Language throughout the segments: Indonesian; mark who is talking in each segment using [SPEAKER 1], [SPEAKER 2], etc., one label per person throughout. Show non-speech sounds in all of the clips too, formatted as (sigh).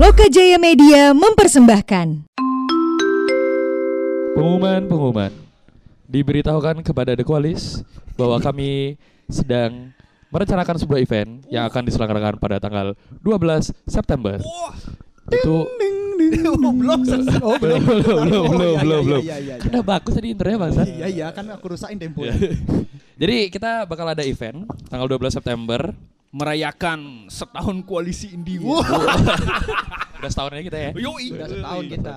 [SPEAKER 1] Loka Jaya Media mempersembahkan.
[SPEAKER 2] Pengumuman, pengumuman. Diberitahukan kepada The Koalis bahwa kami sedang merencanakan sebuah event yang akan diselenggarakan pada tanggal 12 September. Itu
[SPEAKER 3] Goblok. (laughs)
[SPEAKER 2] (laughs)
[SPEAKER 3] Oh,
[SPEAKER 2] belum belum belum
[SPEAKER 3] (laughs) Oh,
[SPEAKER 2] belum
[SPEAKER 3] iya,
[SPEAKER 2] belum belum.
[SPEAKER 3] iya, iya, iya, iya.
[SPEAKER 2] Karena bagus tadi internya bangsa.
[SPEAKER 3] Iya iya kan aku rusakin tempo.
[SPEAKER 2] Iya, Jadi kita bakal ada event tanggal 12 September.
[SPEAKER 4] merayakan setahun koalisi Indigo.
[SPEAKER 2] Udah setahunnya kita ya.
[SPEAKER 4] (laughs) Yoi. Iya, Ah,
[SPEAKER 3] Udah Iya. setahun kita.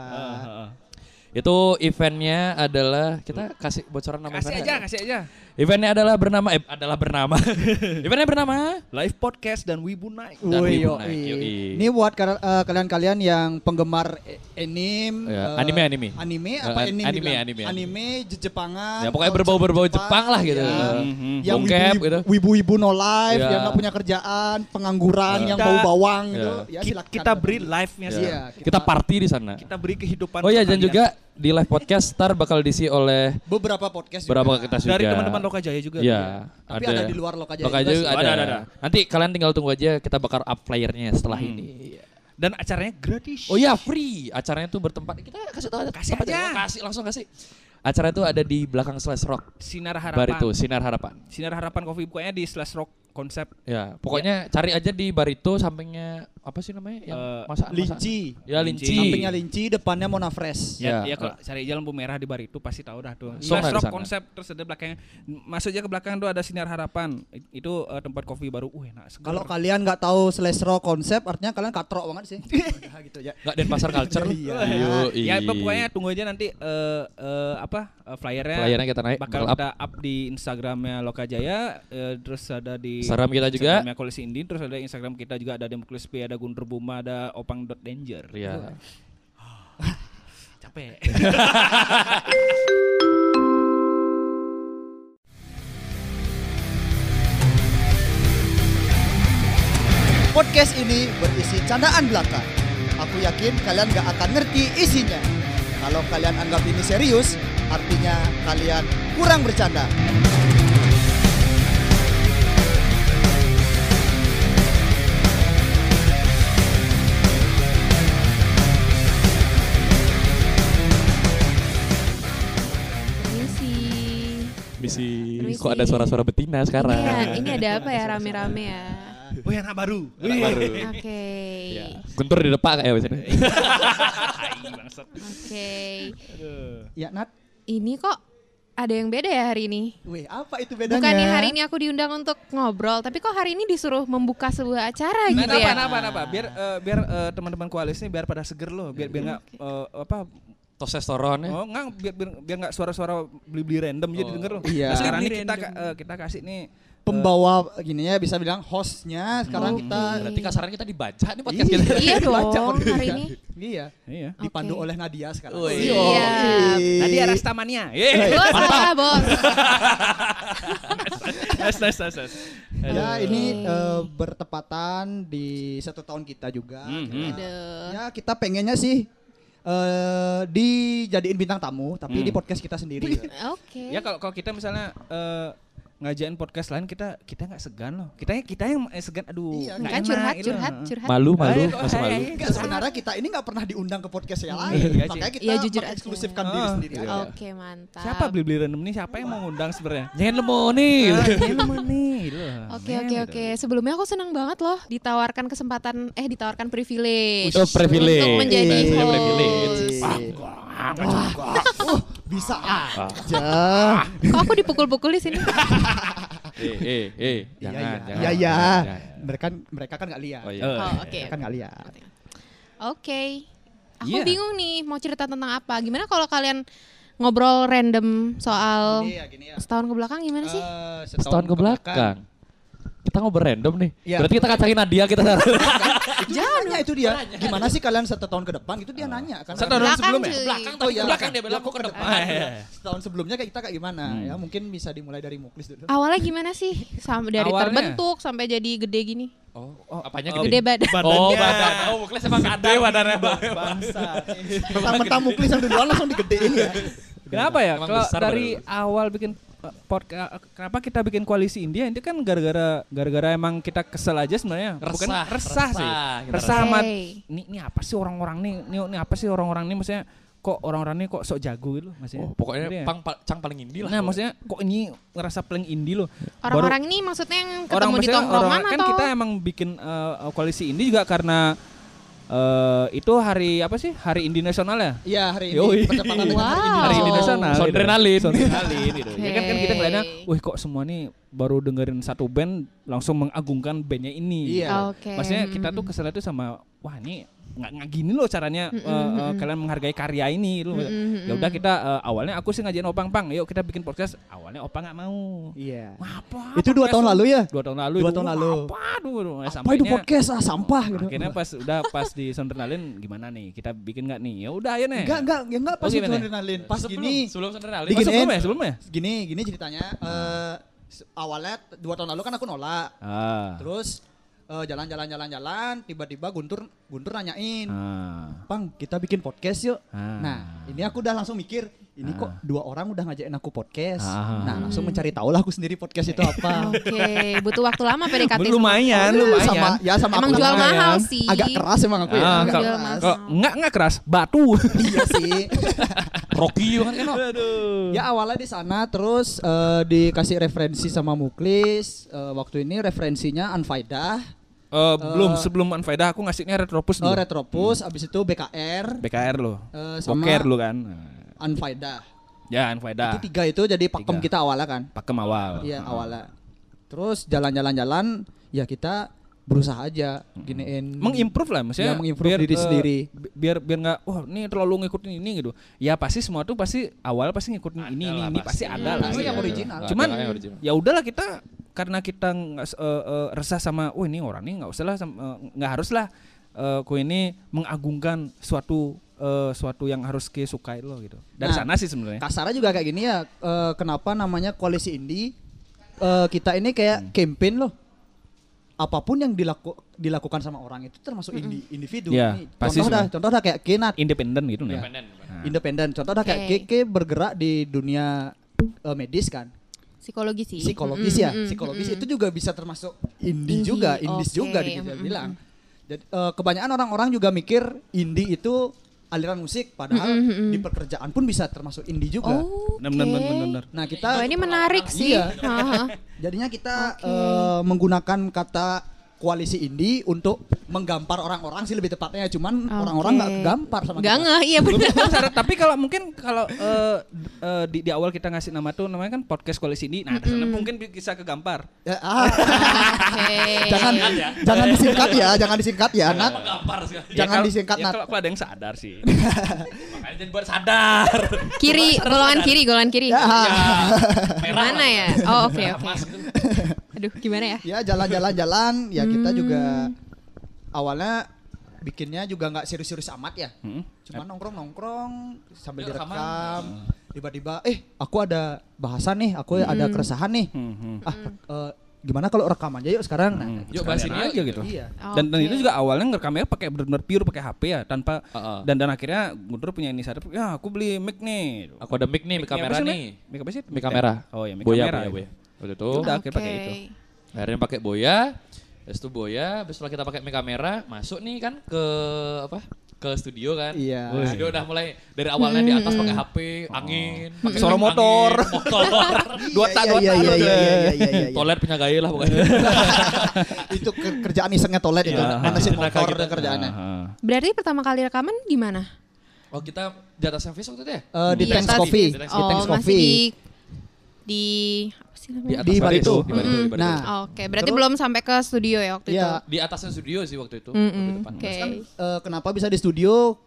[SPEAKER 2] Itu eventnya adalah kita kasih bocoran nama
[SPEAKER 4] Kasih
[SPEAKER 2] eventnya
[SPEAKER 4] aja,
[SPEAKER 2] nggak?
[SPEAKER 4] kasih aja.
[SPEAKER 2] Eventnya adalah bernama eh adalah bernama. (laughs) Eventnya bernama
[SPEAKER 4] Live podcast dan Wibu naik.
[SPEAKER 2] Dan
[SPEAKER 3] Woi,
[SPEAKER 2] Wibu
[SPEAKER 3] yoi.
[SPEAKER 2] naik, yoi.
[SPEAKER 3] Ini buat kar- eh, kalian-kalian yang penggemar eh, anime,
[SPEAKER 2] Ya,
[SPEAKER 3] eh,
[SPEAKER 2] anime, anime.
[SPEAKER 3] anime apa
[SPEAKER 2] Eh,
[SPEAKER 3] anime,
[SPEAKER 2] anime,
[SPEAKER 3] bilang?
[SPEAKER 2] anime, anime.
[SPEAKER 3] anime, Je- Jepangan.
[SPEAKER 2] Ya, pokoknya
[SPEAKER 3] culture
[SPEAKER 2] berbau-berbau Jepang lah gitu.
[SPEAKER 3] ya.
[SPEAKER 2] Mhm.
[SPEAKER 3] Yang
[SPEAKER 2] Bokep
[SPEAKER 3] wibu-
[SPEAKER 2] gitu.
[SPEAKER 3] wibu-wibu no life,
[SPEAKER 2] Ya.
[SPEAKER 3] yang nggak punya kerjaan, pengangguran,
[SPEAKER 2] Iya.
[SPEAKER 3] yang
[SPEAKER 4] Kita-
[SPEAKER 3] bau bawang
[SPEAKER 2] Ya.
[SPEAKER 3] gitu. Ya,
[SPEAKER 4] Ki-
[SPEAKER 3] silakan.
[SPEAKER 4] kita beri live-nya sih.
[SPEAKER 3] Iya.
[SPEAKER 2] kita party di sana.
[SPEAKER 4] Kita beri kehidupan.
[SPEAKER 2] Oh iya dan
[SPEAKER 4] sekalian.
[SPEAKER 2] juga di live podcast Star bakal diisi oleh
[SPEAKER 3] Beberapa podcast
[SPEAKER 2] berapa
[SPEAKER 3] juga.
[SPEAKER 2] kita
[SPEAKER 4] dari
[SPEAKER 2] juga.
[SPEAKER 4] teman-teman Loka Jaya juga.
[SPEAKER 2] Iya.
[SPEAKER 3] Tapi ada di luar ya, Loka Jaya
[SPEAKER 2] Loka
[SPEAKER 3] juga
[SPEAKER 2] Jaya
[SPEAKER 3] sih.
[SPEAKER 2] ada.
[SPEAKER 4] Ada, Hmm. ada, ada.
[SPEAKER 2] Nanti kalian tinggal tunggu aja kita bakal up flyernya setelah ini.
[SPEAKER 4] Dan acaranya gratis.
[SPEAKER 2] Oh iya free. Acaranya tuh bertempat. Kita kasih tahu
[SPEAKER 4] Kasih
[SPEAKER 2] tempatnya.
[SPEAKER 4] aja.
[SPEAKER 2] Oh, Kasih langsung kasih. Acara itu ada di belakang Slash Rock.
[SPEAKER 4] Sinar
[SPEAKER 2] Bar
[SPEAKER 4] Harapan.
[SPEAKER 2] itu Sinar Harapan.
[SPEAKER 4] Sinar Harapan Coffee pokoknya di Slash Rock konsep
[SPEAKER 2] Ya, pokoknya cari aja di Barito sampingnya apa sih namanya yang
[SPEAKER 4] Iya. Eh,
[SPEAKER 2] masakan
[SPEAKER 3] Linci.
[SPEAKER 2] Ya linci.
[SPEAKER 3] Sampingnya linci, depannya Mona Fresh.
[SPEAKER 2] Ya.
[SPEAKER 4] Ya, ya, kalau cari jalan merah di bar itu pasti tahu dah tuh.
[SPEAKER 2] Langsung
[SPEAKER 4] Slash
[SPEAKER 2] ada
[SPEAKER 4] rock
[SPEAKER 2] sana.
[SPEAKER 4] konsep terus ada belakangnya. Masuk aja ke belakang tuh ada sinar harapan. I- Itu eh, tempat kopi baru. Uh, enak. seger.
[SPEAKER 3] Kalau kalian nggak tahu slash raw konsep, artinya kalian katrok banget sih. (laughs) Udah gitu ya.
[SPEAKER 2] Enggak Denpasar
[SPEAKER 4] (laughs)
[SPEAKER 2] Culture.
[SPEAKER 3] Iya.
[SPEAKER 2] Yoi.
[SPEAKER 4] ya pokoknya tunggu aja nanti eh, eh, apa eh, flyernya.
[SPEAKER 2] Flyernya kita naik,
[SPEAKER 4] Bakal
[SPEAKER 2] bakal up.
[SPEAKER 4] kita up di Instagramnya Loka Jaya, eh, terus ada di
[SPEAKER 2] Instagram kita juga.
[SPEAKER 4] Instagramnya Koalisi Indi, terus ada Instagram kita juga ada Demoklis P, ada Gunter Buma, ada Opang dot Danger.
[SPEAKER 2] Iya. (laughs)
[SPEAKER 4] Capek.
[SPEAKER 3] Podcast ini berisi candaan belaka. Aku yakin kalian nggak akan ngerti isinya. Kalau kalian anggap ini serius, artinya kalian kurang bercanda.
[SPEAKER 5] Permisi.
[SPEAKER 2] Misi.
[SPEAKER 5] Permisi.
[SPEAKER 2] Kok ada suara-suara betina sekarang?
[SPEAKER 5] Iya, ini ada apa ya rame-rame ya?
[SPEAKER 4] Wih Oh, anak baru. Iya.
[SPEAKER 2] Anak baru. Iya.
[SPEAKER 5] Oke.
[SPEAKER 2] Guntur di depan kayak (laughs) biasanya.
[SPEAKER 5] Oke.
[SPEAKER 3] Ya Nat,
[SPEAKER 5] Ini kok ada yang beda ya hari ini?
[SPEAKER 3] weh apa itu bedanya?
[SPEAKER 5] Bukannya hari ini aku diundang untuk ngobrol, tapi kok hari ini disuruh membuka sebuah acara
[SPEAKER 4] Nah,
[SPEAKER 5] gitu
[SPEAKER 4] kenapa,
[SPEAKER 5] ya?
[SPEAKER 4] kenapa, kenapa? Biar eh, biar eh, teman-teman koalis nih biar pada seger loh, biar biar nggak eh, apa
[SPEAKER 2] Testosteronnya.
[SPEAKER 4] oh nggak biar biar biar nggak suara-suara beli-beli random jadi
[SPEAKER 2] Oh.
[SPEAKER 4] denger loh.
[SPEAKER 3] Iya.
[SPEAKER 4] Nah, sekarang ini
[SPEAKER 2] Beli
[SPEAKER 4] kita
[SPEAKER 2] random.
[SPEAKER 4] ka- eh, kita kasih nih
[SPEAKER 3] Pembawa gini ya bisa bilang hostnya
[SPEAKER 5] Oh,
[SPEAKER 3] sekarang kita
[SPEAKER 2] Berarti kasaran kita dibaca nih podcast
[SPEAKER 3] Iya.
[SPEAKER 2] kita.
[SPEAKER 5] Iya
[SPEAKER 3] Baca
[SPEAKER 5] dong
[SPEAKER 3] waktu
[SPEAKER 5] hari
[SPEAKER 3] itu.
[SPEAKER 5] ini.
[SPEAKER 3] (laughs) iya
[SPEAKER 4] iya.
[SPEAKER 3] dipandu
[SPEAKER 5] Oke.
[SPEAKER 3] oleh Nadia sekarang.
[SPEAKER 2] Wih.
[SPEAKER 3] Yo,
[SPEAKER 5] Iya.
[SPEAKER 3] ih.
[SPEAKER 4] Tadi Arastamania.
[SPEAKER 5] Bos, salah bos.
[SPEAKER 4] nice, nice, nice, nice.
[SPEAKER 3] Ya
[SPEAKER 5] Aduh.
[SPEAKER 3] ini
[SPEAKER 5] Oke.
[SPEAKER 3] eh, bertepatan di satu tahun kita juga.
[SPEAKER 2] Mm-hmm.
[SPEAKER 4] Mhm.
[SPEAKER 3] Kita-
[SPEAKER 5] Aduh.
[SPEAKER 3] Ya kita pengennya sih eh dijadiin bintang tamu, tapi
[SPEAKER 2] Mm.
[SPEAKER 4] Hmm.
[SPEAKER 3] di podcast kita
[SPEAKER 2] (laughs)
[SPEAKER 3] sendiri.
[SPEAKER 5] Oke.
[SPEAKER 4] Ya kalau kalau kita misalnya eh, ngajain podcast lain kita kita nggak segan loh. Kita kita yang eh, segan aduh.
[SPEAKER 3] Iya,
[SPEAKER 4] nggak
[SPEAKER 5] Kan
[SPEAKER 4] enak
[SPEAKER 5] curhat,
[SPEAKER 4] gitu.
[SPEAKER 5] curhat, curhat.
[SPEAKER 2] Malu, malu,
[SPEAKER 4] Ayo,
[SPEAKER 2] masih
[SPEAKER 4] ayo,
[SPEAKER 2] malu.
[SPEAKER 4] ayo.
[SPEAKER 3] Enggak sebenarnya kita ini nggak pernah diundang ke podcast yang lain,
[SPEAKER 4] Iya,
[SPEAKER 3] makanya kita
[SPEAKER 5] Iya, jujur aja.
[SPEAKER 3] eksklusifkan diri
[SPEAKER 4] Ah.
[SPEAKER 3] sendiri.
[SPEAKER 2] iya.
[SPEAKER 3] aja.
[SPEAKER 5] Oke, mantap.
[SPEAKER 4] Siapa beli-beli random nih? Siapa yang mau ngundang sebenarnya? Ah,
[SPEAKER 2] Jangan lemo nih.
[SPEAKER 4] gitu
[SPEAKER 5] Oke oke oke. Sebelumnya aku senang banget loh ditawarkan kesempatan eh ditawarkan privilege.
[SPEAKER 2] Oh, privilege.
[SPEAKER 5] Untuk menjadi
[SPEAKER 2] Iya,
[SPEAKER 5] host.
[SPEAKER 2] privilege.
[SPEAKER 3] Iya. Uh, bisa
[SPEAKER 2] Ah.
[SPEAKER 3] aja.
[SPEAKER 5] Kok aku dipukul-pukul di
[SPEAKER 4] (laughs)
[SPEAKER 5] sini?
[SPEAKER 2] Eh, eh, eh.
[SPEAKER 3] Iya,
[SPEAKER 2] Jangan,
[SPEAKER 3] iya.
[SPEAKER 2] jangan.
[SPEAKER 3] Iya, iya.
[SPEAKER 2] jangan, jangan.
[SPEAKER 3] Mereka mereka kan nggak lihat.
[SPEAKER 2] Oh iya.
[SPEAKER 4] Eh.
[SPEAKER 5] Oh, oke.
[SPEAKER 3] Mereka kan nggak lihat.
[SPEAKER 5] Oke. Aku
[SPEAKER 4] Iya.
[SPEAKER 5] bingung nih mau cerita tentang apa. Gimana kalau kalian ngobrol random
[SPEAKER 4] Iya,
[SPEAKER 5] soal
[SPEAKER 3] Gini ya, gini ya.
[SPEAKER 5] setahun ke belakang Oh. gimana sih?
[SPEAKER 3] Eh,
[SPEAKER 2] Setahun ke belakang. Kita ngobrol random nih.
[SPEAKER 3] Iya.
[SPEAKER 2] Berarti kita kacangin Nadia kita.
[SPEAKER 3] Itu dia nanya itu dia. Gimana sih kalian satu tahun ke depan? Itu dia nanya kan.
[SPEAKER 4] Satu tahun
[SPEAKER 5] Belakang,
[SPEAKER 4] sebelum ya?
[SPEAKER 5] cuy.
[SPEAKER 3] Oh iya,
[SPEAKER 2] belakang dia bilang,
[SPEAKER 3] Lah, kok
[SPEAKER 2] ke
[SPEAKER 3] ke depan.
[SPEAKER 2] depan.
[SPEAKER 3] Iya. Setahun sebelumnya kayak kita kayak gimana? Ya mungkin bisa dimulai dari Muklis dulu.
[SPEAKER 5] Awalnya gimana sih? Sam- dari
[SPEAKER 4] Awalnya?
[SPEAKER 5] terbentuk sampai jadi gede gini.
[SPEAKER 2] (laughs) Oh, apanya
[SPEAKER 4] Oh,
[SPEAKER 5] Gede badan.
[SPEAKER 2] Oh,
[SPEAKER 4] Badannya.
[SPEAKER 2] badan. Oh, muklis emang gede badannya.
[SPEAKER 3] Bangsa. Mentang-mentang Muklis yang duluan langsung digedein ya.
[SPEAKER 4] Kenapa ya?
[SPEAKER 2] Emang
[SPEAKER 4] Kalau
[SPEAKER 2] besar
[SPEAKER 4] dari awal bikin eh, podca- kenapa kita bikin koalisi India itu kan gara-gara gara-gara emang kita kesel aja sebenarnya bukan
[SPEAKER 2] Resah,
[SPEAKER 4] resah sih
[SPEAKER 2] resah, kita
[SPEAKER 4] resah
[SPEAKER 5] resah.
[SPEAKER 4] sama
[SPEAKER 5] Hey.
[SPEAKER 4] ini ini apa sih orang-orang nih ini, ini apa sih orang-orang nih maksudnya kok orang-orang nih kok sok jago gitu loh, maksudnya
[SPEAKER 2] Oh, pokoknya
[SPEAKER 4] Ngerti ya?
[SPEAKER 2] pang, pa- cang paling indie lah.
[SPEAKER 4] nah maksudnya kok ini ngerasa paling indie loh Baru-
[SPEAKER 5] (laughs) Orang-orang ini maksudnya yang ketemu
[SPEAKER 4] orang
[SPEAKER 5] di
[SPEAKER 4] maksudnya
[SPEAKER 5] tongkrongan
[SPEAKER 4] orang- kan
[SPEAKER 5] atau
[SPEAKER 4] kita emang bikin eh, koalisi Indi juga karena eh, itu hari apa sih hari Indi nasional ya
[SPEAKER 3] Iya hari ini
[SPEAKER 4] Yoi.
[SPEAKER 3] bertepatan dengan hari ini. Gitu.
[SPEAKER 5] Wow.
[SPEAKER 4] hari Indi nasional
[SPEAKER 2] Sondrenalin.
[SPEAKER 4] (laughs) Sondrenalin gitu. ya kan kan kita
[SPEAKER 5] Oke.
[SPEAKER 4] ngeliatnya wih kok semua nih baru dengerin satu band langsung mengagungkan bandnya ini
[SPEAKER 3] Iya.
[SPEAKER 5] Oke.
[SPEAKER 4] maksudnya kita tuh
[SPEAKER 5] Mm-mm.
[SPEAKER 4] kesel itu sama wah ini nggak nggak gini loh caranya
[SPEAKER 5] Mm-mm,
[SPEAKER 4] eh, eh,
[SPEAKER 5] mm-mm.
[SPEAKER 4] kalian menghargai karya ini
[SPEAKER 5] Mm-hmm,
[SPEAKER 4] loh
[SPEAKER 5] Mm-mm,
[SPEAKER 4] ya udah
[SPEAKER 5] mm-mm.
[SPEAKER 4] kita eh, awalnya aku sih ngajain opang pang yuk kita bikin podcast awalnya opang nggak mau
[SPEAKER 3] Iya.
[SPEAKER 4] Wah, apa,
[SPEAKER 3] Itu dua
[SPEAKER 4] podcast Oh,
[SPEAKER 3] tahun
[SPEAKER 4] lu?
[SPEAKER 3] lalu ya?
[SPEAKER 4] dua tahun lalu
[SPEAKER 3] Dua
[SPEAKER 4] itu,
[SPEAKER 3] tahun
[SPEAKER 4] wah,
[SPEAKER 3] lalu.
[SPEAKER 4] apa aduh, aduh, eh,
[SPEAKER 3] Apa itu podcast ah sampah gitu.
[SPEAKER 4] akhirnya pas udah pas di Sondernalin gimana nih kita bikin nggak nih ya udah ayo nih
[SPEAKER 3] Enggak enggak ya enggak pas
[SPEAKER 4] Oh,
[SPEAKER 3] itu
[SPEAKER 4] gimana?
[SPEAKER 3] adrenalin. Pas
[SPEAKER 2] Sebelum-
[SPEAKER 3] gini.
[SPEAKER 2] Sebelum sondrenalin.
[SPEAKER 4] Oh,
[SPEAKER 3] Diginiin.
[SPEAKER 4] sebelum ya sebelum ya
[SPEAKER 3] Gini gini ceritanya eh se- awalnya t- dua tahun lalu kan aku nolak.
[SPEAKER 4] ah
[SPEAKER 3] Terus eh, jalan-jalan jalan-jalan tiba-tiba Guntur Guntur nanyain
[SPEAKER 4] ah
[SPEAKER 3] Pang, kita bikin podcast yuk.
[SPEAKER 4] Ah.
[SPEAKER 3] Nah, ini aku udah langsung mikir, ini kok dua orang udah ngajakin aku podcast.
[SPEAKER 4] Ah.
[SPEAKER 3] Nah, langsung mencari tahu lah aku sendiri podcast itu apa.
[SPEAKER 5] Oke, butuh waktu lama PDKT. sama-
[SPEAKER 4] lumayan (laughs) lumayan
[SPEAKER 3] sama ya sama
[SPEAKER 5] Hmm. Emang
[SPEAKER 3] aku
[SPEAKER 5] jual
[SPEAKER 4] lumayan.
[SPEAKER 5] mahal sih.
[SPEAKER 3] agak keras emang aku ya.
[SPEAKER 4] Ah,
[SPEAKER 3] agak
[SPEAKER 4] kalau-
[SPEAKER 5] Jual
[SPEAKER 3] keras.
[SPEAKER 5] mahal.
[SPEAKER 4] kalau nggak nggak keras batu
[SPEAKER 3] iya sih. (laughs)
[SPEAKER 2] Rocky kan kan.
[SPEAKER 4] aduh
[SPEAKER 3] Ya awalnya di sana terus eh, dikasih referensi sama Muklis. Eh, waktu ini referensinya Anfaida,
[SPEAKER 4] Eh, belum sebelum Anfaida aku ngasihnya Retropus
[SPEAKER 3] eh,
[SPEAKER 4] dulu
[SPEAKER 3] Retropus,
[SPEAKER 4] Hmm.
[SPEAKER 3] abis itu BKR,
[SPEAKER 4] BKR lo
[SPEAKER 3] Eh, sama-
[SPEAKER 4] Boker lo kan
[SPEAKER 3] Anfaida.
[SPEAKER 4] ya Anfaida
[SPEAKER 3] Itu tiga itu jadi pakem
[SPEAKER 4] Tiga. Ah.
[SPEAKER 3] kita awalnya kan.
[SPEAKER 4] pakem awal
[SPEAKER 3] Iya awalnya. Terus jalan-jalan-jalan ya kita berusaha aja giniin
[SPEAKER 4] Hmm. mengimprove lah
[SPEAKER 3] Ya,
[SPEAKER 4] maksudnya
[SPEAKER 3] mengimprove
[SPEAKER 4] biar,
[SPEAKER 3] diri
[SPEAKER 4] eh,
[SPEAKER 3] sendiri.
[SPEAKER 4] bi- biar biar nggak wah ini terlalu ngikutin ini gitu ya pasti semua tuh pasti awal pasti ngikutin ini ini ini pasti ada lah
[SPEAKER 3] Pasti yang
[SPEAKER 4] Iya.
[SPEAKER 3] original.
[SPEAKER 4] cuman
[SPEAKER 2] Ada yang original.
[SPEAKER 4] ya udahlah kita karena kita nggak se- eh, eh, resah sama wah ini orang ini nggak usah lah sam- eh, nggak harus lah eh, ku ini mengagungkan suatu eh, suatu yang harus disukai lo gitu dari
[SPEAKER 3] Nah,
[SPEAKER 4] sana sih sebenarnya
[SPEAKER 3] kasarnya juga kayak gini ya eh, kenapa namanya koalisi indie Eh, kita ini
[SPEAKER 4] Hmm.
[SPEAKER 3] kayak campaign loh apapun yang dilaku- dilakukan sama orang itu termasuk indi- individu
[SPEAKER 4] Iya,
[SPEAKER 3] Ini
[SPEAKER 4] pasti
[SPEAKER 3] contoh dah
[SPEAKER 4] sebenarnya.
[SPEAKER 3] contoh dah kayak Kinat
[SPEAKER 4] independen gitu nih
[SPEAKER 3] independen contoh dah kayak
[SPEAKER 5] Oke.
[SPEAKER 3] Keke bergerak di dunia eh, medis kan
[SPEAKER 5] Psikologi sih. Hmm,
[SPEAKER 3] psikologis
[SPEAKER 5] Mm-mm,
[SPEAKER 3] ya
[SPEAKER 5] mm-mm,
[SPEAKER 3] psikologis
[SPEAKER 5] mm-mm.
[SPEAKER 3] itu juga bisa termasuk indie,
[SPEAKER 5] Indie,
[SPEAKER 3] juga indies
[SPEAKER 5] oke,
[SPEAKER 3] juga bisa
[SPEAKER 5] mm-mm.
[SPEAKER 3] bilang jadi eh, kebanyakan orang-orang juga mikir indie itu aliran musik padahal
[SPEAKER 5] Mm-mm, mm-mm.
[SPEAKER 3] di pekerjaan pun bisa termasuk indie juga
[SPEAKER 5] Oh,
[SPEAKER 4] benar benar benar benar
[SPEAKER 3] nah
[SPEAKER 5] Oh,
[SPEAKER 3] kita
[SPEAKER 5] ini menarik sih.
[SPEAKER 3] Iya.
[SPEAKER 5] Haha.
[SPEAKER 3] Jadinya kita
[SPEAKER 5] Oke.
[SPEAKER 3] eh, menggunakan kata koalisi indie untuk menggampar orang-orang sih lebih tepatnya. Cuman
[SPEAKER 5] Oke.
[SPEAKER 3] orang-orang nggak kegampar sama
[SPEAKER 5] Nggak
[SPEAKER 3] kita.
[SPEAKER 5] ngeh, iya benar.
[SPEAKER 3] (laughs)
[SPEAKER 4] Belum syarat, tapi kalau mungkin kalau eh, d- eh, di, di awal kita ngasih nama tuh namanya kan podcast koalisi ini. Nah, dari sana mungkin bi- bisa kegampar.
[SPEAKER 3] Ya,
[SPEAKER 5] (laughs)
[SPEAKER 3] ah,
[SPEAKER 5] Oke.
[SPEAKER 3] jangan jangan disingkat ya, jangan disingkat ya, Nat.
[SPEAKER 2] Gampar sih.
[SPEAKER 3] Jangan
[SPEAKER 4] kalau-
[SPEAKER 3] disingkat,
[SPEAKER 4] ya,
[SPEAKER 3] Nat.
[SPEAKER 4] kalau, kalau ada yang sadar sih.
[SPEAKER 2] Makanya jadi buat sadar.
[SPEAKER 5] Kiri, golongan kiri, golongan kiri.
[SPEAKER 3] Ya.
[SPEAKER 5] Iya.
[SPEAKER 2] Merah.
[SPEAKER 5] Mana ya? Oh, oke oke.
[SPEAKER 2] Mas itu.
[SPEAKER 5] Aduh, gimana ya?
[SPEAKER 3] Ya jalan-jalan-jalan, ya kita juga
[SPEAKER 4] Hmm.
[SPEAKER 3] awalnya bikinnya juga nggak serius-serius amat ya.
[SPEAKER 4] Hmm.
[SPEAKER 3] Cuma nongkrong-nongkrong sambil
[SPEAKER 2] Direkaman.
[SPEAKER 3] direkam. Tiba-tiba, eh aku ada bahasan nih, aku ada keresahan nih.
[SPEAKER 4] Hmm, hmm.
[SPEAKER 3] Ah, eh, gimana kalau rekam aja yuk sekarang? Nah,
[SPEAKER 4] Hmm.
[SPEAKER 2] Yuk, bahas ini
[SPEAKER 4] Sekalian
[SPEAKER 2] aja gitu.
[SPEAKER 3] Iya.
[SPEAKER 4] Dan, dan itu
[SPEAKER 5] Oke.
[SPEAKER 4] juga awalnya ngerekamnya pakai benar-benar pure pakai HP ya tanpa
[SPEAKER 2] Heeh.
[SPEAKER 4] dan dan akhirnya Guntur punya inisiatif ya aku beli mic nih.
[SPEAKER 2] (laughs) Aku ada mic nih, mic
[SPEAKER 4] Mic-nya apa
[SPEAKER 2] kamera
[SPEAKER 4] sih,
[SPEAKER 2] nih.
[SPEAKER 4] Nek? Mic apa sih?
[SPEAKER 2] Mic kamera.
[SPEAKER 4] Oh ya, mic
[SPEAKER 2] boya,
[SPEAKER 4] kamera.
[SPEAKER 2] Boya, boya. Waktu itu.
[SPEAKER 4] Udah, akhirnya pakai
[SPEAKER 5] Oke.
[SPEAKER 4] itu.
[SPEAKER 2] Akhirnya pakai boya. Terus itu boya, terus setelah kita pakai mic kamera, masuk nih kan ke apa? Ke studio kan.
[SPEAKER 3] Iya.
[SPEAKER 2] Wih. Studio udah mulai dari awalnya di atas pakai HP, angin, pakai mic
[SPEAKER 4] Suara motor.
[SPEAKER 2] angin, motor.
[SPEAKER 4] Dua tak, dua
[SPEAKER 3] iya,
[SPEAKER 4] tak,
[SPEAKER 3] iya, iya,
[SPEAKER 4] dua tak.
[SPEAKER 3] iya, iya, iya, iya.
[SPEAKER 2] Toilet punya gaya lah pokoknya.
[SPEAKER 3] itu ke- kerjaan isengnya toilet itu
[SPEAKER 4] Iya.
[SPEAKER 3] manasin
[SPEAKER 2] Tenaga
[SPEAKER 3] motor
[SPEAKER 2] kita.
[SPEAKER 3] kerjaannya
[SPEAKER 4] Heeh.
[SPEAKER 5] Berarti pertama kali rekaman gimana?
[SPEAKER 2] Oh, kita di atas service waktu itu ya?
[SPEAKER 3] Eh, di
[SPEAKER 5] Iya,
[SPEAKER 3] Thanks
[SPEAKER 5] tadi.
[SPEAKER 3] Coffee
[SPEAKER 2] Di Thanks
[SPEAKER 3] di
[SPEAKER 5] Oh,
[SPEAKER 3] Thanks
[SPEAKER 5] masih
[SPEAKER 3] Coffee
[SPEAKER 5] di di apa sih namanya?
[SPEAKER 2] atas
[SPEAKER 3] Di
[SPEAKER 2] bar
[SPEAKER 3] Baritu.
[SPEAKER 2] Di Baritu, di
[SPEAKER 5] Mm-mm.
[SPEAKER 2] Baritu.
[SPEAKER 3] nah
[SPEAKER 5] Oke, berarti
[SPEAKER 3] Terus-
[SPEAKER 5] belum sampai ke studio ya waktu
[SPEAKER 3] Iya.
[SPEAKER 5] itu.
[SPEAKER 2] di atasnya studio sih waktu itu.
[SPEAKER 5] Mm-mm,
[SPEAKER 2] waktu depan.
[SPEAKER 5] Oke.
[SPEAKER 3] eh, kenapa bisa di studio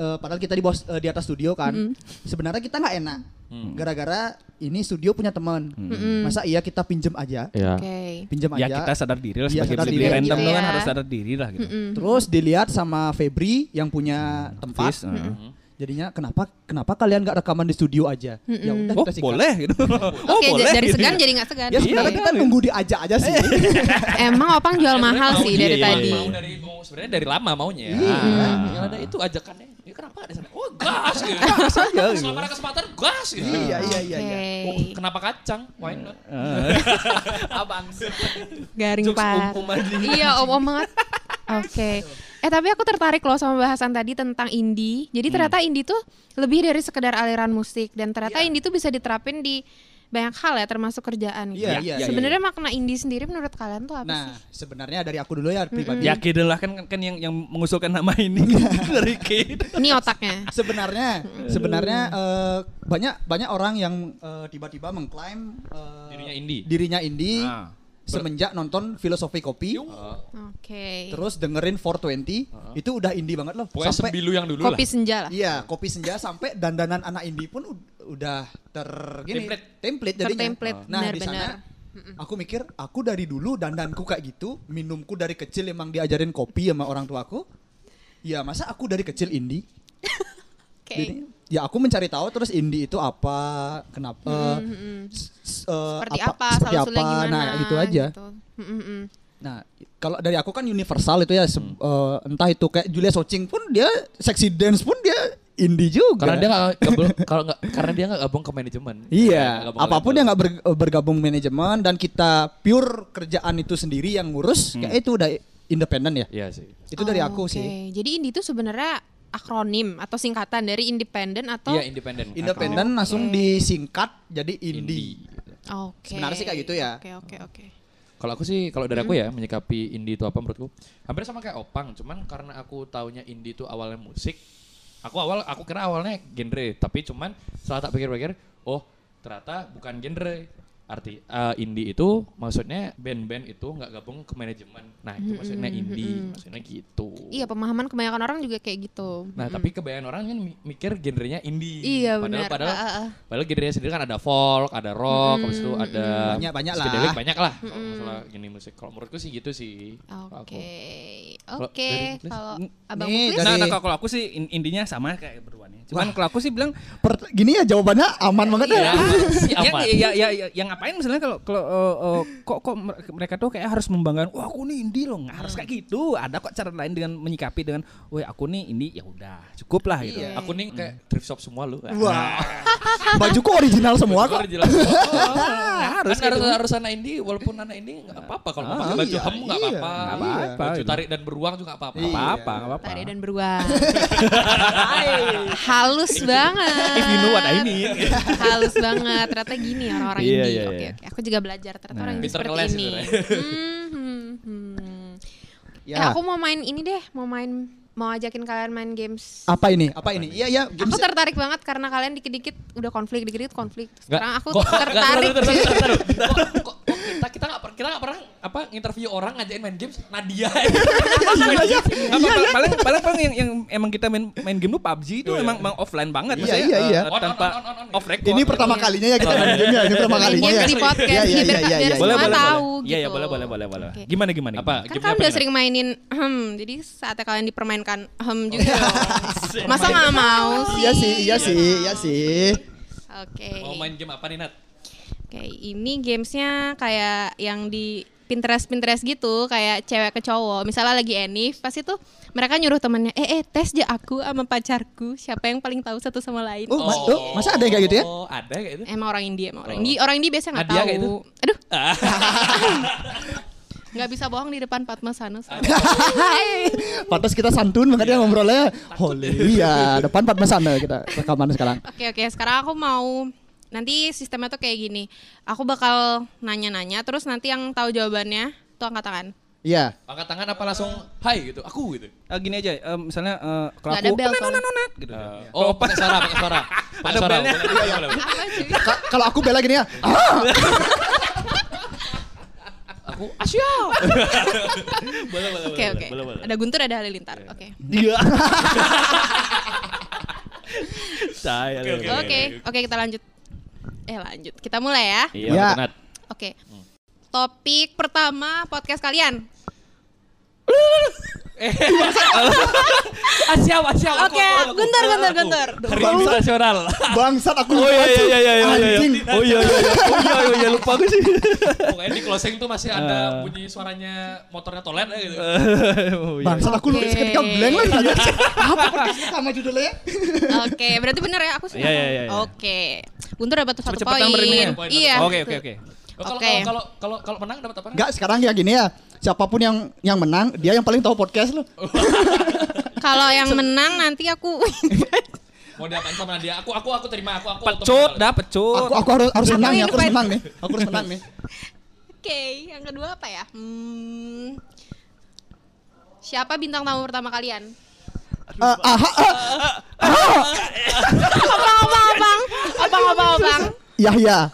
[SPEAKER 3] Eh, padahal kita di bawah s- eh, di atas studio kan sebenarnya kita nggak enak gara-gara ini studio punya teman masa iya kita pinjem aja
[SPEAKER 2] Iya.
[SPEAKER 5] Oke.
[SPEAKER 3] pinjem
[SPEAKER 4] Eh, Ya
[SPEAKER 3] aja
[SPEAKER 4] kita sadar diri lah
[SPEAKER 3] Iya,
[SPEAKER 4] sebagai
[SPEAKER 3] sadar
[SPEAKER 4] beli
[SPEAKER 3] diri
[SPEAKER 4] beli random
[SPEAKER 5] aja.
[SPEAKER 4] lo kan
[SPEAKER 5] Iya.
[SPEAKER 4] harus sadar diri lah gitu.
[SPEAKER 5] Mm-mm.
[SPEAKER 3] terus dilihat sama Febri yang punya tempat
[SPEAKER 4] Fis, heeh.
[SPEAKER 3] jadinya kenapa kenapa kalian nggak rekaman di studio aja ya udah
[SPEAKER 4] Oh
[SPEAKER 3] kita singkat.
[SPEAKER 4] boleh
[SPEAKER 5] (laughs)
[SPEAKER 4] Iya. gitu. Oh
[SPEAKER 5] Oke,
[SPEAKER 4] boleh.
[SPEAKER 5] ja- dari
[SPEAKER 4] gitu. (laughs)
[SPEAKER 5] segan jadi nggak segan.
[SPEAKER 3] ya
[SPEAKER 5] Oke.
[SPEAKER 3] sebenarnya kita nunggu diajak aja sih
[SPEAKER 5] Emang opang jual mahal sih
[SPEAKER 2] Iya,
[SPEAKER 5] dari
[SPEAKER 2] iya,
[SPEAKER 5] tadi.
[SPEAKER 2] Mau dari mau sebenarnya dari lama maunya. Ah,
[SPEAKER 3] Iya.
[SPEAKER 2] Nah, tinggal ada itu ajakannya. Ya kenapa apa di sana? Oh (laughs) gas gitu.
[SPEAKER 4] Gas aja, gitu.
[SPEAKER 2] Selama ada kesempatan gas gitu.
[SPEAKER 3] Iya, iya, iya, iya.
[SPEAKER 2] Oh, kenapa kacang? Why (laughs) not? Abang.
[SPEAKER 5] Garing
[SPEAKER 4] Jokes
[SPEAKER 5] pak.
[SPEAKER 4] om-om aja.
[SPEAKER 5] Iya om om banget. Oke. Eh tapi aku tertarik loh sama bahasan tadi tentang indie. Jadi
[SPEAKER 3] Hmm.
[SPEAKER 5] ternyata indie tuh lebih dari sekedar aliran musik dan ternyata
[SPEAKER 3] Iya.
[SPEAKER 5] indie tuh bisa diterapin di banyak hal ya termasuk kerjaan. gitu.
[SPEAKER 3] Iya, iya, iya,
[SPEAKER 5] Sebenarnya makna indie sendiri menurut kalian tuh apa sih?
[SPEAKER 3] Nah, sebenarnya dari aku dulu ya pribadi.
[SPEAKER 4] Ya Kidel lah kan, kan kan yang yang mengusulkan nama ini
[SPEAKER 5] Iya.
[SPEAKER 4] (laughs) gitu. dari Kid.
[SPEAKER 5] Ini otaknya.
[SPEAKER 3] Sebenarnya, sebenarnya eh, banyak banyak orang yang eh, tiba-tiba mengklaim eh,
[SPEAKER 2] Dirinya indie.
[SPEAKER 3] dirinya indie
[SPEAKER 4] Ah.
[SPEAKER 3] semenjak nonton Filosofi Kopi,
[SPEAKER 5] Oke.
[SPEAKER 3] terus dengerin 420, itu udah indie banget
[SPEAKER 2] Ah.
[SPEAKER 3] loh.
[SPEAKER 2] Pokoknya
[SPEAKER 3] sampai
[SPEAKER 2] sembilu yang dulu
[SPEAKER 5] Kopi
[SPEAKER 2] lah.
[SPEAKER 5] senja lah.
[SPEAKER 3] Iya, kopi senja sampai dandanan anak indie pun ud- udah ter gini,
[SPEAKER 2] Template.
[SPEAKER 3] template jadinya.
[SPEAKER 5] Tertemplate,
[SPEAKER 3] Nah, di sana
[SPEAKER 5] benar-benar.
[SPEAKER 3] aku mikir aku dari dulu dandanku kayak gitu, minumku dari kecil emang diajarin kopi sama orang tuaku. Ya, masa aku dari kecil indie? Jadi,
[SPEAKER 5] Oke.
[SPEAKER 3] ya aku mencari tahu terus indie itu apa, kenapa s- s- eh,
[SPEAKER 5] Hmm, Seperti apa?
[SPEAKER 3] seperti
[SPEAKER 5] Salah usulnya
[SPEAKER 3] apa,
[SPEAKER 5] gimana?
[SPEAKER 3] Nah, itu aja.
[SPEAKER 5] gitu. Mm, mm,
[SPEAKER 3] Nah, kalau dari aku kan universal itu ya se-
[SPEAKER 2] Hmm.
[SPEAKER 3] eh, entah itu kayak Julia Socing pun dia sexy dance pun dia indie juga.
[SPEAKER 2] Karena dia nggak
[SPEAKER 5] (laughs)
[SPEAKER 2] gabung- kalau nggak karena dia nggak gabung ke manajemen. Nggak gitu.
[SPEAKER 3] Iya,
[SPEAKER 2] gabung ke
[SPEAKER 3] apapun
[SPEAKER 2] label.
[SPEAKER 3] yang nggak ber- eh, bergabung manajemen dan kita pure kerjaan itu sendiri yang ngurus, kayak itu udah independen ya.
[SPEAKER 2] Hmm. Iya sih.
[SPEAKER 3] Itu dari
[SPEAKER 5] Oh,
[SPEAKER 3] aku
[SPEAKER 5] oke.
[SPEAKER 3] sih.
[SPEAKER 5] Jadi indie itu sebenarnya akronim atau singkatan dari independen atau
[SPEAKER 2] Iya independen.
[SPEAKER 3] Independen langsung disingkat jadi indie.
[SPEAKER 2] Iya.
[SPEAKER 5] Oke.
[SPEAKER 3] Sebenarnya sih kayak gitu ya.
[SPEAKER 5] Oke, oke, oke.
[SPEAKER 2] Kalau aku sih, kalau dari aku ya menyikapi indie itu apa menurutku hampir sama kayak opang, cuman karena aku taunya indie itu awalnya musik, aku awal aku kira awalnya genre, tapi cuman setelah tak pikir-pikir, oh ternyata bukan genre. Arti eh, indie itu maksudnya band-band itu nggak gabung ke manajemen. Nah itu maksudnya indie, maksudnya gitu.
[SPEAKER 5] Iya, pemahaman kebanyakan orang juga kayak gitu.
[SPEAKER 2] Nah, tapi kebanyakan orang kan mi- mikir genrenya indie.
[SPEAKER 5] Iya,
[SPEAKER 2] padahal,
[SPEAKER 5] benar.
[SPEAKER 2] Padahal,
[SPEAKER 5] Ah, ah, ah.
[SPEAKER 2] padahal genrenya sendiri kan ada folk, ada rock, habis itu ada
[SPEAKER 3] Banyak- banyak lah.
[SPEAKER 2] psychedelic, banyak lah. Kalau masalah gini musik, kalau menurutku sih gitu sih. Kalau aku.
[SPEAKER 5] Oke.
[SPEAKER 2] Kalau
[SPEAKER 5] Oke,
[SPEAKER 2] dari Muklis?
[SPEAKER 5] kalau
[SPEAKER 4] Nih,
[SPEAKER 5] Abang
[SPEAKER 3] dari-
[SPEAKER 5] Muklis
[SPEAKER 4] Nah, nah, kalau aku sih in- indinya sama kayak berdua nih. Cuman kalau aku sih bilang
[SPEAKER 3] Per- gini ya jawabannya aman
[SPEAKER 5] Iya,
[SPEAKER 3] banget ya.
[SPEAKER 2] Ya,
[SPEAKER 4] (laughs)
[SPEAKER 2] si
[SPEAKER 4] yang
[SPEAKER 2] aman.
[SPEAKER 4] ya, ya, ya, yang ngapain misalnya kalau kalau eh, eh, kok kok mer- mereka tuh kayak harus membanggakan wah aku nih indie loh nggak harus
[SPEAKER 5] Hmm.
[SPEAKER 4] kayak gitu ada kok cara lain dengan menyikapi dengan wah aku nih indie ya udah cukup lah gitu
[SPEAKER 5] Iya.
[SPEAKER 2] Aku nih kayak thrift shop semua Nah, lu.
[SPEAKER 3] Mm.
[SPEAKER 6] Nah.
[SPEAKER 3] (laughs) Wah. Bajuku original semua kok. (laughs)
[SPEAKER 4] nggak harus
[SPEAKER 2] harus Oh, kan harus,
[SPEAKER 4] gitu.
[SPEAKER 2] harus anak indie walaupun anak indie nggak apa-apa kalau mau pakai baju
[SPEAKER 3] iya,
[SPEAKER 2] kamu nggak
[SPEAKER 3] iya.
[SPEAKER 2] apa-apa.
[SPEAKER 4] Nggak apa-apa,
[SPEAKER 2] Baju
[SPEAKER 4] gitu.
[SPEAKER 2] tarik dan beruang juga nggak apa-apa.
[SPEAKER 4] Nggak apa-apa nggak apa-apa
[SPEAKER 5] Iya. tadi dan
[SPEAKER 3] (laughs)
[SPEAKER 5] beruang. Halus banget.
[SPEAKER 4] if you know what I mean
[SPEAKER 5] Halus banget. Ternyata gini orang-orang
[SPEAKER 4] Iya,
[SPEAKER 5] indie.
[SPEAKER 4] iya,
[SPEAKER 5] Oke,
[SPEAKER 4] iya.
[SPEAKER 5] oke. Aku juga belajar ternyata orang
[SPEAKER 2] Nah,
[SPEAKER 5] indie
[SPEAKER 2] Pinter
[SPEAKER 5] seperti
[SPEAKER 2] ngeles
[SPEAKER 5] ini.
[SPEAKER 2] sebenarnya. (laughs)
[SPEAKER 5] Hmm, hmm, hmm. Eh,
[SPEAKER 3] Ya.
[SPEAKER 5] aku mau main ini deh, mau main mau ajakin kalian main games.
[SPEAKER 3] Apa ini? Apa ini? Iya ya.
[SPEAKER 5] Aku tertarik banget karena kalian dikit-dikit udah konflik, dikit-dikit konflik. Sekarang aku
[SPEAKER 2] Kok- (laughs)
[SPEAKER 5] tertarik.
[SPEAKER 2] Nggak, bentar, bentar, bentar, bentar. Kok- kok- kok kita kita nggak per- kita nggak pernah apa interview orang ngajain main games Nadia.
[SPEAKER 5] (laughs) Iya,
[SPEAKER 4] Apa- paling paling paling yang, yang emang kita main main game tuh PUBG itu emang, emang offline banget
[SPEAKER 3] Iya,
[SPEAKER 4] maksudnya,
[SPEAKER 3] iya,
[SPEAKER 4] eh,
[SPEAKER 3] iya.
[SPEAKER 4] eh, tanpa
[SPEAKER 2] On, on, on, on, on.
[SPEAKER 4] off record
[SPEAKER 3] Ini pertama kalinya ya
[SPEAKER 6] Iya.
[SPEAKER 3] kita main game ya. Ini pertama
[SPEAKER 5] Main
[SPEAKER 3] kalinya ya.
[SPEAKER 5] games di podcast,
[SPEAKER 3] Iya, iya,
[SPEAKER 5] biar-
[SPEAKER 3] iya, iya,
[SPEAKER 5] biar
[SPEAKER 3] iya.
[SPEAKER 4] boleh boleh
[SPEAKER 5] tahu
[SPEAKER 4] boleh. iya iya
[SPEAKER 5] gitu.
[SPEAKER 4] boleh boleh boleh boleh
[SPEAKER 5] Oke.
[SPEAKER 4] gimana gimana
[SPEAKER 2] Apa?
[SPEAKER 4] gimana?
[SPEAKER 5] Kan
[SPEAKER 2] Gamenya
[SPEAKER 5] kalian
[SPEAKER 2] apa
[SPEAKER 5] udah
[SPEAKER 2] gimana?
[SPEAKER 5] sering mainin hmm, jadi saatnya kalian dipermainkan
[SPEAKER 2] Oh,
[SPEAKER 5] hmm
[SPEAKER 2] iya.
[SPEAKER 5] juga.
[SPEAKER 2] (laughs)
[SPEAKER 5] dong. Masa nggak mau sih?
[SPEAKER 3] Iya sih, iya sih, iya sih.
[SPEAKER 5] Oke.
[SPEAKER 2] Mau main game apa nih Nat?
[SPEAKER 5] Oke, ini gamesnya kayak yang di Pinterest-Pinterest gitu, kayak cewek ke cowok. Misalnya lagi enif, pasti tuh mereka nyuruh temennya, eh, eh tes aja aku sama pacarku, siapa yang paling tahu satu sama lain.
[SPEAKER 3] Oh, ma- oh, masa ada yang kayak gitu ya?
[SPEAKER 2] Oh, ada kayak gitu.
[SPEAKER 5] Emang orang India, emang orang India. Orang India biasanya nggak
[SPEAKER 2] Hadiah
[SPEAKER 5] tahu.
[SPEAKER 2] kayak gitu? Ah. itu?
[SPEAKER 5] Aduh. Nggak bisa bohong di depan Padma Sanus.
[SPEAKER 2] Ah. (laughs)
[SPEAKER 3] Pantas kita santun banget ya ngobrolnya. Holy ya, depan Padma sana kita rekaman sekarang.
[SPEAKER 5] Oke oke, sekarang aku mau nanti sistemnya tuh kayak gini. Aku bakal nanya-nanya, terus nanti yang tahu jawabannya tuh angkat
[SPEAKER 2] (laughs)
[SPEAKER 5] tangan.
[SPEAKER 3] Iya.
[SPEAKER 2] (laughs) Angkat tangan apa langsung hai gitu. Aku gitu.
[SPEAKER 4] Eh, gini aja eh, misalnya eh, kalau aku
[SPEAKER 5] Nggak ada bel
[SPEAKER 4] "Nona,
[SPEAKER 5] soalnya. Iya.
[SPEAKER 4] nona, nona," gitu
[SPEAKER 2] Eh,
[SPEAKER 4] (laughs)
[SPEAKER 2] oh, pakai suara, pakai suara. Pakai
[SPEAKER 4] Ada
[SPEAKER 2] suara.
[SPEAKER 4] belnya.
[SPEAKER 2] boleh, boleh, boleh, boleh.
[SPEAKER 5] Apa cuy?
[SPEAKER 3] Ka- Kalau aku bela gini ya. "Ah,
[SPEAKER 2] Aku Asia. Boleh, boleh,
[SPEAKER 5] Oke oke. Ada Guntur, ada Halilintar. Oke.
[SPEAKER 4] Iya.
[SPEAKER 5] Oke, oke kita lanjut. Eh lanjut, kita mulai ya.
[SPEAKER 2] Iya,
[SPEAKER 3] Ya.
[SPEAKER 2] Nat.
[SPEAKER 5] Oke. Topik pertama podcast kalian.
[SPEAKER 2] Asyam, asyam. aku, aku,
[SPEAKER 5] Oke,
[SPEAKER 2] aku.
[SPEAKER 5] Guntur, Guntur, Guntur.
[SPEAKER 2] Hari Ibu nasional.
[SPEAKER 3] Bangsat aku
[SPEAKER 6] Oh iya iya
[SPEAKER 3] lupa cuy.
[SPEAKER 6] iya iya iya, iya.
[SPEAKER 3] Anjing.
[SPEAKER 6] Oh iya iya iya. Oh iya iya, iya lupa gue
[SPEAKER 3] (laughs)
[SPEAKER 6] sih.
[SPEAKER 2] Pokoknya di closing tuh masih ada bunyi suaranya motornya tolen aja gitu.
[SPEAKER 4] Oh, iya.
[SPEAKER 3] Bangsat aku lupa
[SPEAKER 5] Oke.
[SPEAKER 3] seketika blank lagi
[SPEAKER 6] (laughs)
[SPEAKER 3] ya. Apa podcast pertama judulnya?
[SPEAKER 5] Oke, berarti bener ya aku suka.
[SPEAKER 4] Iya, iya, iya, iya.
[SPEAKER 5] Oke. Guntur dapat satu
[SPEAKER 4] Cepet-cepetan berenangnya.
[SPEAKER 5] poin. Iya.
[SPEAKER 4] Oke
[SPEAKER 5] gitu.
[SPEAKER 4] oke oke.
[SPEAKER 2] Oh, Kalau
[SPEAKER 5] Oke.
[SPEAKER 2] kalau- kalau kalau kalau menang dapat apa?
[SPEAKER 3] Enggak, sekarang ya gini ya. Siapapun yang yang menang, dia yang paling tahu podcast loh.
[SPEAKER 5] Kalau yang menang nanti aku (laughs)
[SPEAKER 2] Mau diapain sama dia? Aku aku aku terima aku aku.
[SPEAKER 4] Pecut dah pecut.
[SPEAKER 3] Aku aku harus harus menang nih,
[SPEAKER 5] yang
[SPEAKER 3] aku harus
[SPEAKER 5] paling-
[SPEAKER 3] menang nih. Aku harus menang nih.
[SPEAKER 5] Oke, yang kedua apa ya? Hmm. Siapa bintang tamu pertama kalian?
[SPEAKER 3] (laughs) Eh, aha, eh,
[SPEAKER 5] Abang, abang, abang, abang, abang, abang.
[SPEAKER 3] Yahya,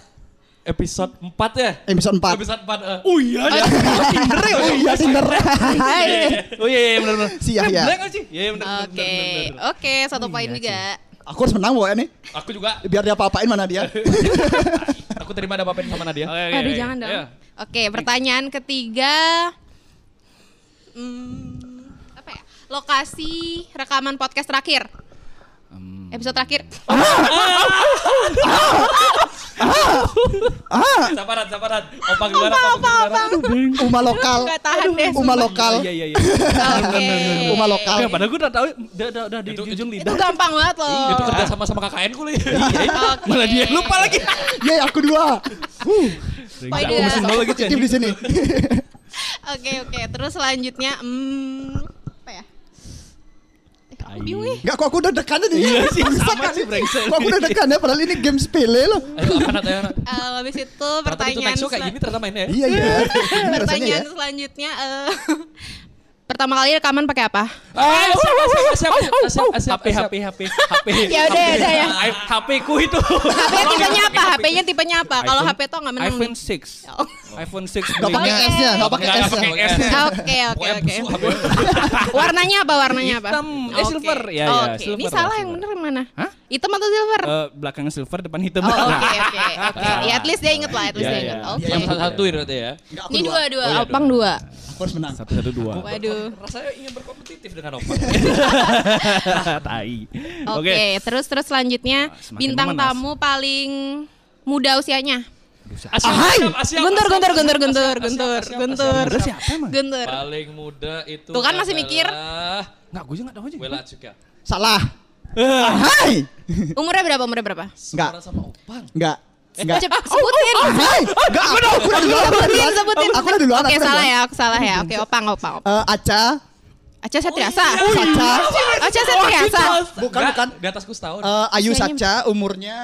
[SPEAKER 2] Episode 4 ya?
[SPEAKER 3] episode 4.
[SPEAKER 2] Episode 4. eh.
[SPEAKER 4] Oh iya. dia.
[SPEAKER 3] Tinder ya? Iya, Tinder. Hai.
[SPEAKER 4] Oh iya iya benar benar.
[SPEAKER 3] (laughs) Si Yahya.
[SPEAKER 4] Blank aja. Iya iya, benar. benar,
[SPEAKER 5] Oke,
[SPEAKER 4] benar, benar.
[SPEAKER 5] oke, satu
[SPEAKER 4] Iya
[SPEAKER 5] poin juga.
[SPEAKER 3] Aku harus menang pokoknya nih.
[SPEAKER 2] Aku juga.
[SPEAKER 3] Biar dia apa-apain mana dia.
[SPEAKER 2] Aku terima ada apa-apa sama Nadia.
[SPEAKER 4] Oke, oke,
[SPEAKER 5] Aduh,
[SPEAKER 4] oke.
[SPEAKER 5] jangan dong.
[SPEAKER 4] Iya.
[SPEAKER 5] Oke, pertanyaan ketiga. Hmm, apa ya? Lokasi rekaman podcast terakhir.
[SPEAKER 4] Hmm.
[SPEAKER 5] Episode terakhir.
[SPEAKER 4] Oh,
[SPEAKER 2] Sabaran, sabaran. Opang gimana? Opang gimana?
[SPEAKER 3] Uma lokal.
[SPEAKER 5] Nggak tahan deh.
[SPEAKER 3] Uma lokal.
[SPEAKER 4] Iya iya iya.
[SPEAKER 5] Oke.
[SPEAKER 3] Uma lokal.
[SPEAKER 4] Ya, padahal gue udah tahu udah udah udah di
[SPEAKER 2] Itu-
[SPEAKER 4] di ujung
[SPEAKER 5] Itu
[SPEAKER 4] lidah.
[SPEAKER 5] gampang banget loh.
[SPEAKER 2] Itu kerja sama sama KKN ku ya? li.
[SPEAKER 5] Oke.
[SPEAKER 4] Malah dia lupa lagi.
[SPEAKER 3] Yeay, Iya, aku dua. Uh,
[SPEAKER 5] Poin
[SPEAKER 4] Aku
[SPEAKER 5] dua.
[SPEAKER 4] mesti nol lagi
[SPEAKER 3] positif di sini. (laughs)
[SPEAKER 5] Oke, oke. Terus selanjutnya hmm, apa ya? Eh, aku bingung ya.
[SPEAKER 3] Enggak, kok aku udah dekan aja nih. Iya
[SPEAKER 4] sih, sama sih, brengsek.
[SPEAKER 3] Kok aku udah dekan ya, padahal ini game sepele loh.
[SPEAKER 2] Ayo, apa Nat? Ayo, Nat.
[SPEAKER 5] Eh, habis itu
[SPEAKER 2] Ternyata itu
[SPEAKER 5] pertanyaan
[SPEAKER 2] Nexo kayak
[SPEAKER 5] sel-
[SPEAKER 2] gini ternyata mainnya ya.
[SPEAKER 3] Iya, iya. Ini rasanya ya.
[SPEAKER 5] pertanyaan selanjutnya eh, (laughs) pertama kali rekaman pakai apa?
[SPEAKER 4] Eh,
[SPEAKER 2] Ayo, siap, siap, siap, siap, siap,
[SPEAKER 4] HP HP
[SPEAKER 2] siap.
[SPEAKER 4] HP HP.
[SPEAKER 5] Ya udah, ya udah, ya.
[SPEAKER 4] I- HP ku
[SPEAKER 5] (laughs)
[SPEAKER 4] itu.
[SPEAKER 5] HP-nya tipenya apa? HP-nya ya, tipenya apa? Kalau
[SPEAKER 4] iPhone-
[SPEAKER 5] HP tuh nggak menang.
[SPEAKER 4] iPhone 6.
[SPEAKER 5] nih. (laughs) Oh.
[SPEAKER 4] iPhone 6
[SPEAKER 3] Enggak pakai
[SPEAKER 4] belinya.
[SPEAKER 3] S-nya, enggak pakai
[SPEAKER 2] Nggak, nggak
[SPEAKER 3] S-nya.
[SPEAKER 2] pakai S-nya.
[SPEAKER 5] Oke oke
[SPEAKER 2] Pokoknya
[SPEAKER 5] oke.
[SPEAKER 2] busuk HP.
[SPEAKER 5] (laughs) Warnanya apa? Warnanya apa?
[SPEAKER 4] Hitam. Eh,
[SPEAKER 5] Oke.
[SPEAKER 4] silver. Ya, ya,
[SPEAKER 5] Oke. Ini
[SPEAKER 4] silver lah,
[SPEAKER 5] salah yang
[SPEAKER 4] silver.
[SPEAKER 5] bener yang mana?
[SPEAKER 4] Hah?
[SPEAKER 5] Hitam atau silver?
[SPEAKER 4] Eh, belakangnya silver, depan hitam.
[SPEAKER 5] kan- Oh, Oke oke oke. Ya at least dia inget lah, at least
[SPEAKER 4] Ya,
[SPEAKER 5] dia
[SPEAKER 4] ya.
[SPEAKER 5] inget. Oke.
[SPEAKER 2] Yang satu-satu ya berarti ya.
[SPEAKER 3] Enggak, aku
[SPEAKER 5] Ini
[SPEAKER 3] dua.
[SPEAKER 5] dua dua. Opang dua.
[SPEAKER 3] Aku harus menang.
[SPEAKER 4] Satu satu dua.
[SPEAKER 5] Waduh.
[SPEAKER 2] Rasanya ingin berkompetitif dengan Opang.
[SPEAKER 4] Tai.
[SPEAKER 5] Oke. Terus terus selanjutnya
[SPEAKER 4] Ah, semakin
[SPEAKER 5] bintang
[SPEAKER 4] memanas.
[SPEAKER 5] tamu paling muda usianya.
[SPEAKER 2] Asyam, asyam, asyam, asyam,
[SPEAKER 5] Guntur guntur
[SPEAKER 2] asyam,
[SPEAKER 5] guntur
[SPEAKER 2] asyam, asyam,
[SPEAKER 5] guntur guntur
[SPEAKER 2] asyam, asyam.
[SPEAKER 5] guntur
[SPEAKER 4] Ada siapa emang?
[SPEAKER 5] guntur.
[SPEAKER 2] Paling muda itu
[SPEAKER 5] Tuh kan masih mikir.
[SPEAKER 2] adalah
[SPEAKER 4] Enggak, gue juga enggak tahu
[SPEAKER 2] Wela
[SPEAKER 4] aja.
[SPEAKER 2] juga.
[SPEAKER 3] Salah. (laughs) Hai.
[SPEAKER 5] Umurnya berapa? Umurnya berapa?
[SPEAKER 3] Enggak,
[SPEAKER 2] Orang sama Opang.
[SPEAKER 3] enggak. Enggak.
[SPEAKER 5] Cepet sebutin.
[SPEAKER 3] Hai. Enggak, Oh, aku udah aku udah duluan. aku udah
[SPEAKER 5] Sebutin
[SPEAKER 3] duluan.
[SPEAKER 5] sebutin.
[SPEAKER 3] Aku udah duluan.
[SPEAKER 5] Oke
[SPEAKER 3] aku udah
[SPEAKER 5] salah
[SPEAKER 3] duluan.
[SPEAKER 5] ya, aku salah ya. Oke opang opang. opang.
[SPEAKER 3] Eh, Aca,
[SPEAKER 5] Aca Satriasa.
[SPEAKER 3] Saca,
[SPEAKER 5] Aca Satriasa.
[SPEAKER 3] bukan
[SPEAKER 2] Nggak,
[SPEAKER 3] bukan.
[SPEAKER 2] Di atas ku setahun.
[SPEAKER 3] Eh, Ayu
[SPEAKER 5] Kayaknya-
[SPEAKER 3] Saca umurnya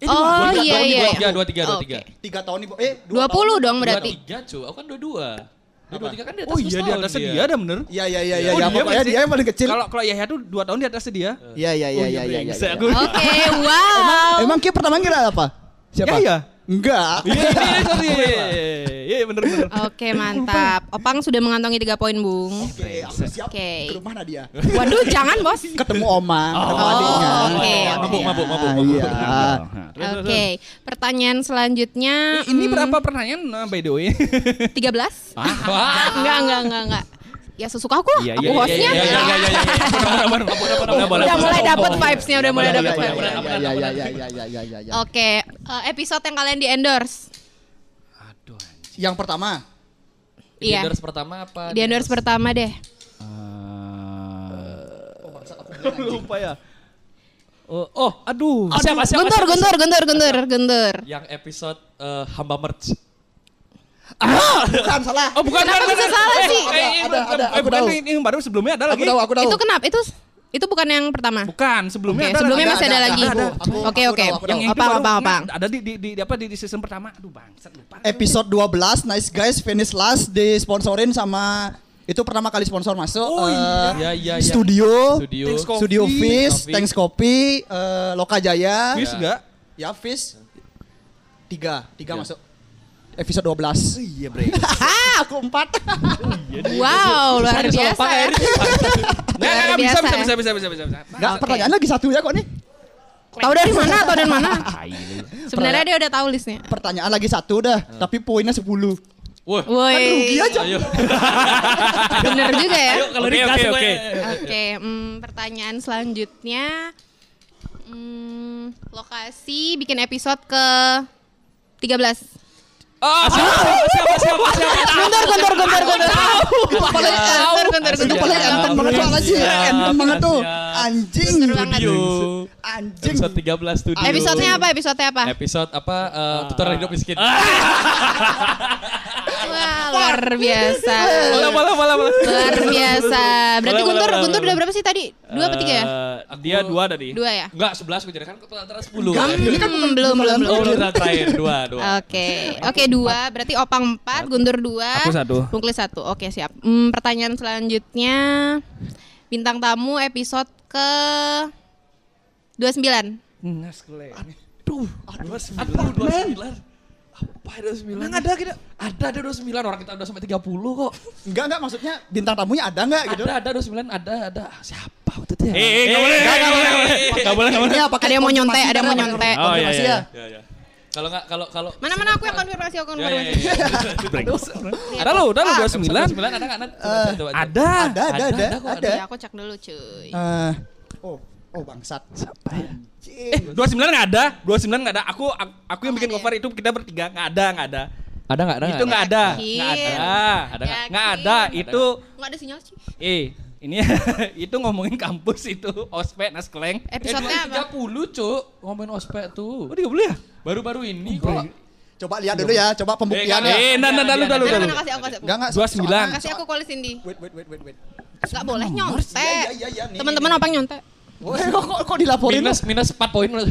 [SPEAKER 5] Oh
[SPEAKER 2] Dua
[SPEAKER 5] iya
[SPEAKER 2] tahun di
[SPEAKER 5] iya.
[SPEAKER 2] bawah.
[SPEAKER 5] iya.
[SPEAKER 2] Dua tiga, dua
[SPEAKER 5] Oke.
[SPEAKER 2] tiga.
[SPEAKER 3] tiga tahun ibu eh dua
[SPEAKER 5] Dua
[SPEAKER 3] tahun.
[SPEAKER 5] puluh dong berarti.
[SPEAKER 2] 23 cu, aku kan 22 Dia
[SPEAKER 3] Apa?
[SPEAKER 2] 23 kan di atas
[SPEAKER 4] Oh iya di
[SPEAKER 2] setahun
[SPEAKER 4] atasnya dia ada bener.
[SPEAKER 3] Iya iya iya iya
[SPEAKER 4] Oh,
[SPEAKER 3] ya,
[SPEAKER 4] dia
[SPEAKER 3] pokoknya
[SPEAKER 4] masih-
[SPEAKER 3] dia yang paling kecil.
[SPEAKER 4] Kalau kalau Yahya tuh 2 tahun di atasnya dia.
[SPEAKER 3] Iya iya iya iya iya. iya.
[SPEAKER 4] Aku
[SPEAKER 5] Oke, wow.
[SPEAKER 3] Emang Ki pertama kira apa? Siapa?
[SPEAKER 4] Yahya.
[SPEAKER 3] Enggak.
[SPEAKER 4] Iya, iya, iya, sorry, iya, iya, iya, iya, bener, bener.
[SPEAKER 5] Oke, mantap. Opang sudah mengantongi tiga poin, Bung.
[SPEAKER 3] Oke, aku siap
[SPEAKER 5] Oke.
[SPEAKER 3] ke rumah Nadia. (laughs)
[SPEAKER 5] Waduh, jangan, Bos.
[SPEAKER 3] Ketemu Oma, ketemu
[SPEAKER 5] Oh,
[SPEAKER 3] adiknya. Iya,
[SPEAKER 5] oke, oke.
[SPEAKER 2] Mabuk, mabuk, mabuk,
[SPEAKER 3] Ah,
[SPEAKER 2] mabuk.
[SPEAKER 3] Iya.
[SPEAKER 5] Oke, pertanyaan selanjutnya
[SPEAKER 4] Ini berapa pertanyaan nah, by the way?
[SPEAKER 5] 13?
[SPEAKER 2] Wah.
[SPEAKER 5] Enggak, enggak, enggak, enggak. Ya sesuka aku,
[SPEAKER 4] Iya,
[SPEAKER 5] aku
[SPEAKER 4] iya, iya,
[SPEAKER 2] iya,
[SPEAKER 5] hostnya.
[SPEAKER 2] iya, iya, iya.
[SPEAKER 4] Bener, bener, bener.
[SPEAKER 5] Udah mulai dapet vibes-nya, udah mulai
[SPEAKER 3] Iya,
[SPEAKER 5] dapet
[SPEAKER 3] iya,
[SPEAKER 5] vibes.
[SPEAKER 3] iya, iya, iya, iya, iya, iya, iya, iya, iya.
[SPEAKER 5] Oke, eh, episode yang kalian di-endorse.
[SPEAKER 4] Aduh, anjing.
[SPEAKER 3] Yang pertama,
[SPEAKER 2] Di
[SPEAKER 5] Iya.
[SPEAKER 2] endorse pertama apa?
[SPEAKER 5] Di-endorse pertama deh.
[SPEAKER 4] Lupa ya. Oh, oh, aduh.
[SPEAKER 2] Asyam, asyam,
[SPEAKER 5] Guntur,
[SPEAKER 2] asyam,
[SPEAKER 5] guntur,
[SPEAKER 2] asyam.
[SPEAKER 5] guntur, guntur, guntur.
[SPEAKER 2] Yang episode eh, Hamba Merch.
[SPEAKER 3] bukan salah.
[SPEAKER 4] Oh, bukan,
[SPEAKER 5] Kenapa
[SPEAKER 4] bukan,
[SPEAKER 5] bisa
[SPEAKER 4] bukan.
[SPEAKER 5] salah
[SPEAKER 4] Eh,
[SPEAKER 5] sih?
[SPEAKER 4] eh, eh,
[SPEAKER 3] Ada, ada,
[SPEAKER 4] eh,
[SPEAKER 3] aku
[SPEAKER 4] bukan,
[SPEAKER 3] tahu.
[SPEAKER 4] ini yang baru sebelumnya ada
[SPEAKER 3] Aku
[SPEAKER 4] lagi.
[SPEAKER 3] tahu, aku tahu.
[SPEAKER 5] Itu kenapa? Itu itu bukan yang pertama.
[SPEAKER 4] Bukan, sebelumnya
[SPEAKER 5] Oke,
[SPEAKER 4] ada.
[SPEAKER 5] sebelumnya
[SPEAKER 4] ada,
[SPEAKER 5] masih ada,
[SPEAKER 4] ada,
[SPEAKER 5] lagi.
[SPEAKER 4] ada, ada.
[SPEAKER 3] aku-
[SPEAKER 5] Oke,
[SPEAKER 3] aku
[SPEAKER 5] oke.
[SPEAKER 3] tahu, aku tahu.
[SPEAKER 4] Yang itu
[SPEAKER 5] Opang,
[SPEAKER 4] baru-
[SPEAKER 5] opang, opang.
[SPEAKER 4] Ada di di di di apa di di season pertama. Aduh, bangsat lupa.
[SPEAKER 3] Episode 12 Nice Guys Finish Last disponsorin sama itu pertama kali sponsor masuk
[SPEAKER 4] Oh,
[SPEAKER 3] eh,
[SPEAKER 2] Iya, iya, iya.
[SPEAKER 3] Studio,
[SPEAKER 2] Studio.
[SPEAKER 4] Thanks, Coffee.
[SPEAKER 3] Studio Fish,
[SPEAKER 2] Coffee.
[SPEAKER 3] Thanks Kopi, eh, Loka Jaya,
[SPEAKER 4] Wis enggak?
[SPEAKER 3] ya Fish. Tiga, tiga masuk. Episode 12. Iya, (laughs) bre. aku empat.
[SPEAKER 5] Wow, luar
[SPEAKER 2] Ada salah
[SPEAKER 5] biasa
[SPEAKER 2] Pak
[SPEAKER 5] ya.
[SPEAKER 2] Eri.
[SPEAKER 4] Nggak, nggak,
[SPEAKER 5] Luar
[SPEAKER 4] bisa,
[SPEAKER 5] biasa
[SPEAKER 4] bisa,
[SPEAKER 5] ya.
[SPEAKER 4] bisa, bisa, bisa, bisa, bisa.
[SPEAKER 3] Enggak, pertanyaan lagi satu ya kok nih.
[SPEAKER 5] Tahu dari mana? Tahu dari mana? Sebenarnya dia udah tahu listnya.
[SPEAKER 2] Hmm.
[SPEAKER 3] Pertanyaan lagi satu dah, tapi poinnya 10.
[SPEAKER 2] Wah,
[SPEAKER 5] Woi.
[SPEAKER 3] Kan rugi aja.
[SPEAKER 2] ayo.
[SPEAKER 5] Bener juga ya.
[SPEAKER 2] Kalau
[SPEAKER 4] Oke,
[SPEAKER 2] dikasih
[SPEAKER 4] oke,
[SPEAKER 2] gue-
[SPEAKER 4] oke.
[SPEAKER 5] Oke, mm, pertanyaan selanjutnya. Mm, lokasi bikin episode ke 13.
[SPEAKER 2] Ah, siapa, siapa, siapa, siapa?
[SPEAKER 3] Bentar, bentar, bentar, bentar. Itu paling
[SPEAKER 5] Bentar, bentar,
[SPEAKER 3] itu
[SPEAKER 5] bentar.
[SPEAKER 3] paling enten banget soalnya sih.
[SPEAKER 2] Siap,
[SPEAKER 3] Enten banget tuh.
[SPEAKER 2] siap.
[SPEAKER 3] Anjing.
[SPEAKER 5] Seru banget.
[SPEAKER 2] Studio.
[SPEAKER 3] Anjing.
[SPEAKER 2] Episode 13 studio.
[SPEAKER 5] Episodenya apa? Episodenya apa?
[SPEAKER 2] Episode apa? eh, tutorial hidup miskin.
[SPEAKER 5] Wah, luar biasa.
[SPEAKER 4] Lama, lama, lama.
[SPEAKER 5] Luar biasa. Berarti
[SPEAKER 4] Boleh,
[SPEAKER 5] Guntur,
[SPEAKER 4] boleh,
[SPEAKER 5] Guntur
[SPEAKER 4] boleh,
[SPEAKER 5] udah berapa sih tadi? Dua apa tiga ya?
[SPEAKER 4] Eh, dia dua tadi.
[SPEAKER 5] Dua ya?
[SPEAKER 2] Enggak, 11 gue jadikan kan antara 10.
[SPEAKER 3] Ini kan
[SPEAKER 5] Hmm, belum, belum,
[SPEAKER 2] Oh,
[SPEAKER 5] belum.
[SPEAKER 2] belum terakhir. Dua, dua.
[SPEAKER 5] Oke, oke dua. Berarti opang empat, guntur dua,
[SPEAKER 4] Aku satu.
[SPEAKER 5] Bungkli satu. Oke siap. Hmm, pertanyaan selanjutnya bintang tamu episode ke 29
[SPEAKER 4] Ngas kule.
[SPEAKER 2] Aduh, aduh, 29. Apa 29? Nang ada kita. Ada ada 29 orang kita udah sampai 30 kok.
[SPEAKER 3] Enggak, enggak maksudnya bintang tamunya ada enggak gitu?
[SPEAKER 2] Ada ada 29 ada ada siapa waktu itu ya?
[SPEAKER 4] Eh, Enggak boleh, enggak boleh.
[SPEAKER 3] Ini apa-
[SPEAKER 5] Ada yang mau nyontek, ada yang mau nyontek.
[SPEAKER 4] Oh, iya,
[SPEAKER 3] Konfirmasi
[SPEAKER 4] iya, Iya,
[SPEAKER 3] ya.
[SPEAKER 2] Ya ya. Kalau enggak kalau kalau
[SPEAKER 5] Mana mana aku yang konfirmasi, aku
[SPEAKER 2] Ya,
[SPEAKER 5] yang
[SPEAKER 2] ya,
[SPEAKER 5] konfirmasi.
[SPEAKER 2] ya, ya.
[SPEAKER 4] Ada lo, udah lo 29.
[SPEAKER 2] 29 ada enggak? Nat? Coba cek, coba cek.
[SPEAKER 4] Ada.
[SPEAKER 3] Ada, ada, ada,
[SPEAKER 2] ada kok,
[SPEAKER 3] ada.
[SPEAKER 4] iya.
[SPEAKER 5] Ya, aku cek dulu cuy.
[SPEAKER 3] Eh, Oh, oh bangsat. Siapa ya?
[SPEAKER 4] Eh, 29 enggak ada. 29 enggak ada. Aku aku yang bikin
[SPEAKER 5] Ada.
[SPEAKER 4] cover itu kita bertiga enggak ada, enggak ada.
[SPEAKER 2] Ada enggak? Ada
[SPEAKER 4] Itu enggak ada.
[SPEAKER 5] Yakin.
[SPEAKER 4] Enggak ada.
[SPEAKER 2] Ada nggak?
[SPEAKER 4] Enggak ada.
[SPEAKER 5] Yakin.
[SPEAKER 4] Itu
[SPEAKER 5] Nggak ada sinyal sih.
[SPEAKER 4] eh ini (laughs) itu ngomongin kampus itu Eh, ospek naskeleng.
[SPEAKER 5] Episodenya apa?
[SPEAKER 2] 30, Cuk. Ngomongin ospek
[SPEAKER 4] Oh,
[SPEAKER 2] tuh.
[SPEAKER 4] dia boleh ya?
[SPEAKER 2] Baru-baru ini kok.
[SPEAKER 3] Coba lihat dulu ya, coba
[SPEAKER 4] Eh,
[SPEAKER 2] Iya,
[SPEAKER 3] pembuktiannya.
[SPEAKER 4] nah, nah, nah, lu, lu,
[SPEAKER 5] Mana
[SPEAKER 4] lu.
[SPEAKER 5] mana
[SPEAKER 3] kan-
[SPEAKER 5] kasih aku kasih aku.
[SPEAKER 3] Enggak, enggak.
[SPEAKER 4] 29.
[SPEAKER 3] soalnya-
[SPEAKER 5] Kasih aku kuali Cindy.
[SPEAKER 3] Wait, wait, wait, wait, wait.
[SPEAKER 5] Enggak boleh
[SPEAKER 3] Iya,
[SPEAKER 5] nyontek.
[SPEAKER 3] iya, iya, nih,
[SPEAKER 5] Teman-teman
[SPEAKER 3] nih,
[SPEAKER 5] opang nyontek.
[SPEAKER 3] Woi, kok, kok, kok dilaporin?
[SPEAKER 2] Minus minus 4 poin.
[SPEAKER 3] Nol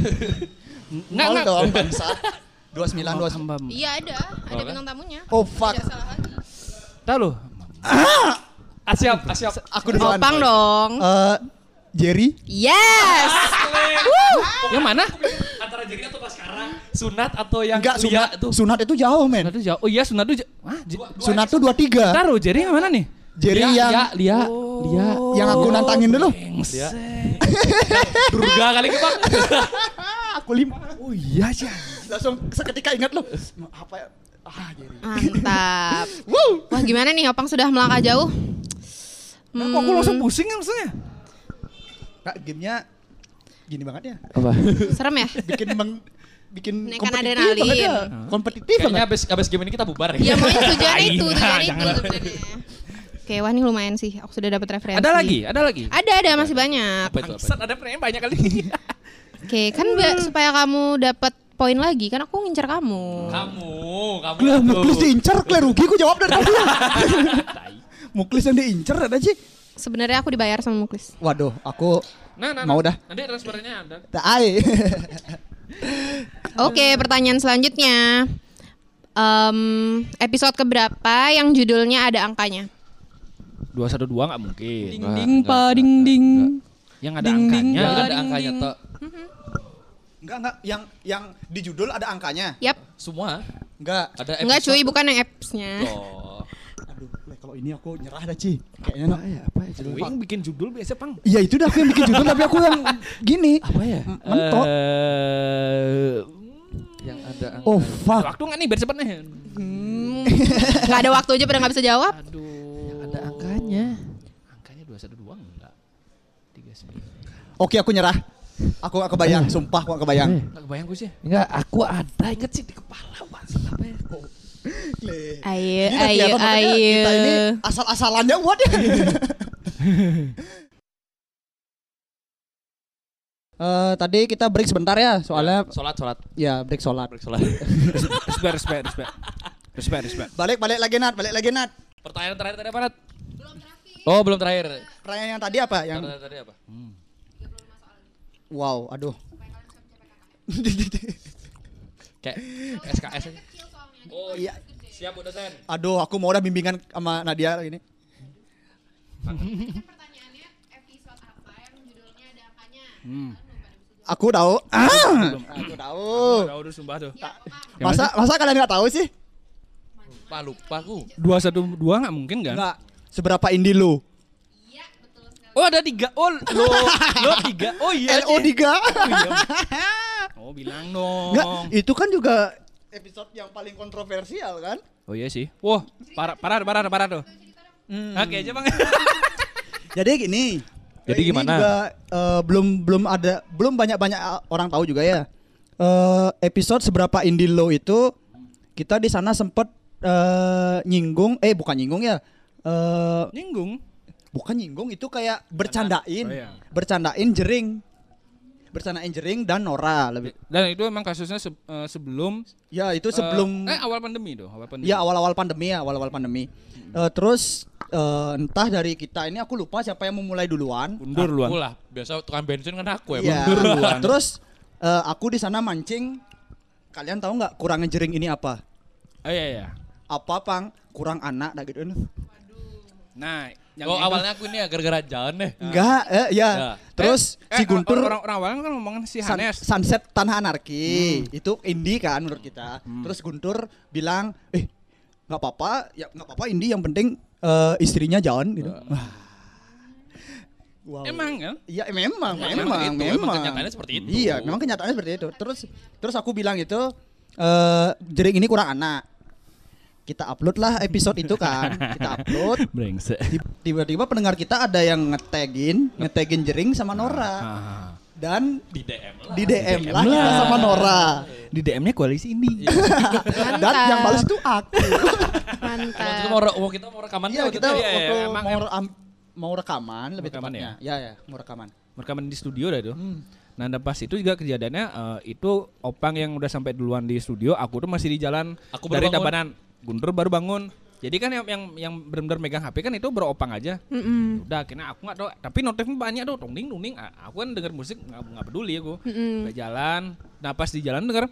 [SPEAKER 3] dong, bangsat. 29, 29.
[SPEAKER 5] Iya ada, ada bintang tamunya.
[SPEAKER 3] Oh, fuck.
[SPEAKER 5] Tidak salah lagi.
[SPEAKER 4] Tahu lo.
[SPEAKER 2] Asiap, asiap.
[SPEAKER 3] Aku duluan.
[SPEAKER 5] Opang dong.
[SPEAKER 3] Eh, Jerry.
[SPEAKER 5] Yes.
[SPEAKER 4] Yang mana?
[SPEAKER 2] Antara jadinya atau pas sekarang? Sunat atau yang
[SPEAKER 3] Enggak,
[SPEAKER 2] kuliah
[SPEAKER 3] sunat,
[SPEAKER 2] tuh?
[SPEAKER 3] sunat itu jauh, men.
[SPEAKER 4] Sunat tuh jauh. Oh iya, sunat tuh jauh. Hah?
[SPEAKER 3] Sunat tuh
[SPEAKER 2] Kan?
[SPEAKER 3] 23.
[SPEAKER 4] Taruh Jerry yang mana nih?
[SPEAKER 3] Jerry
[SPEAKER 2] Lia,
[SPEAKER 3] yang
[SPEAKER 2] Lia, Lia, Lia.
[SPEAKER 3] yang aku
[SPEAKER 2] Oh,
[SPEAKER 3] nantangin dulu.
[SPEAKER 2] Lia. Durga kali ke, Pak.
[SPEAKER 3] Ah, aku lima.
[SPEAKER 4] Oh iya sih.
[SPEAKER 3] Langsung seketika ingat lu. Apa ya? Ah, Jerry.
[SPEAKER 5] Mantap.
[SPEAKER 3] Wow.
[SPEAKER 5] Wah gimana nih Opang sudah melangkah jauh?
[SPEAKER 4] Nah,
[SPEAKER 5] Hmm,
[SPEAKER 4] kok aku langsung pusing ya maksudnya?
[SPEAKER 3] Kak, gamenya gini banget ya.
[SPEAKER 2] Apa?
[SPEAKER 5] serem ya?
[SPEAKER 3] Bikin meng, bikin
[SPEAKER 5] Naikkan
[SPEAKER 3] kompetitif
[SPEAKER 5] adrenalin.
[SPEAKER 3] banget ya. Kompetitif
[SPEAKER 2] Kayaknya
[SPEAKER 3] banget.
[SPEAKER 2] abis, abis game ini kita bubar
[SPEAKER 5] Ya
[SPEAKER 2] ya.
[SPEAKER 5] mungkin tujuannya
[SPEAKER 4] Tai,
[SPEAKER 5] itu,
[SPEAKER 4] nah,
[SPEAKER 5] tujuannya itu
[SPEAKER 4] jangan.
[SPEAKER 5] sebenarnya. Oke, wah ini lumayan sih. Aku sudah dapat referensi.
[SPEAKER 4] Ada lagi, ada lagi.
[SPEAKER 5] Ada, ada masih banyak.
[SPEAKER 2] Apa itu? Apa? itu?
[SPEAKER 4] ada pertanyaan banyak kali. (laughs)
[SPEAKER 5] Oke, kan
[SPEAKER 4] Hmm.
[SPEAKER 5] ba- supaya kamu dapat poin lagi, kan aku ngincer kamu.
[SPEAKER 4] Ah.
[SPEAKER 2] Kamu, kamu.
[SPEAKER 3] Lah,
[SPEAKER 2] tuh.
[SPEAKER 3] Muklis diincer, kler rugi ku jawab dari
[SPEAKER 2] (laughs)
[SPEAKER 3] tadi. Muklis yang diincer ada sih.
[SPEAKER 5] Sebenarnya aku dibayar sama Muklis.
[SPEAKER 3] Waduh, aku
[SPEAKER 2] Nah, nah,
[SPEAKER 3] Mau
[SPEAKER 2] nah.
[SPEAKER 3] dah.
[SPEAKER 2] Nanti transfernya ada.
[SPEAKER 3] tak ai.
[SPEAKER 5] Oke, pertanyaan selanjutnya. Em, episode keberapa yang judulnya ada angkanya?
[SPEAKER 4] 212 enggak mungkin.
[SPEAKER 2] ding pa ding ding.
[SPEAKER 4] Yang ada angkanya.
[SPEAKER 2] Yang ada angkanya toh.
[SPEAKER 3] Enggak, enggak. Yang yang di judul ada angkanya.
[SPEAKER 5] Yap.
[SPEAKER 2] Semua
[SPEAKER 3] Enggak.
[SPEAKER 2] ada
[SPEAKER 4] Eh,
[SPEAKER 5] Enggak
[SPEAKER 2] episode.
[SPEAKER 5] cuy, bukan yang apps-nya.
[SPEAKER 2] Oh.
[SPEAKER 3] Aduh, Le, kalau ini aku nyerah dah, Ci. Kayaknya no.
[SPEAKER 4] Wing bikin judul biasa, Pang.
[SPEAKER 3] Iya, itu dah aku yang bikin judul tapi aku yang gini.
[SPEAKER 2] Apa ya?
[SPEAKER 3] M- Mentok.
[SPEAKER 4] Eh,
[SPEAKER 2] Yang ada angkanya.
[SPEAKER 3] Oh
[SPEAKER 4] ada
[SPEAKER 3] fuck.
[SPEAKER 4] waktu enggak nih biar cepet nih.
[SPEAKER 5] Enggak ada waktu aja pada Hmm, nggak bisa jawab.
[SPEAKER 4] Aduh.
[SPEAKER 2] Ada angkanya.
[SPEAKER 4] Angkanya 212 enggak. 39.
[SPEAKER 3] Oke, aku nyerah. Aku gak kebayang, sumpah aku gak kebayang.
[SPEAKER 4] Enggak kebayang gue sih.
[SPEAKER 2] Enggak, aku ada inget sih di kepala banget apa ya?
[SPEAKER 3] Le.
[SPEAKER 5] Ayo,
[SPEAKER 3] Gila,
[SPEAKER 5] ayo,
[SPEAKER 3] kelihatan makanya
[SPEAKER 5] ayo.
[SPEAKER 3] Kita ini asal-asalannya buat ya. (laughs) Eh, tadi kita break sebentar ya, soalnya
[SPEAKER 2] Sholat, sholat,
[SPEAKER 3] ya break sholat.
[SPEAKER 2] (laughs) sholat.
[SPEAKER 4] Respect, respect, respect. Respect, respect.
[SPEAKER 3] Balik balik lagi Nat, balik lagi Nat.
[SPEAKER 2] Pertanyaan terakhir tadi apa, Nat? Oh, belum terakhir.
[SPEAKER 3] Pertanyaan yang tadi apa? Yang
[SPEAKER 2] Pertanyaan tadi apa?
[SPEAKER 3] wow, aduh.
[SPEAKER 2] Kayak SKS aja. Oh
[SPEAKER 3] iya.
[SPEAKER 2] Siap Bu dosen.
[SPEAKER 3] aduh, aku mau udah bimbingan sama Nadia ini.
[SPEAKER 5] Pertanyaannya episode apa yang judulnya ada angkanya?
[SPEAKER 3] Aku tahu. Ah, aku tahu.
[SPEAKER 4] Tahu udah sumpah tuh.
[SPEAKER 3] Masa masa kalian nggak tahu sih?
[SPEAKER 2] Lupa lupa aku.
[SPEAKER 4] 212 enggak mungkin kan?
[SPEAKER 3] Enggak. Seberapa indie lu?
[SPEAKER 4] Oh ada tiga, oh lo, lo tiga, oh
[SPEAKER 3] (laughs)
[SPEAKER 4] iya
[SPEAKER 3] LO3.
[SPEAKER 4] Oh bilang dong.
[SPEAKER 3] Enggak, itu kan juga episode yang paling kontroversial kan?
[SPEAKER 4] Oh iya sih. Hmm. Wah, parah parah parah parah tuh. Oke aja bang.
[SPEAKER 3] Jadi gini.
[SPEAKER 6] Jadi
[SPEAKER 3] eh, ini
[SPEAKER 6] gimana?
[SPEAKER 3] juga, eh, belum belum ada belum banyak-banyak orang tahu juga ya. Eh, episode seberapa indie low itu kita di sana sempet eh, nyinggung eh bukan nyinggung ya. Eh,
[SPEAKER 4] (laughs) Nyinggung.
[SPEAKER 3] bukan nyinggung itu kayak bercandain.
[SPEAKER 4] Oh, iya.
[SPEAKER 3] Bercandain jering. Bercandain jering dan Nora lebih.
[SPEAKER 4] Dan itu emang kasusnya se- eh, sebelum
[SPEAKER 3] Ya itu sebelum
[SPEAKER 4] eh awal pandemi tuh, awal pandemi.
[SPEAKER 3] Ya awal-awal pandemi ya, awal-awal pandemi. Eh,
[SPEAKER 4] Hmm.
[SPEAKER 3] terus eh, entah dari kita ini aku lupa siapa yang memulai duluan.
[SPEAKER 4] Mundur luan.
[SPEAKER 2] Aku lah, biasa tukang bensin kan aku ya. (laughs)
[SPEAKER 3] Iya.
[SPEAKER 2] Bang.
[SPEAKER 3] (laughs) Terus eh, aku di sana mancing. Kalian tahu nggak kurang ngejering ini apa?
[SPEAKER 4] Oh iya iya.
[SPEAKER 3] Apa pang? Kurang anak dah
[SPEAKER 4] Ah.
[SPEAKER 3] gitu.
[SPEAKER 4] Nah,
[SPEAKER 2] oh
[SPEAKER 4] itu-
[SPEAKER 2] awalnya aku ini ya gara-gara jalan deh.
[SPEAKER 3] Enggak, eh, ya.
[SPEAKER 2] Ya.
[SPEAKER 3] Terus
[SPEAKER 4] Eh,
[SPEAKER 3] si
[SPEAKER 4] eh,
[SPEAKER 3] Guntur
[SPEAKER 4] orang orang awalnya kan ngomongin si
[SPEAKER 3] Sun-
[SPEAKER 4] Hanes.
[SPEAKER 3] Sunset Tanah
[SPEAKER 2] Hmm.
[SPEAKER 3] Anarki itu indie kan menurut kita. Terus Guntur bilang, eh nggak apa-apa, ya nggak apa-apa indie yang penting eh, istrinya jalan gitu. Wow.
[SPEAKER 4] Emang kan?
[SPEAKER 3] Iya eh,
[SPEAKER 2] Memang
[SPEAKER 3] memang, memang, memang.
[SPEAKER 2] itu, emang kenyataannya seperti itu.
[SPEAKER 3] Iya, memang kenyataannya seperti itu. Terus, terus aku bilang itu eh jering ini kurang anak. Kita upload lah episode itu kan. Kita upload.
[SPEAKER 2] (laughs)
[SPEAKER 4] Brengsek.
[SPEAKER 3] Ti- Tiba-tiba pendengar kita ada yang ngetagin, ngetagin jering
[SPEAKER 2] Ah.
[SPEAKER 3] sama Nora. Dan
[SPEAKER 2] Di DM lah.
[SPEAKER 3] di DM lah kita sama Nora.
[SPEAKER 4] Di DM-nya koalisi ini.
[SPEAKER 3] Dan yang balas itu aku.
[SPEAKER 2] Waktu itu
[SPEAKER 5] Mantap.
[SPEAKER 2] mau, re- waktu kita mau rekaman
[SPEAKER 3] Iya,
[SPEAKER 2] waktu
[SPEAKER 3] kita
[SPEAKER 2] itu. ya?
[SPEAKER 4] iya, iya,
[SPEAKER 3] waktu
[SPEAKER 4] emang-
[SPEAKER 3] mau rekam- mau rekaman lebih
[SPEAKER 4] Rekaman
[SPEAKER 3] tepatnya. Iya, ya, mau (laughs) rekaman.
[SPEAKER 4] Rekaman di studio dah tuh. Nah, dan pas itu juga kejadiannya eh, itu Opang yang udah sampai duluan di studio, aku tuh masih di jalan
[SPEAKER 2] Aku baru
[SPEAKER 4] dari
[SPEAKER 2] bangun.
[SPEAKER 4] Tabanan. Guntur baru bangun. Jadi kan yang yang, yang benar-benar megang HP kan itu beropang aja. Ya
[SPEAKER 5] Mm-mm.
[SPEAKER 4] Udah akhirnya aku nggak tahu, tapi notifnya banyak tuh, tungning tungning. A- Aku kan denger musik nggak nggak peduli aku.
[SPEAKER 5] Mm-mm.
[SPEAKER 4] Udah jalan, nah pas di jalan denger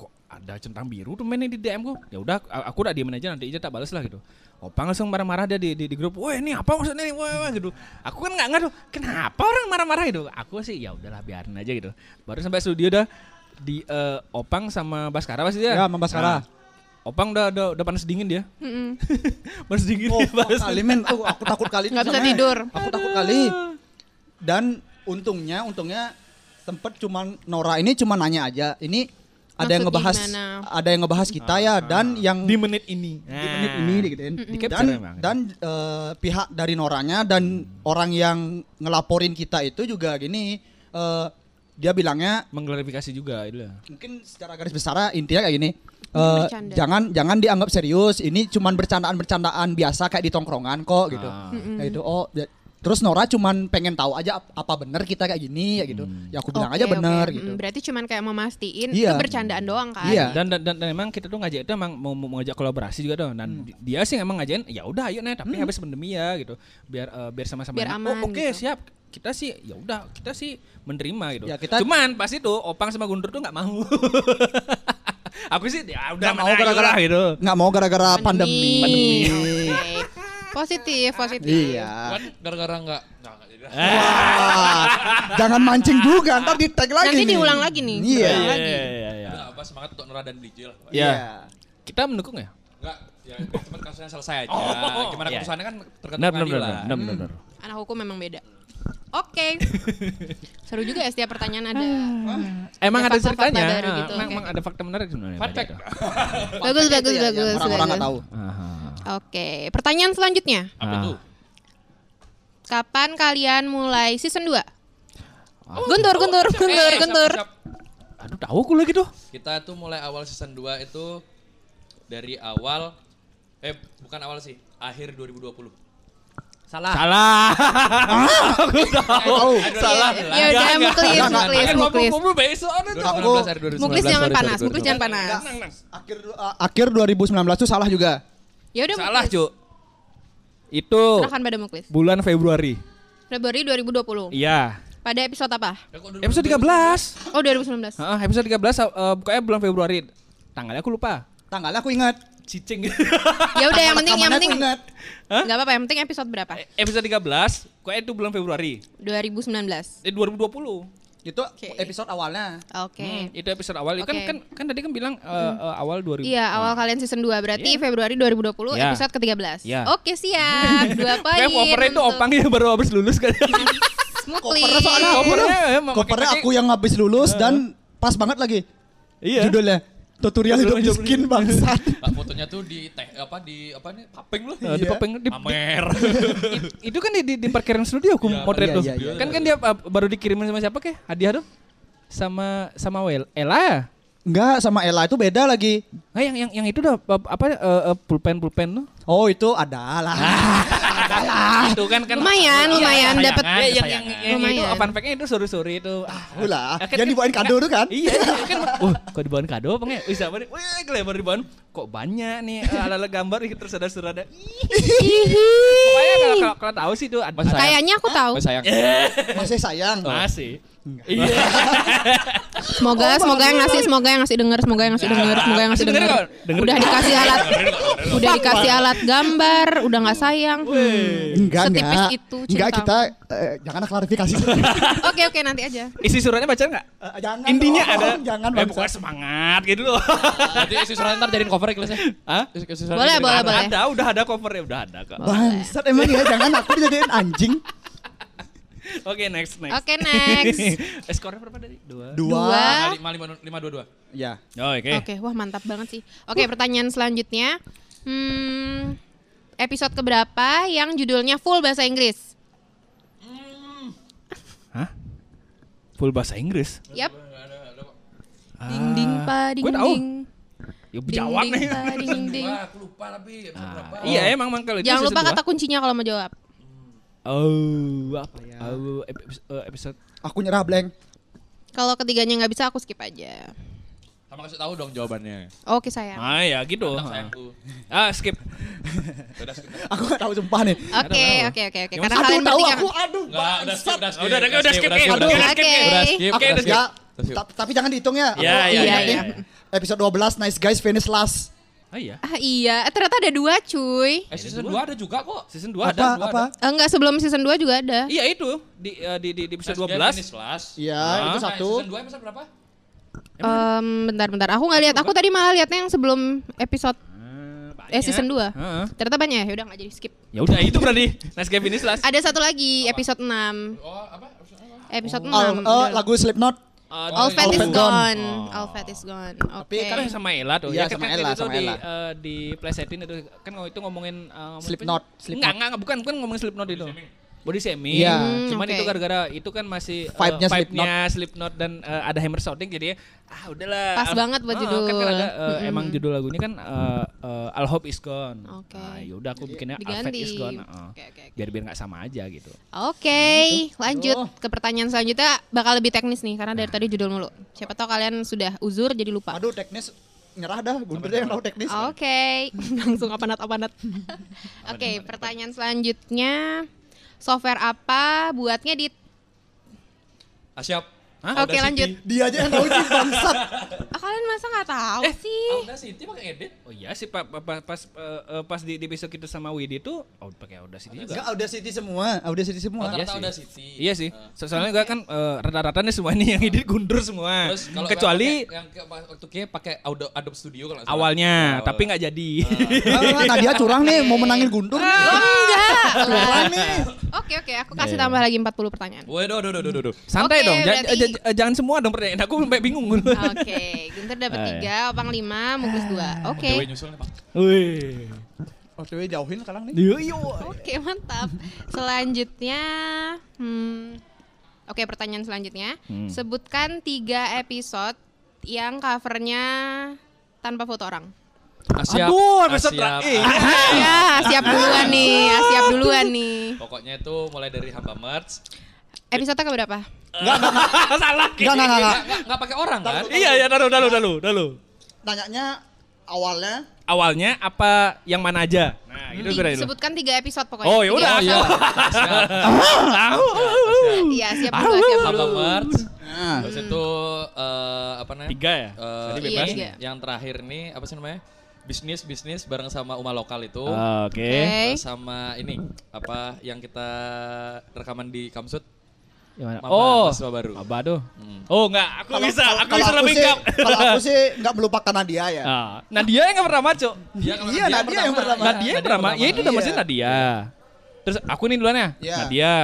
[SPEAKER 4] kok ada centang biru tuh mainnya di DM ku. Ya udah, a- aku udah diemin aja nanti aja tak balas lah gitu. Opang langsung marah-marah dia di, di, di grup, wah ini apa maksudnya nih, wah, wah," gitu. Aku kan nggak ngerti, kenapa orang marah-marah gitu. Aku sih ya udahlah biarin aja gitu. Baru sampai studio dah di eh, Opang sama Baskara pasti dia.
[SPEAKER 3] Ya, sama Baskara.
[SPEAKER 4] Opang udah, udah udah panas dingin dia,
[SPEAKER 5] Mm-mm.
[SPEAKER 4] (laughs) panas dingin.
[SPEAKER 3] Oh,
[SPEAKER 4] dia balas.
[SPEAKER 3] kali men, oh, aku takut kali.
[SPEAKER 5] Nggak bisa
[SPEAKER 3] sama ya.
[SPEAKER 5] tidur.
[SPEAKER 3] Aku takut kali. Dan untungnya, untungnya sempet cuman Nora ini cuma nanya aja. Ini ada yang
[SPEAKER 5] Maksud
[SPEAKER 3] ngebahas,
[SPEAKER 5] gimana?
[SPEAKER 3] ada yang ngebahas kita ya. Dan yang
[SPEAKER 4] di menit ini.
[SPEAKER 3] di menit ini digituin.
[SPEAKER 4] Nah. Di
[SPEAKER 3] Dan,
[SPEAKER 4] capture emang.
[SPEAKER 3] dan eh, pihak dari Noranya dan
[SPEAKER 4] Hmm.
[SPEAKER 3] orang yang ngelaporin kita itu juga gini. eh, dia bilangnya
[SPEAKER 4] mengklarifikasi juga gitu ya. itu lah.
[SPEAKER 3] mungkin secara garis besar intinya kayak gini. eh,
[SPEAKER 5] Bercanda.
[SPEAKER 3] jangan jangan dianggap serius. Ini cuman bercandaan-bercandaan biasa kayak di tongkrongan kok gitu.
[SPEAKER 4] Ah.
[SPEAKER 3] Kayak gitu. Oh, ya- terus Nora cuman pengen tahu aja ap- apa bener kita kayak gini ya gitu.
[SPEAKER 4] Hmm.
[SPEAKER 3] Ya aku bilang
[SPEAKER 5] Oke,
[SPEAKER 3] aja
[SPEAKER 5] oke.
[SPEAKER 3] bener
[SPEAKER 5] Mm-mm.
[SPEAKER 3] gitu.
[SPEAKER 5] Berarti cuman kayak memastiin
[SPEAKER 3] Iya.
[SPEAKER 5] itu bercandaan doang kan?
[SPEAKER 3] Iya.
[SPEAKER 4] Dan, dan dan dan emang kita tuh ngajak itu emang mau, mau ngajak kolaborasi juga dong. Dan di- dia sih emang ngajakin ya udah ayo nih tapi habis pandemi ya gitu. Biar eh, biar sama-sama
[SPEAKER 5] Biar
[SPEAKER 4] enak."
[SPEAKER 5] aman
[SPEAKER 4] Oh, oke
[SPEAKER 5] gitu.
[SPEAKER 4] siap. Kita sih ya udah kita sih menerima gitu.
[SPEAKER 3] Ya, kita-
[SPEAKER 4] Cuman pas itu Opang sama Guntur tuh nggak mau. (laughs) Aku sih ya udah
[SPEAKER 3] Nggak
[SPEAKER 4] mana, ayo lah," gitu.
[SPEAKER 3] nggak mau gara-gara pandemi.
[SPEAKER 5] Oke. Positif, positif.
[SPEAKER 3] Iya.
[SPEAKER 2] Kan gara-gara Eh? enggak. Enggak, enggak jadi.
[SPEAKER 3] Wah, jangan mancing juga, ntar di tag lagi.
[SPEAKER 5] Nanti
[SPEAKER 3] nih.
[SPEAKER 5] diulang lagi nih.
[SPEAKER 3] Iya.
[SPEAKER 5] Diulang lagi.
[SPEAKER 4] iya, iya.
[SPEAKER 2] Udah, apa semangat untuk Nora dan Bliji lah.
[SPEAKER 4] Iya. Kita mendukung ya?
[SPEAKER 2] Enggak, ya cepat kasusnya selesai aja.
[SPEAKER 4] Oh.
[SPEAKER 2] Gimana
[SPEAKER 4] Iya.
[SPEAKER 2] keputusannya kan tergantung
[SPEAKER 6] Benar, benar, benar,
[SPEAKER 2] pengadilan.
[SPEAKER 6] benar,
[SPEAKER 4] Hmm.
[SPEAKER 6] benar, benar.
[SPEAKER 5] Anak hukum memang beda. Oke. Seru juga ya setiap pertanyaan ada.
[SPEAKER 3] Ah.
[SPEAKER 4] Emang
[SPEAKER 5] Ya,
[SPEAKER 4] ada
[SPEAKER 5] fakta-fakta
[SPEAKER 4] ceritanya.
[SPEAKER 5] baru
[SPEAKER 4] ah,
[SPEAKER 5] gitu,
[SPEAKER 4] Emang,
[SPEAKER 5] oke.
[SPEAKER 4] emang ada fakta menarik sebenarnya.
[SPEAKER 2] Fun
[SPEAKER 4] tadi
[SPEAKER 2] fact.
[SPEAKER 4] itu.
[SPEAKER 5] Bagus, bagus,
[SPEAKER 3] Iya, yang
[SPEAKER 5] bagus.
[SPEAKER 3] Orang-orang nggak
[SPEAKER 5] bagus.
[SPEAKER 3] tahu.
[SPEAKER 4] Aha.
[SPEAKER 5] Oke, pertanyaan selanjutnya.
[SPEAKER 2] Apa
[SPEAKER 4] Ah.
[SPEAKER 2] tuh?
[SPEAKER 5] Kapan kalian mulai season 2? Guntur, guntur, guntur,
[SPEAKER 2] Eh,
[SPEAKER 5] guntur.
[SPEAKER 2] siap, siap.
[SPEAKER 4] Aduh tahu aku lagi tuh.
[SPEAKER 2] Kita tuh mulai awal season 2 itu dari awal eh bukan awal sih, akhir 2020.
[SPEAKER 4] Ah.
[SPEAKER 2] Salah.
[SPEAKER 4] Salah. (laughs) Iya,
[SPEAKER 3] Tahu.
[SPEAKER 2] Salah.
[SPEAKER 5] Ya udah, muklis,
[SPEAKER 2] Enggak, enggak,
[SPEAKER 5] muklis,
[SPEAKER 4] Eh,
[SPEAKER 2] enggak.
[SPEAKER 5] muklis.
[SPEAKER 4] Ngobrol besok ada tuh.
[SPEAKER 2] 2019 akhir 2019.
[SPEAKER 5] Muklis jangan
[SPEAKER 2] sorry,
[SPEAKER 5] panas,
[SPEAKER 2] sorry,
[SPEAKER 5] muklis
[SPEAKER 2] sorry.
[SPEAKER 5] jangan panas.
[SPEAKER 3] Akhir uh, akhir 2019 tuh salah juga.
[SPEAKER 5] Ya udah,
[SPEAKER 4] Salah,
[SPEAKER 5] muklis.
[SPEAKER 4] Cuk. Itu
[SPEAKER 5] Serahkan pada muklis.
[SPEAKER 4] bulan Februari.
[SPEAKER 5] Februari 2020.
[SPEAKER 4] Iya.
[SPEAKER 5] Pada episode apa?
[SPEAKER 2] Ya, kok dulu-
[SPEAKER 4] Episode 13.
[SPEAKER 5] Oh, 2019.
[SPEAKER 4] Heeh, episode 13 eh, bukanya bulan Februari. Tanggalnya aku lupa.
[SPEAKER 3] Tanggalnya aku ingat.
[SPEAKER 4] Cicing. (laughs)
[SPEAKER 5] Ya udah, yang penting yang
[SPEAKER 3] Rekamannya
[SPEAKER 5] penting.
[SPEAKER 3] aku ingat.
[SPEAKER 5] Enggak apa-apa, yang penting episode berapa?
[SPEAKER 4] episode 13, kok itu bulan Februari.
[SPEAKER 5] 2019.
[SPEAKER 4] Eh 2020.
[SPEAKER 3] Itu
[SPEAKER 5] Oke.
[SPEAKER 3] episode awalnya.
[SPEAKER 5] Oke.
[SPEAKER 4] Itu episode awal. Kan
[SPEAKER 5] Oke.
[SPEAKER 4] kan kan tadi kan bilang eh, eh, awal 2000.
[SPEAKER 5] Iya, awal kalian season 2 berarti Februari 2020
[SPEAKER 4] Iya.
[SPEAKER 5] episode ke-13.
[SPEAKER 4] Iya.
[SPEAKER 5] Oke, siap. Dua poin.
[SPEAKER 4] Kayak covernya itu
[SPEAKER 5] untuk
[SPEAKER 4] opangnya baru habis lulus kan.
[SPEAKER 5] Iya. Muklis.
[SPEAKER 3] Kopernya soalnya aku.
[SPEAKER 4] Kopernya, ya,
[SPEAKER 3] Kopernya
[SPEAKER 4] pakai-
[SPEAKER 3] aku yang habis lulus dan pas banget lagi.
[SPEAKER 4] Iya.
[SPEAKER 3] Judulnya tutorial hidup miskin bangsat.
[SPEAKER 2] Ah, fotonya tuh di teh apa di apa nih paping loh.
[SPEAKER 4] Eh, (laughs) di
[SPEAKER 3] Iya.
[SPEAKER 4] Popeng, di-
[SPEAKER 2] (laughs) Amer.
[SPEAKER 4] di- itu kan di, di, di parkiran studio aku
[SPEAKER 2] Iya,
[SPEAKER 4] motret
[SPEAKER 3] iya,
[SPEAKER 4] tuh.
[SPEAKER 3] iya, iya.
[SPEAKER 4] Kan kan dia uh, baru dikirimin sama siapa kek? Hadiah tuh. Sama sama Wel Ella ya?
[SPEAKER 3] Enggak, sama Ella itu beda lagi.
[SPEAKER 4] Nah, yang yang yang itu udah uh, apa uh, uh, pulpen pulpen tuh.
[SPEAKER 3] Oh, itu ada lah.
[SPEAKER 4] itu kan kan
[SPEAKER 5] Lumayan,
[SPEAKER 4] Iya,
[SPEAKER 5] lumayan
[SPEAKER 4] kesayangan,
[SPEAKER 5] dapat
[SPEAKER 4] kesayangan. yang, yang, yang, itu uh,
[SPEAKER 5] Lumayan.
[SPEAKER 4] fun fact-nya itu sore-sore itu. Ah,
[SPEAKER 3] Tahu lah.
[SPEAKER 4] Ya, kan-
[SPEAKER 3] Yang dibawain kado tuh kan?
[SPEAKER 4] Iya,
[SPEAKER 3] (laughs)
[SPEAKER 4] iya, kan. Wah, kok dibawain kado apa enggak? Wih, sabar. Wih, gelebar dibawain. Kok banyak nih ala-ala gambar ih, terus ada surat ada. Pokoknya kalau kalau, kalau tahu sih itu ada.
[SPEAKER 2] Mas sayang.
[SPEAKER 5] Kayaknya aku tahu.
[SPEAKER 2] Mas sayang.
[SPEAKER 3] Masih sayang.
[SPEAKER 4] Masih. Iya.
[SPEAKER 5] Semoga semoga yang ngasih semoga yang ngasih denger semoga yang ngasih denger semoga yang ngasih
[SPEAKER 4] Ya, Denger
[SPEAKER 5] denger.
[SPEAKER 4] kok, denger.
[SPEAKER 5] Udah dikasih alat udah dikasih alat gambar, udah nggak sayang.
[SPEAKER 3] Enggak,
[SPEAKER 5] Setipis
[SPEAKER 3] enggak.
[SPEAKER 5] itu cinta.
[SPEAKER 3] Enggak kita eh, jangan (laughs) klarifikasi.
[SPEAKER 5] Oke oke nanti aja.
[SPEAKER 4] Isi suratnya baca enggak?
[SPEAKER 3] Eh, jangan.
[SPEAKER 4] Intinya
[SPEAKER 3] dong,
[SPEAKER 4] ada
[SPEAKER 3] Jangan
[SPEAKER 4] eh,
[SPEAKER 3] bangsat.
[SPEAKER 4] pokoknya semangat gitu loh.
[SPEAKER 2] Nanti isi surat ntar jadiin cover ya kelasnya.
[SPEAKER 4] (laughs) Hah?
[SPEAKER 2] Isi- isi surat
[SPEAKER 5] Boleh,
[SPEAKER 2] jadiin
[SPEAKER 5] boleh,
[SPEAKER 2] cover.
[SPEAKER 5] boleh.
[SPEAKER 4] Ada, udah ada covernya, udah ada kok.
[SPEAKER 3] Bangsat emang ya jangan aku dijadiin anjing.
[SPEAKER 4] Oke, next next.
[SPEAKER 5] Oke next.
[SPEAKER 4] (laughs) Eh, Skornya berapa tadi? Dua.
[SPEAKER 3] Dua.
[SPEAKER 5] Dua.
[SPEAKER 2] Lima lima lima dua dua.
[SPEAKER 3] Ya.
[SPEAKER 4] Oke.
[SPEAKER 5] Oke, wah mantap banget sih. Oke, pertanyaan selanjutnya. Hmm, episode keberapa yang judulnya full bahasa Inggris?
[SPEAKER 4] Hah? Full bahasa Inggris.
[SPEAKER 5] Yap. Ding ding pa ding
[SPEAKER 4] gue Ah. tahu.
[SPEAKER 5] ding.
[SPEAKER 4] Ya
[SPEAKER 5] Ding,
[SPEAKER 4] jawab
[SPEAKER 5] ding,
[SPEAKER 4] nih.
[SPEAKER 5] pa, ding, ding, ding.
[SPEAKER 2] Aku lupa tapi episode berapa.
[SPEAKER 4] (laughs) Iya, emang emang kalau itu
[SPEAKER 5] Jangan
[SPEAKER 4] season
[SPEAKER 5] lupa
[SPEAKER 4] dua.
[SPEAKER 5] kata kuncinya kalau mau jawab.
[SPEAKER 4] Oh, apa ya? Oh, episode, episode
[SPEAKER 3] Aku nyerah blank.
[SPEAKER 5] Kalau ketiganya nggak bisa aku skip aja.
[SPEAKER 2] Sama kasih tahu dong jawabannya.
[SPEAKER 5] Oke sayang.
[SPEAKER 4] Ah ya gitu.
[SPEAKER 2] Tentang sayangku.
[SPEAKER 4] Ah skip.
[SPEAKER 2] Udah skip.
[SPEAKER 3] Aku gak tahu sumpah nih.
[SPEAKER 5] Oke oke oke oke.
[SPEAKER 4] Ya,
[SPEAKER 5] Karena
[SPEAKER 3] Aduh,
[SPEAKER 5] kalian
[SPEAKER 3] tahu
[SPEAKER 5] bertiga.
[SPEAKER 3] aku aduh.
[SPEAKER 2] Enggak, udah skip, udah skip.
[SPEAKER 4] Udah, udah, udah skip,
[SPEAKER 2] udah
[SPEAKER 4] eh,
[SPEAKER 2] skip.
[SPEAKER 5] udah skip.
[SPEAKER 2] Udah skip.
[SPEAKER 3] Aku
[SPEAKER 5] Oke.
[SPEAKER 2] udah skip.
[SPEAKER 3] enggak.
[SPEAKER 2] Udah skip.
[SPEAKER 3] ya. Ta- Tapi jangan dihitung ya.
[SPEAKER 4] Iya,
[SPEAKER 3] Aku
[SPEAKER 4] iya,
[SPEAKER 5] iya,
[SPEAKER 3] ingat nih. Episode 12 Nice Guys Finish Last.
[SPEAKER 4] Ah iya.
[SPEAKER 5] Ah iya, Eh, ternyata ada dua cuy.
[SPEAKER 2] Eh season 2 ada juga kok.
[SPEAKER 4] Season 2
[SPEAKER 3] apa
[SPEAKER 4] ada, dua
[SPEAKER 3] apa?
[SPEAKER 4] ada.
[SPEAKER 5] Eh, Enggak sebelum season 2 juga ada.
[SPEAKER 4] Iya itu di eh, di di, di episode
[SPEAKER 2] Last Guy Finish
[SPEAKER 4] 12.
[SPEAKER 2] Last.
[SPEAKER 3] Iya,
[SPEAKER 4] Ah.
[SPEAKER 3] itu
[SPEAKER 2] Nah,
[SPEAKER 3] satu.
[SPEAKER 2] Season 2 episode berapa?
[SPEAKER 5] Em, bentar bentar. Aku nggak lihat. Aku tadi malah lihatnya yang sebelum episode eh season 2.
[SPEAKER 4] Heeh.
[SPEAKER 5] Ternyata banyak ya. Udah nggak jadi skip.
[SPEAKER 4] Ya udah itu berarti. Nice Guy Finish Last.
[SPEAKER 5] Ada satu lagi episode 6. Episode
[SPEAKER 3] Oh,
[SPEAKER 5] 6.
[SPEAKER 3] eh, lagu Slipknot.
[SPEAKER 5] All
[SPEAKER 3] All
[SPEAKER 5] Fat Is
[SPEAKER 3] Fat Gone.
[SPEAKER 5] Gone. All Fat Is Gone. Oke.
[SPEAKER 4] Kan yang sama Ella tuh.
[SPEAKER 3] Iya,
[SPEAKER 4] kan
[SPEAKER 3] sama
[SPEAKER 4] kan
[SPEAKER 3] Ella,
[SPEAKER 4] itu
[SPEAKER 3] sama
[SPEAKER 4] di,
[SPEAKER 3] Ella.
[SPEAKER 4] eh, di plesetin itu kan kalau itu ngomongin eh, ngomongin apa sih?
[SPEAKER 3] Slipknot,
[SPEAKER 4] Enggak,
[SPEAKER 3] Slipknot.
[SPEAKER 4] enggak, enggak, bukan bukan ngomongin Slipknot itu. Body shaming.
[SPEAKER 3] Iya.
[SPEAKER 5] Hmm,
[SPEAKER 4] Cuman
[SPEAKER 5] oke.
[SPEAKER 4] itu gara-gara itu kan masih eh,
[SPEAKER 3] Vibe-nya
[SPEAKER 4] vibe-nya Slipknot dan eh, ada hammer shouting jadi ah udahlah.
[SPEAKER 5] Pas
[SPEAKER 4] Al-
[SPEAKER 5] banget buat
[SPEAKER 4] Ah,
[SPEAKER 5] judul.
[SPEAKER 4] Kan, kan ada, eh,
[SPEAKER 5] Mm-mm.
[SPEAKER 4] emang judul lagunya kan eh, eh, All Hope Is Gone.
[SPEAKER 5] Oke.
[SPEAKER 4] Nah, yaudah aku bikinnya All Fat
[SPEAKER 5] Diganti.
[SPEAKER 4] Is Gone. eh,
[SPEAKER 5] Oke, oke, oke.
[SPEAKER 4] Biar biar nggak sama aja gitu.
[SPEAKER 5] Oke, lanjut ke pertanyaan selanjutnya bakal lebih teknis nih karena dari tadi judul mulu. Siapa tahu kalian sudah uzur jadi lupa.
[SPEAKER 3] Aduh teknis nyerah dah, Gundurnya yang tahu teknis.
[SPEAKER 5] Oke, (laughs) langsung apanat apanat. Oke, pertanyaan selanjutnya software apa buatnya di
[SPEAKER 2] Ah, siap.
[SPEAKER 4] Hah?
[SPEAKER 5] Oke, lanjut.
[SPEAKER 3] Dia aja yang tahu sih bangsat.
[SPEAKER 5] Ah, kalian masa nggak tahu sih?
[SPEAKER 2] Udah Siti pakai edit.
[SPEAKER 4] Oh iya sih pa- pa- pa- pas eh, eh, pas di, di episode kita sama Widi tuh oh pakai Audacity juga.
[SPEAKER 3] Enggak Audacity semua, Audacity semua.
[SPEAKER 2] Rata-rata
[SPEAKER 4] Iya sih.
[SPEAKER 2] udah Siti.
[SPEAKER 4] Iya sih. So- soalnya gue kan eh, rata-rata nih semua ini yang edit gundur semua.
[SPEAKER 2] Terus kalau
[SPEAKER 4] Kecuali
[SPEAKER 2] pakai- Iya, yang ke- waktu kia pakai Adobe Adobe Studio kalau nggak salah.
[SPEAKER 4] awalnya,
[SPEAKER 2] Awal.
[SPEAKER 4] tapi nggak jadi.
[SPEAKER 3] Enggak, enggak, Nadia curang nih mau menangin Guntur.
[SPEAKER 5] Enggak.
[SPEAKER 3] Curang nih.
[SPEAKER 5] Oke, oke, aku kasih tambah lagi 40 pertanyaan.
[SPEAKER 2] Waduh, aduh, aduh, aduh, aduh.
[SPEAKER 4] (laughs) Santai
[SPEAKER 5] Oke,
[SPEAKER 4] dong, ja-
[SPEAKER 5] berarti- Ah,
[SPEAKER 4] ja- ja- jangan semua dong pertanyaan. Aku sampai
[SPEAKER 5] (laughs)
[SPEAKER 4] bingung.
[SPEAKER 5] Oke, Gunter dapat
[SPEAKER 4] Ah, ya.
[SPEAKER 5] 3, Opang 5, Mukus 2. Oke.
[SPEAKER 2] Dewi nyusul nih, Pak.
[SPEAKER 4] Wih.
[SPEAKER 3] OTW Oh, jauhin sekarang nih.
[SPEAKER 4] Yo yo.
[SPEAKER 5] Oke mantap. Selanjutnya, hmm, oke pertanyaan selanjutnya, sebutkan tiga episode yang covernya tanpa foto orang.
[SPEAKER 2] Asia.
[SPEAKER 4] Aduh, episode terakhir.
[SPEAKER 3] Ah.
[SPEAKER 5] ya siap duluan nih, ya, siap duluan nih.
[SPEAKER 2] Pokoknya itu mulai dari
[SPEAKER 4] (laughs)
[SPEAKER 2] hamba merch.
[SPEAKER 5] Episode ke berapa?
[SPEAKER 4] (laughs) Salah.
[SPEAKER 3] Enggak, enggak, enggak, enggak.
[SPEAKER 2] Enggak enggak pakai orang kan?
[SPEAKER 4] (laughs) Iya ya, dalu dalu dalu dalu.
[SPEAKER 3] Nanyanya awalnya
[SPEAKER 4] Awalnya apa yang mana aja? Nah, itu
[SPEAKER 5] Ti-
[SPEAKER 4] gue dulu. (laughs)
[SPEAKER 5] sebutkan tiga episode pokoknya.
[SPEAKER 4] Oh, ya
[SPEAKER 5] Tiga
[SPEAKER 4] udah.
[SPEAKER 5] episode. Iya siap dulu, siap
[SPEAKER 2] Hamba
[SPEAKER 5] dulu.
[SPEAKER 2] merch.
[SPEAKER 3] nah,
[SPEAKER 2] Terus itu eh, apa namanya?
[SPEAKER 4] Tiga ya?
[SPEAKER 2] Eh,
[SPEAKER 4] Jadi
[SPEAKER 5] Iya,
[SPEAKER 4] bebas.
[SPEAKER 5] tiga.
[SPEAKER 2] Yang terakhir nih apa sih namanya? Bisnis bisnis bareng sama Uma lokal itu.
[SPEAKER 4] Oke.
[SPEAKER 5] Oke.
[SPEAKER 2] Terus sama ini apa yang kita rekaman di Kamsut?
[SPEAKER 4] Yang mana?
[SPEAKER 2] Maba,
[SPEAKER 4] Oh,
[SPEAKER 2] mahasiswa baru.
[SPEAKER 4] Maba tuh. Oh, enggak, aku bisa. Aku
[SPEAKER 3] kalau
[SPEAKER 4] bisa
[SPEAKER 3] aku
[SPEAKER 4] lebih
[SPEAKER 3] sih-
[SPEAKER 4] up.
[SPEAKER 3] Kalau
[SPEAKER 4] (laughs)
[SPEAKER 3] aku ya. sih enggak melupakan Nadia ya.
[SPEAKER 4] Ah, Nadia yang nggak pernah maco.
[SPEAKER 2] Iya, kalau
[SPEAKER 3] Iya, Nadia yang pertama.
[SPEAKER 4] Nadia yang pertama, ya itu udah
[SPEAKER 3] Iya.
[SPEAKER 4] maksudnya Nadia. Terus aku nih duluan ya,
[SPEAKER 3] Iya.
[SPEAKER 4] Nadia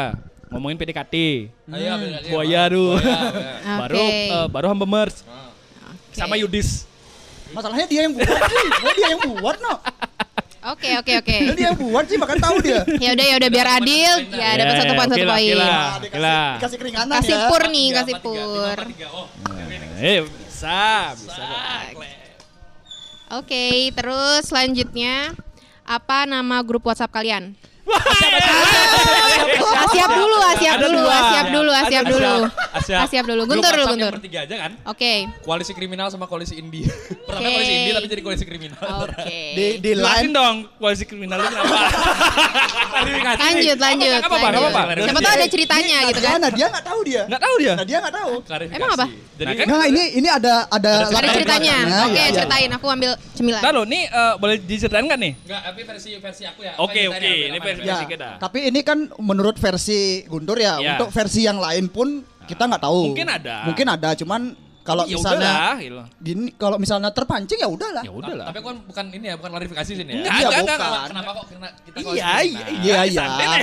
[SPEAKER 4] ngomongin PDKT,
[SPEAKER 2] Ayo, ambil kalian,
[SPEAKER 4] buaya (laughs)
[SPEAKER 2] Pak. Iya, (laughs) Buaya,
[SPEAKER 4] tuh,
[SPEAKER 2] buaya.
[SPEAKER 5] Oke.
[SPEAKER 4] baru eh, baru hamba merch, sama Yudis.
[SPEAKER 3] Masalahnya dia yang buat sih. Malah dia yang buat no.
[SPEAKER 5] Oke oke oke.
[SPEAKER 3] Malah dia yang buat sih makanya tahu dia.
[SPEAKER 5] Ya udah ya udah biar adil. Ya dapat satu poin satu poin.
[SPEAKER 3] Nah, dikasih, dikasih keringanan
[SPEAKER 5] Kasih
[SPEAKER 3] ya.
[SPEAKER 5] pur nih, kasih pur.
[SPEAKER 4] Eh, bisa, bisa.
[SPEAKER 5] Oke, terus selanjutnya apa nama grup WhatsApp kalian? Ah, siap dulu, ah, siap
[SPEAKER 2] Ada
[SPEAKER 5] dulu,
[SPEAKER 2] dua.
[SPEAKER 5] ah, siap dulu, ah, siap dulu. Ah, siap dulu.
[SPEAKER 2] Grup
[SPEAKER 5] Guntur dulu,
[SPEAKER 2] WhatsApp yang
[SPEAKER 5] Guntur.
[SPEAKER 2] bertiga aja kan?
[SPEAKER 5] Oke.
[SPEAKER 2] Koalisi kriminal sama koalisi Indi. (laughs) Pertama
[SPEAKER 5] Oke.
[SPEAKER 2] koalisi Indi tapi jadi koalisi kriminal. (laughs)
[SPEAKER 5] Oke.
[SPEAKER 3] Di di
[SPEAKER 4] Jelasin
[SPEAKER 3] line
[SPEAKER 4] dong koalisi kriminal itu
[SPEAKER 3] (laughs)
[SPEAKER 4] kenapa? Klarifikasi.
[SPEAKER 5] Lanjut, lanjut.
[SPEAKER 4] Apa apa
[SPEAKER 5] lanjut.
[SPEAKER 4] apa?
[SPEAKER 5] Siapa tahu ada ceritanya
[SPEAKER 3] Ini
[SPEAKER 5] gitu kan.
[SPEAKER 3] Nah, dia enggak tahu dia.
[SPEAKER 4] Enggak tahu dia.
[SPEAKER 3] Nah, dia enggak tahu.
[SPEAKER 2] Klarifikasi.
[SPEAKER 5] Emang apa?
[SPEAKER 2] Jadi
[SPEAKER 4] Nah, kan-
[SPEAKER 3] Enggak, ini ini ada ada
[SPEAKER 5] Ada
[SPEAKER 3] latar
[SPEAKER 5] ceritanya.
[SPEAKER 3] belakangnya,
[SPEAKER 5] Oke,
[SPEAKER 3] ya, ya.
[SPEAKER 5] ceritain aku ambil cemilan.
[SPEAKER 4] Lalu nih eh, boleh diceritain nggak nih?
[SPEAKER 2] enggak tapi versi versi aku ya.
[SPEAKER 4] Oke,
[SPEAKER 2] Apa yang
[SPEAKER 4] oke,
[SPEAKER 2] ditanya,
[SPEAKER 4] ini
[SPEAKER 2] apa yang
[SPEAKER 4] versi-
[SPEAKER 2] ditanya?
[SPEAKER 3] Ya,
[SPEAKER 4] Masih kena.
[SPEAKER 3] tapi ini kan menurut versi Guntur ya,
[SPEAKER 4] Ya.
[SPEAKER 3] untuk versi yang lain pun kita nggak tahu.
[SPEAKER 4] Mungkin ada.
[SPEAKER 3] Mungkin ada, cuman kalau
[SPEAKER 4] Ya
[SPEAKER 3] misalnya
[SPEAKER 4] udahlah, gitu.
[SPEAKER 3] gini, kalau misalnya terpancing ya udahlah.
[SPEAKER 4] Ya udahlah.
[SPEAKER 2] Tapi kan bukan ini ya, bukan klarifikasi sini ya.
[SPEAKER 4] Enggak,
[SPEAKER 3] Iya,
[SPEAKER 4] enggak, enggak,
[SPEAKER 3] bukan.
[SPEAKER 4] enggak.
[SPEAKER 2] Kenapa kok kena kita koalisi
[SPEAKER 4] Iya, iya,
[SPEAKER 2] kriminal?
[SPEAKER 3] Iya iya.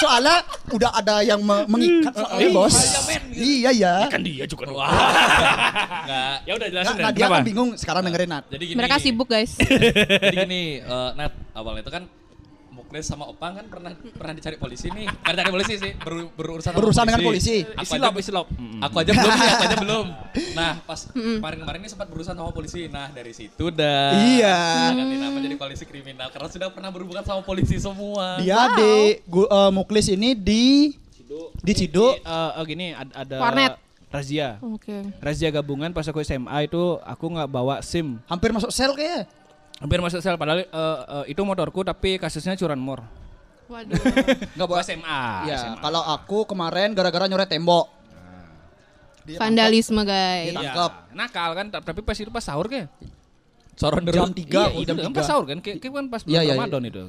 [SPEAKER 3] (laughs) Soalnya udah ada yang me- mengikat
[SPEAKER 4] Hmm.
[SPEAKER 3] soalnya bos. Iya ya.
[SPEAKER 4] Kan dia juga.
[SPEAKER 2] Enggak.
[SPEAKER 4] Ya udah jelasin
[SPEAKER 3] Nggak,
[SPEAKER 4] Ren.
[SPEAKER 3] nah, dia
[SPEAKER 4] Kenapa?
[SPEAKER 3] kan bingung sekarang dengerin Nat.
[SPEAKER 2] Jadi gini.
[SPEAKER 5] Mereka sibuk,
[SPEAKER 3] (laughs)
[SPEAKER 5] guys.
[SPEAKER 2] Jadi gini, eh, Nat, awalnya itu kan Muklis sama Opang kan pernah pernah dicari polisi nih. Bukan dicari polisi sih, beru- berurusan sama
[SPEAKER 3] Berurusan dengan polisi.
[SPEAKER 2] Aku aja,
[SPEAKER 4] Isilop, isilop.
[SPEAKER 2] aku aja belum, nih,
[SPEAKER 3] (laughs)
[SPEAKER 2] aku aja belum. Nah, pas kemarin-kemarin ini sempat berurusan sama polisi. Nah, dari situ dah.
[SPEAKER 3] Iya.
[SPEAKER 2] Ganti nama jadi polisi kriminal karena sudah pernah berhubungan sama polisi
[SPEAKER 4] Hmm.
[SPEAKER 2] semua.
[SPEAKER 3] Dia di gu- eh, Muklis ini di di Cido.
[SPEAKER 4] Jadi, eh, eh, gini ad- ada
[SPEAKER 5] Warnet.
[SPEAKER 4] razia.
[SPEAKER 5] Oke.
[SPEAKER 4] Razia gabungan pas aku SMA itu aku nggak bawa SIM.
[SPEAKER 3] Hampir masuk sel kayaknya.
[SPEAKER 4] Hampir masuk sel padahal eh, eh, itu motorku tapi kasusnya (laughs) curanmor.
[SPEAKER 5] Waduh.
[SPEAKER 4] Enggak bawa SMA.
[SPEAKER 3] Iya,
[SPEAKER 4] SMA.
[SPEAKER 3] kalau aku kemarin gara-gara nyoret tembok.
[SPEAKER 5] Vandalisme, guys.
[SPEAKER 4] Iya,
[SPEAKER 3] Tangkap.
[SPEAKER 4] Nakal kan ta- tapi pas itu pas sahur kayak.
[SPEAKER 2] Soron deru.
[SPEAKER 3] Jam 3
[SPEAKER 4] Iya,
[SPEAKER 3] oh,
[SPEAKER 4] itu
[SPEAKER 3] jam 3.
[SPEAKER 4] kan pas sahur kan kayak kayak kan pas
[SPEAKER 3] Iya,
[SPEAKER 4] bulan
[SPEAKER 3] iya, iya.
[SPEAKER 4] Ramadan itu.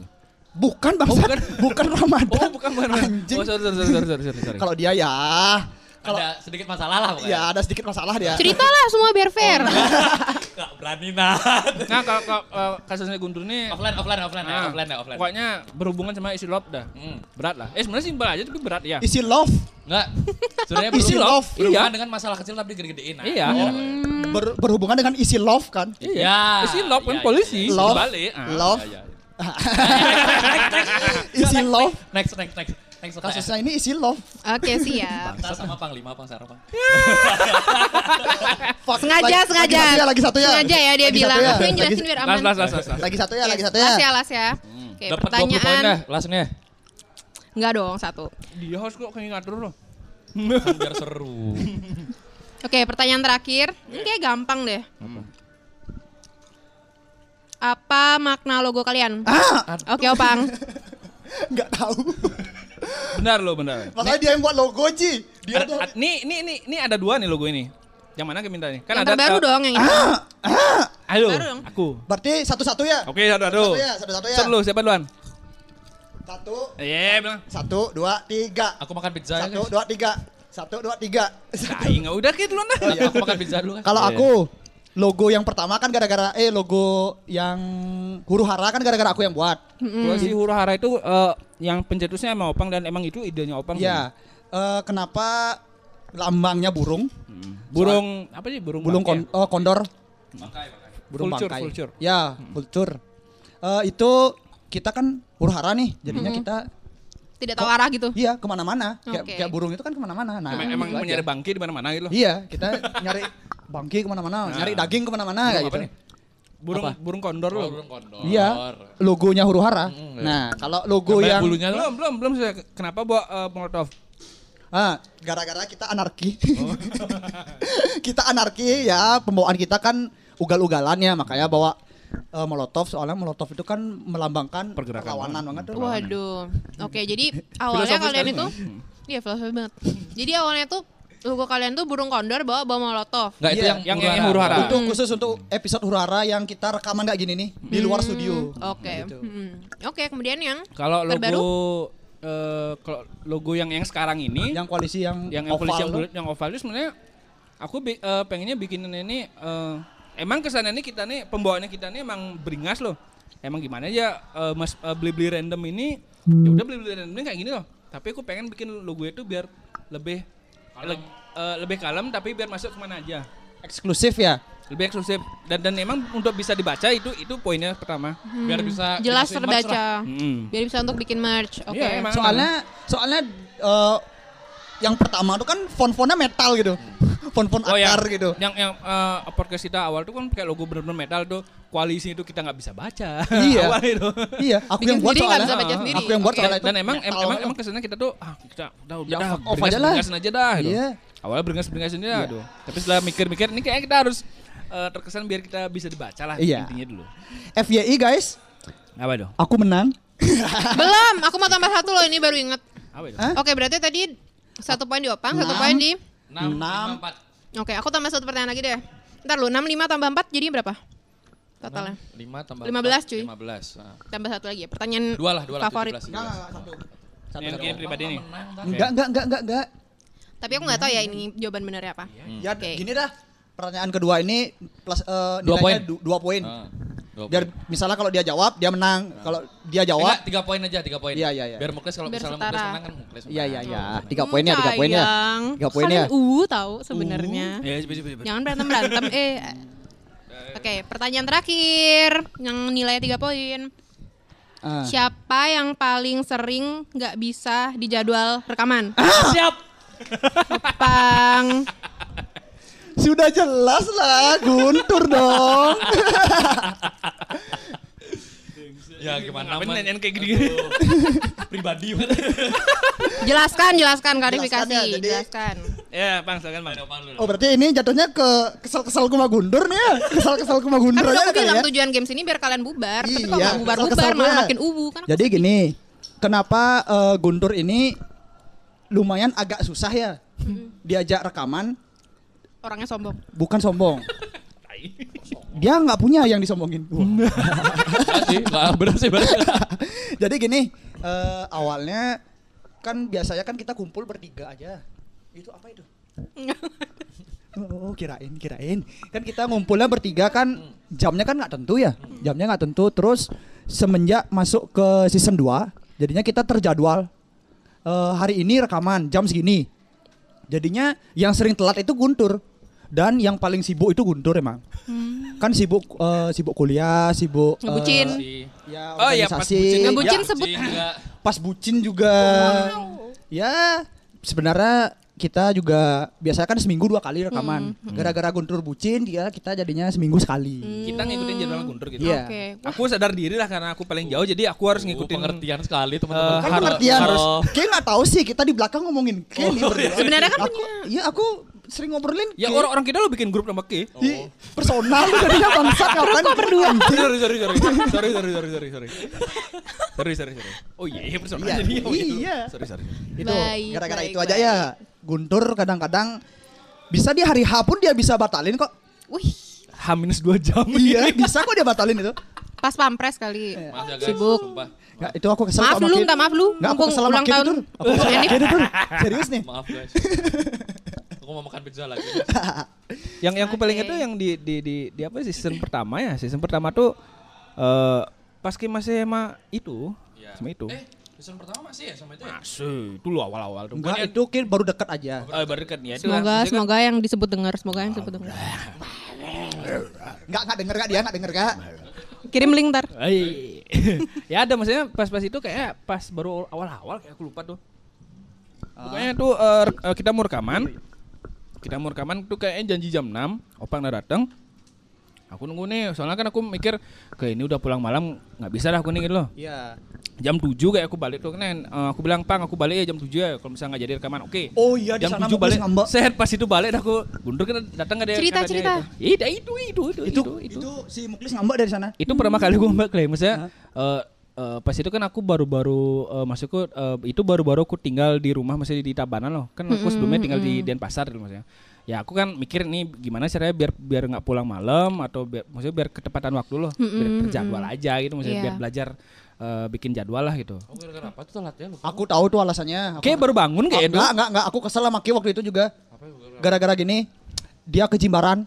[SPEAKER 3] Bukan Bang. bukan. (laughs) bukan Ramadan.
[SPEAKER 4] Oh, bukan bukan. bukan.
[SPEAKER 3] Anjing.
[SPEAKER 4] Oh, sorry sorry sorry sorry sorry. sorry.
[SPEAKER 3] Kalau dia ya, kalau
[SPEAKER 2] Ada sedikit masalah lah pokoknya.
[SPEAKER 3] ya ada sedikit masalah dia.
[SPEAKER 5] Ceritalah semua biar fair.
[SPEAKER 3] Oh,
[SPEAKER 2] Enggak berani Nat. (laughs)
[SPEAKER 4] Nah, kalau kalau, eh, kasusnya Guntur nih
[SPEAKER 2] Offline, offline, offline, ya,
[SPEAKER 3] Ah.
[SPEAKER 4] nah,
[SPEAKER 2] offline, ya, offline.
[SPEAKER 4] Pokoknya berhubungan sama isi lop dah.
[SPEAKER 2] Hmm.
[SPEAKER 4] Berat lah. Eh sebenarnya simpel aja tapi berat ya.
[SPEAKER 3] Isi love
[SPEAKER 2] Enggak. Sebenarnya
[SPEAKER 3] Isi
[SPEAKER 2] berhubungan-
[SPEAKER 3] love,
[SPEAKER 2] berhubungan Iya, dengan masalah kecil tapi Nah, digede-gedein. Nat.
[SPEAKER 4] Iya.
[SPEAKER 2] (laughs)
[SPEAKER 3] ber- berhubungan dengan isi love kan?
[SPEAKER 2] Ya.
[SPEAKER 4] Isi lop
[SPEAKER 2] Iya,
[SPEAKER 4] kan polisi.
[SPEAKER 3] Love,
[SPEAKER 4] Balik. Ah.
[SPEAKER 3] love. isi love.
[SPEAKER 2] Next, next, next. Next
[SPEAKER 3] (laughs) Kasusnya ini isi love.
[SPEAKER 5] Oke, siap.
[SPEAKER 2] Kita sama Panglima, Pang Sarah, Pang.
[SPEAKER 3] (laughs) Fuck,
[SPEAKER 5] Sengaja,
[SPEAKER 3] lagi-
[SPEAKER 5] sengaja.
[SPEAKER 3] Lagi satu ya, lagi satu ya.
[SPEAKER 5] Sengaja ya dia
[SPEAKER 3] Lagi
[SPEAKER 5] bilang.
[SPEAKER 3] satu ya.
[SPEAKER 5] Aku yang
[SPEAKER 3] Lagi-
[SPEAKER 5] jelasin biar aman.
[SPEAKER 4] Las las las las. las.
[SPEAKER 3] Lagi satu ya, lagi satu ya. Hmm.
[SPEAKER 5] Las ya, las ya. Oke,
[SPEAKER 2] Dapat 20 poin
[SPEAKER 5] pertanyaan.
[SPEAKER 2] dah, lasnya.
[SPEAKER 5] Enggak dong, satu.
[SPEAKER 4] Dia harus kok kayak ngatur loh.
[SPEAKER 2] Kan Biar seru.
[SPEAKER 5] Oke, pertanyaan terakhir. Ini kayak gampang deh.
[SPEAKER 3] Hmm.
[SPEAKER 5] Apa makna logo kalian?
[SPEAKER 3] Ah.
[SPEAKER 5] Oke, Opang.
[SPEAKER 3] Enggak tahu.
[SPEAKER 4] (laughs)
[SPEAKER 3] (laughs)
[SPEAKER 4] Benar loh, benar.
[SPEAKER 3] Makanya dia yang buat logo, Ci. Dia Iya tuh.
[SPEAKER 4] Ada- ad- nih, nih, nih, nih ada dua nih logo ini. Yang mana kita minta nih? Kan
[SPEAKER 5] yang
[SPEAKER 4] ada
[SPEAKER 5] terbaru
[SPEAKER 4] eh,
[SPEAKER 5] dong yang ini.
[SPEAKER 3] Ah.
[SPEAKER 4] Ayo,
[SPEAKER 5] Baru dong.
[SPEAKER 4] aku.
[SPEAKER 3] Berarti satu-satu ya?
[SPEAKER 4] Oke, satu satu.
[SPEAKER 3] Satu ya, satu-satu ya.
[SPEAKER 4] Satu dulu, siapa duluan?
[SPEAKER 3] Satu,
[SPEAKER 4] Iya, bilang.
[SPEAKER 3] satu, dua, tiga.
[SPEAKER 2] Aku makan pizza ya,
[SPEAKER 3] Satu,
[SPEAKER 2] guys.
[SPEAKER 3] dua, tiga. Satu, dua, tiga.
[SPEAKER 4] Tai enggak udah kayak duluan dah.
[SPEAKER 2] Aku makan pizza dulu kan.
[SPEAKER 3] (laughs)
[SPEAKER 4] iya.
[SPEAKER 3] Kalau aku logo yang pertama kan gara-gara eh logo yang huru hara kan gara-gara aku yang buat.
[SPEAKER 4] Gua si huru hara itu eh, yang pencetusnya emang Opang dan emang itu idenya Opang.
[SPEAKER 3] Iya. Eh, kenapa lambangnya burung?
[SPEAKER 4] Hmm. Burung apa sih? Burung
[SPEAKER 3] Burung kon-
[SPEAKER 4] bangkai
[SPEAKER 3] oh, kondor. Burung
[SPEAKER 4] Vulture,
[SPEAKER 3] bangkai.
[SPEAKER 4] vulture. Hmm.
[SPEAKER 3] Ya, vulture. Eh, itu kita kan huru hara nih, jadinya kita
[SPEAKER 5] Tidak tahu arah gitu.
[SPEAKER 3] iya kemana-mana. Kayak,
[SPEAKER 5] Oke.
[SPEAKER 3] kayak burung itu kan kemana-mana. Nah,
[SPEAKER 4] ya? Emang, emang
[SPEAKER 3] gitu
[SPEAKER 4] mau
[SPEAKER 3] aja.
[SPEAKER 4] nyari bangkai di mana-mana gitu loh.
[SPEAKER 3] Iya, kita nyari bangki kemana-mana,
[SPEAKER 4] Nah.
[SPEAKER 3] nyari daging kemana-mana kayak gitu.
[SPEAKER 4] Burung burung kondor loh.
[SPEAKER 2] Oh, Burung kondor.
[SPEAKER 3] Iya, logonya huru hara.
[SPEAKER 4] Hmm, iya.
[SPEAKER 3] Nah, kalau logo
[SPEAKER 2] Gambar
[SPEAKER 3] yang
[SPEAKER 2] bulunya tuh.
[SPEAKER 4] Belum, belum, belum. saya- Kenapa bawa eh, Molotov?
[SPEAKER 3] Ah, gara-gara kita anarki.
[SPEAKER 4] Oh.
[SPEAKER 3] (laughs) kita anarki ya, pembawaan kita kan ugal-ugalan ya, makanya bawa eh, molotov soalnya molotov itu kan melambangkan
[SPEAKER 4] Pergerakan
[SPEAKER 3] perlawanan banget tuh.
[SPEAKER 5] Waduh. Oke,
[SPEAKER 2] (laughs)
[SPEAKER 5] jadi awalnya
[SPEAKER 4] Filosofis
[SPEAKER 5] kalian
[SPEAKER 4] sekali
[SPEAKER 5] itu
[SPEAKER 2] Hmm.
[SPEAKER 5] Iya, filosofi banget. Jadi awalnya tuh logo kalian tuh burung kondor bawa bawa molotov.
[SPEAKER 2] Enggak itu
[SPEAKER 3] Iya,
[SPEAKER 2] yang
[SPEAKER 4] yang- yang huru hara.
[SPEAKER 3] Untuk khusus untuk episode hurara yang kita rekaman kayak gini nih di luar studio.
[SPEAKER 2] Hmm,
[SPEAKER 5] Oke.
[SPEAKER 3] Gitu.
[SPEAKER 5] Mm. Oke, kemudian yang
[SPEAKER 4] Kalau
[SPEAKER 5] terbaru?
[SPEAKER 4] logo eh, kalau logo yang yang sekarang ini
[SPEAKER 3] Yang koalisi yang
[SPEAKER 4] yang yang polisi yang
[SPEAKER 3] oval tuh.
[SPEAKER 4] bulat yang oval itu sebenarnya aku bi- eh, pengennya bikinin ini eh, emang kesannya ini kita nih pembawaannya kita nih emang beringas loh emang gimana ya eh, mas eh, beli-beli random ini ya udah beli-beli random ini kayak gini loh tapi aku pengen bikin logo itu biar lebih le- eh, lebih kalem tapi biar masuk kemana aja
[SPEAKER 3] eksklusif ya.
[SPEAKER 4] lebih eksklusif dan dan emang untuk bisa dibaca itu itu poinnya pertama
[SPEAKER 2] biar bisa
[SPEAKER 5] Hmm. Jelas
[SPEAKER 2] dimasukin merch lah. Hmm.
[SPEAKER 5] terbaca. Biar bisa untuk bikin merch. Oke.
[SPEAKER 4] Iya, emang.
[SPEAKER 3] Soalnya soalnya eh, yang pertama tuh kan font-fontnya metal gitu. (laughs) Font-font
[SPEAKER 4] Oh ya,
[SPEAKER 3] akar gitu.
[SPEAKER 4] yang yang eh, podcast kita awal tuh kan pakai logo bener-bener metal tuh koalisi itu kita nggak bisa baca.
[SPEAKER 3] Iya.
[SPEAKER 4] (laughs) awal itu.
[SPEAKER 3] Iya, aku
[SPEAKER 5] Bikin
[SPEAKER 3] yang buat
[SPEAKER 5] sendiri nggak
[SPEAKER 3] soalnya.
[SPEAKER 5] bisa baca sendiri.
[SPEAKER 3] Aku yang buat
[SPEAKER 5] Oke.
[SPEAKER 3] soalnya.
[SPEAKER 4] Dan, dan emang em-
[SPEAKER 3] metal
[SPEAKER 4] emang
[SPEAKER 3] banget.
[SPEAKER 4] emang kesannya kita tuh ah kita udah udah
[SPEAKER 3] Ya,
[SPEAKER 4] dah,
[SPEAKER 3] fuck off
[SPEAKER 4] beringas-
[SPEAKER 3] aja lah.
[SPEAKER 4] beringasin aja dah. gitu.
[SPEAKER 3] Iya.
[SPEAKER 4] Awalnya beringas beringasin aja. Aduh. Tapi setelah mikir-mikir ini kayaknya kita harus eh, terkesan biar kita bisa dibaca lah
[SPEAKER 3] Iya.
[SPEAKER 4] intinya dulu.
[SPEAKER 3] FYI guys,
[SPEAKER 4] Apa dong?
[SPEAKER 3] aku menang.
[SPEAKER 5] (laughs) Belum, aku mau tambah satu loh ini baru inget.
[SPEAKER 4] Apa dong?
[SPEAKER 3] Hah?
[SPEAKER 5] Oke, berarti tadi satu poin di Opang,
[SPEAKER 2] Nah.
[SPEAKER 5] satu poin di
[SPEAKER 2] Enam,
[SPEAKER 3] Enam.
[SPEAKER 2] lima, empat.
[SPEAKER 5] Oke, aku tambah satu pertanyaan lagi deh. Ntar lu 65 tambah 4 jadi berapa? Totalnya.
[SPEAKER 2] Lima tambah
[SPEAKER 5] 15,
[SPEAKER 2] empat,
[SPEAKER 5] cuy.
[SPEAKER 2] 15. ah.
[SPEAKER 5] Tambah satu lagi ya. Pertanyaan
[SPEAKER 2] Dua lah, dua lah.
[SPEAKER 5] favorit.
[SPEAKER 2] 17,
[SPEAKER 3] Enggak,
[SPEAKER 2] 17.
[SPEAKER 3] enggak, satu.
[SPEAKER 4] Yang ini pribadi nih.
[SPEAKER 3] Enggak, enggak, enggak, enggak, enggak.
[SPEAKER 5] Tapi aku nggak tahu ya ini jawaban benernya apa.
[SPEAKER 2] Iya.
[SPEAKER 3] Ya
[SPEAKER 5] Oke.
[SPEAKER 3] gini dah. Pertanyaan kedua ini plus eh,
[SPEAKER 2] Dua
[SPEAKER 3] nilainya
[SPEAKER 2] poin.
[SPEAKER 3] du- dua poin.
[SPEAKER 2] Ah, dua
[SPEAKER 3] Biar
[SPEAKER 2] poin.
[SPEAKER 3] misalnya kalau dia jawab, dia menang. Kalau
[SPEAKER 2] Enggak,
[SPEAKER 3] dia jawab,
[SPEAKER 2] tiga poin aja, tiga poin.
[SPEAKER 3] Iya, iya, iya.
[SPEAKER 2] Biar Mukles kalau
[SPEAKER 5] Biar
[SPEAKER 2] misalnya
[SPEAKER 5] setara.
[SPEAKER 2] Mukles menang kan Mukles.
[SPEAKER 3] Iya iya iya, tiga
[SPEAKER 5] Hmm,
[SPEAKER 3] poin ya, tiga poin ya.
[SPEAKER 5] sayang.
[SPEAKER 3] Tiga poin ya.
[SPEAKER 5] Kalian uh tahu sebenarnya.
[SPEAKER 2] Iya,
[SPEAKER 4] Ya, coba, coba, coba.
[SPEAKER 5] Jangan berantem
[SPEAKER 2] (laughs)
[SPEAKER 5] berantem. eh. Oke, pertanyaan terakhir yang nilainya tiga poin.
[SPEAKER 3] Ah.
[SPEAKER 5] Siapa yang paling sering nggak bisa dijadwal rekaman?
[SPEAKER 3] Ah!
[SPEAKER 4] Siap.
[SPEAKER 5] Opang.
[SPEAKER 3] Sudah jelas lah, Guntur dong. (laughs)
[SPEAKER 2] Ya gimana
[SPEAKER 4] Ngapain
[SPEAKER 2] Man?
[SPEAKER 4] nanyain kayak gini-gini?
[SPEAKER 2] Pribadi banget.
[SPEAKER 5] Jelaskan, jelaskan klarifikasi,
[SPEAKER 3] Jelaskan ya, jadi-
[SPEAKER 5] jelaskan.
[SPEAKER 4] (laughs) Ya, Bang, silakan Bang.
[SPEAKER 3] Oh berarti ini jatuhnya ke kesel-kesel gue sama Guntur nih ya? Kesel-kesel gue sama Guntur
[SPEAKER 5] Kan
[SPEAKER 3] aja
[SPEAKER 5] aku
[SPEAKER 3] kali
[SPEAKER 5] bilang
[SPEAKER 3] ya?
[SPEAKER 5] tujuan games ini biar kalian bubar, tapi
[SPEAKER 3] Iya,
[SPEAKER 5] kalau nggak bubar-bubar
[SPEAKER 3] kesel-kesel Ya.
[SPEAKER 5] malah
[SPEAKER 3] gue.
[SPEAKER 5] makin ubu kan. aku
[SPEAKER 3] Jadi
[SPEAKER 5] sedih.
[SPEAKER 3] gini, kenapa eh, Guntur ini lumayan agak susah ya diajak rekaman,
[SPEAKER 5] orangnya sombong.
[SPEAKER 3] bukan sombong. Dia nggak punya yang disombongin.
[SPEAKER 2] sih, enggak benar sih benar.
[SPEAKER 3] (laughs) Jadi gini, eh, awalnya kan biasanya kan kita kumpul bertiga aja. Itu apa itu? Oh, kirain, kirain. Kan kita ngumpulnya bertiga kan jamnya kan nggak tentu ya. Jamnya nggak tentu. Terus semenjak masuk ke season 2, jadinya kita terjadwal. Eh, hari ini rekaman jam segini. Jadinya yang sering telat itu Guntur dan yang paling sibuk itu Guntur emang. Kan sibuk eh, sibuk kuliah, sibuk eh,
[SPEAKER 5] Ngebucin.
[SPEAKER 3] ya,
[SPEAKER 4] Oh, iya, pas bucin.
[SPEAKER 3] organisasi.
[SPEAKER 5] Ngebucin
[SPEAKER 3] Ya,
[SPEAKER 5] sebut
[SPEAKER 2] Enggak.
[SPEAKER 3] pas bucin juga. Ya, sebenarnya kita juga biasanya kan seminggu dua kali rekaman. Gara-gara guntur bucin dia kita jadinya seminggu sekali.
[SPEAKER 4] Kita ngikutin jadwal Guntur gitu.
[SPEAKER 3] Iya.
[SPEAKER 5] Oke.
[SPEAKER 4] Aku sadar diri lah karena aku paling jauh jadi aku harus
[SPEAKER 2] Ngikutin
[SPEAKER 4] ngikutin
[SPEAKER 2] pengertian sekali teman-teman.
[SPEAKER 3] Kan
[SPEAKER 4] Eh, Harus-
[SPEAKER 3] pengertian.
[SPEAKER 2] harus-
[SPEAKER 3] Kayak nggak tahu sih kita di belakang ngomongin. Kayak nih berdua.
[SPEAKER 5] Sebenarnya kan
[SPEAKER 3] aku, Iya aku sering ngobrolin.
[SPEAKER 4] Ya
[SPEAKER 3] kayak
[SPEAKER 4] orang-orang kita lo bikin grup nama Ki.
[SPEAKER 3] di personal (laughs) lu jadinya bangsa kapan berdua.
[SPEAKER 4] sorry sorry sorry sorry sorry sorry sorry sorry sorry sorry sorry oh iya iya personal
[SPEAKER 3] Iya,
[SPEAKER 4] jadi oh
[SPEAKER 3] iya.
[SPEAKER 4] sorry sorry
[SPEAKER 3] Itu
[SPEAKER 5] Baik,
[SPEAKER 3] gara-gara
[SPEAKER 5] baik,
[SPEAKER 3] itu aja
[SPEAKER 5] baik.
[SPEAKER 3] ya. Guntur kadang-kadang bisa di hari H pun dia bisa batalin kok.
[SPEAKER 5] Wih,
[SPEAKER 4] h minus dua jam
[SPEAKER 3] Iya, bisa kok dia batalin itu.
[SPEAKER 5] pas pampres kali.
[SPEAKER 3] Iya.
[SPEAKER 2] Maaf ya guys,
[SPEAKER 5] Sibuk.
[SPEAKER 2] sumpah.
[SPEAKER 3] Nggak, itu aku kesel
[SPEAKER 5] Maaf
[SPEAKER 3] sama
[SPEAKER 5] lu,
[SPEAKER 3] Kid.
[SPEAKER 5] minta maaf lu.
[SPEAKER 3] Nggak, aku
[SPEAKER 5] Mumpung
[SPEAKER 3] kesel sama
[SPEAKER 5] ulang
[SPEAKER 3] Kid
[SPEAKER 5] tahun.
[SPEAKER 3] itu, Tur. Aku kesel sama
[SPEAKER 5] Ini-
[SPEAKER 3] Kid itu,
[SPEAKER 5] (laughs)
[SPEAKER 3] Tur. Serius (laughs) nih.
[SPEAKER 2] Maaf guys. Aku mau makan pizza lagi.
[SPEAKER 4] yang yang aku paling
[SPEAKER 5] Oke.
[SPEAKER 4] itu yang di di di, di apa sih, season pertama ya season pertama tuh eh pas Ki masih sama itu
[SPEAKER 2] Iya.
[SPEAKER 4] sama itu
[SPEAKER 2] Eh, season pertama masih ya sama itu. ya?
[SPEAKER 4] masih itu lo awal awal tuh
[SPEAKER 3] Enggak, itu Kid baru dekat aja.
[SPEAKER 4] eh baru kan ya itu lah.
[SPEAKER 5] Semoga
[SPEAKER 4] Maksudnya kan-
[SPEAKER 5] semoga yang disebut dengar, semoga yang disebut dengar.
[SPEAKER 3] Enggak, enggak denger, enggak dia, enggak denger, enggak.
[SPEAKER 5] Kirim link ntar.
[SPEAKER 4] Eh, (laughs) ya ada maksudnya pas-pas itu kayak pas baru awal-awal kayak aku lupa tuh.
[SPEAKER 3] Ah.
[SPEAKER 4] Pokoknya tuh eh, rek- eh, kita mau rekaman. Kita mau rekaman tuh kayaknya janji jam 6, Opang udah datang. Aku nunggu nih, soalnya kan aku mikir kayak ini udah pulang malam, nggak bisa lah aku nih gitu loh.
[SPEAKER 3] Iya.
[SPEAKER 4] Jam 7 kayak aku balik tuh kan eh, aku bilang, "Pang, aku balik ya jam 7 ya kalau misalnya nggak jadi rekaman." Oke.
[SPEAKER 3] Oh iya, di
[SPEAKER 4] jam
[SPEAKER 3] sana
[SPEAKER 4] 7
[SPEAKER 3] bagus
[SPEAKER 4] balik.
[SPEAKER 3] ngambek.
[SPEAKER 4] Set pas itu balik dah aku gundur kan datang nggak dia.
[SPEAKER 5] Cerita,
[SPEAKER 4] kata dia
[SPEAKER 5] cerita.
[SPEAKER 4] itu. Iya, itu itu itu
[SPEAKER 3] Itu, itu, si Muklis ngambek dari sana.
[SPEAKER 4] itu pertama kali gue mbak klaim maksudnya eh, eh, pas itu kan aku baru-baru eh, maksudku eh, itu baru-baru aku tinggal di rumah masih di Tabanan loh kan aku sebelumnya tinggal di Denpasar dulu maksudnya ya aku kan mikir nih gimana caranya biar biar nggak pulang malam atau biar maksudnya biar ketepatan waktu loh biar terjadwal aja gitu maksudnya
[SPEAKER 5] Iya.
[SPEAKER 4] biar belajar eh, bikin jadwal lah gitu
[SPEAKER 2] Aku gara-gara apa tuh telat ya? Lupa.
[SPEAKER 3] Aku tahu tuh alasannya. Aku-
[SPEAKER 4] Oke baru bangun
[SPEAKER 3] Ah,
[SPEAKER 4] kayak itu
[SPEAKER 3] Enggak, enggak, enggak. Aku kesel sama Ki waktu itu juga. Gara-gara gini, dia ke Jimbaran.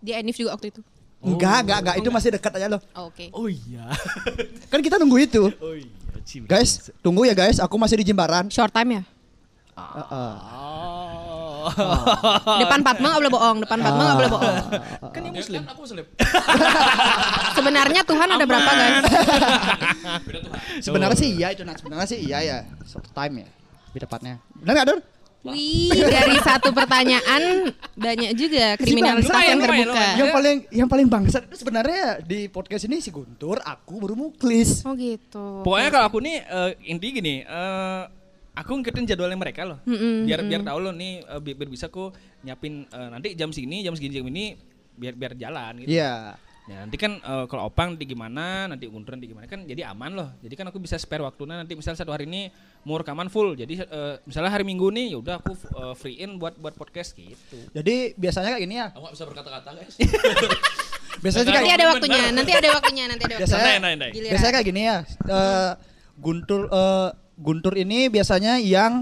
[SPEAKER 5] Dia Enif juga waktu itu.
[SPEAKER 3] Enggak, enggak, enggak. Itu masih dekat aja loh.
[SPEAKER 5] Oh, Oke.
[SPEAKER 4] oh iya
[SPEAKER 3] Kan kita nunggu itu. Guys, tunggu ya guys. Aku masih di Jimbaran.
[SPEAKER 5] Short time ya.
[SPEAKER 3] Heeh.
[SPEAKER 5] Depan Patma nggak boleh bohong, depan Patma nggak boleh bohong.
[SPEAKER 4] Kan dia muslim.
[SPEAKER 2] Iya Aku selip.
[SPEAKER 5] Sebenarnya Tuhan ada berapa guys?
[SPEAKER 3] Sebenarnya sih iya itu nah sebenarnya sih iya ya. Satu time ya. Lebih tepatnya. Nah, Benar enggak, Dur?
[SPEAKER 5] Wih, dari satu pertanyaan banyak juga kriminalisasi
[SPEAKER 4] Lumayan,
[SPEAKER 5] yang
[SPEAKER 4] lumayan,
[SPEAKER 5] terbuka.
[SPEAKER 4] lumayan.
[SPEAKER 3] Yang paling yang paling bangsat itu sebenarnya ya, di podcast ini si Guntur, aku baru muklis.
[SPEAKER 5] Oh gitu.
[SPEAKER 4] Pokoknya kalau aku nih eh, inti gini, eh, aku ngikutin jadwalnya mereka loh.
[SPEAKER 5] Mm-mm,
[SPEAKER 4] biar biar tahu loh nih eh, bi- biar, bisa aku nyiapin eh, nanti jam segini, jam segini jam ini biar biar jalan gitu.
[SPEAKER 3] Iya.
[SPEAKER 4] Ya, nanti kan eh, kalau opang nanti gimana, nanti gunduran nanti gimana kan jadi aman loh. Jadi kan aku bisa spare waktunya nanti misal satu hari ini mau rekaman full. Jadi eh, misalnya hari Minggu nih ya udah aku eh, free in buat buat podcast gitu.
[SPEAKER 3] Jadi biasanya kayak gini ya.
[SPEAKER 2] Aku gak bisa berkata-kata guys.
[SPEAKER 3] (laughs) Biasanya sih
[SPEAKER 5] Nanti
[SPEAKER 4] Iya,
[SPEAKER 3] kayak
[SPEAKER 5] ada waktunya, nanti ada waktunya, nanti ada waktunya.
[SPEAKER 3] biasanya
[SPEAKER 4] Santai, santai.
[SPEAKER 5] Giliran.
[SPEAKER 3] biasanya kayak gini ya. eh, Guntur eh, Guntur ini biasanya yang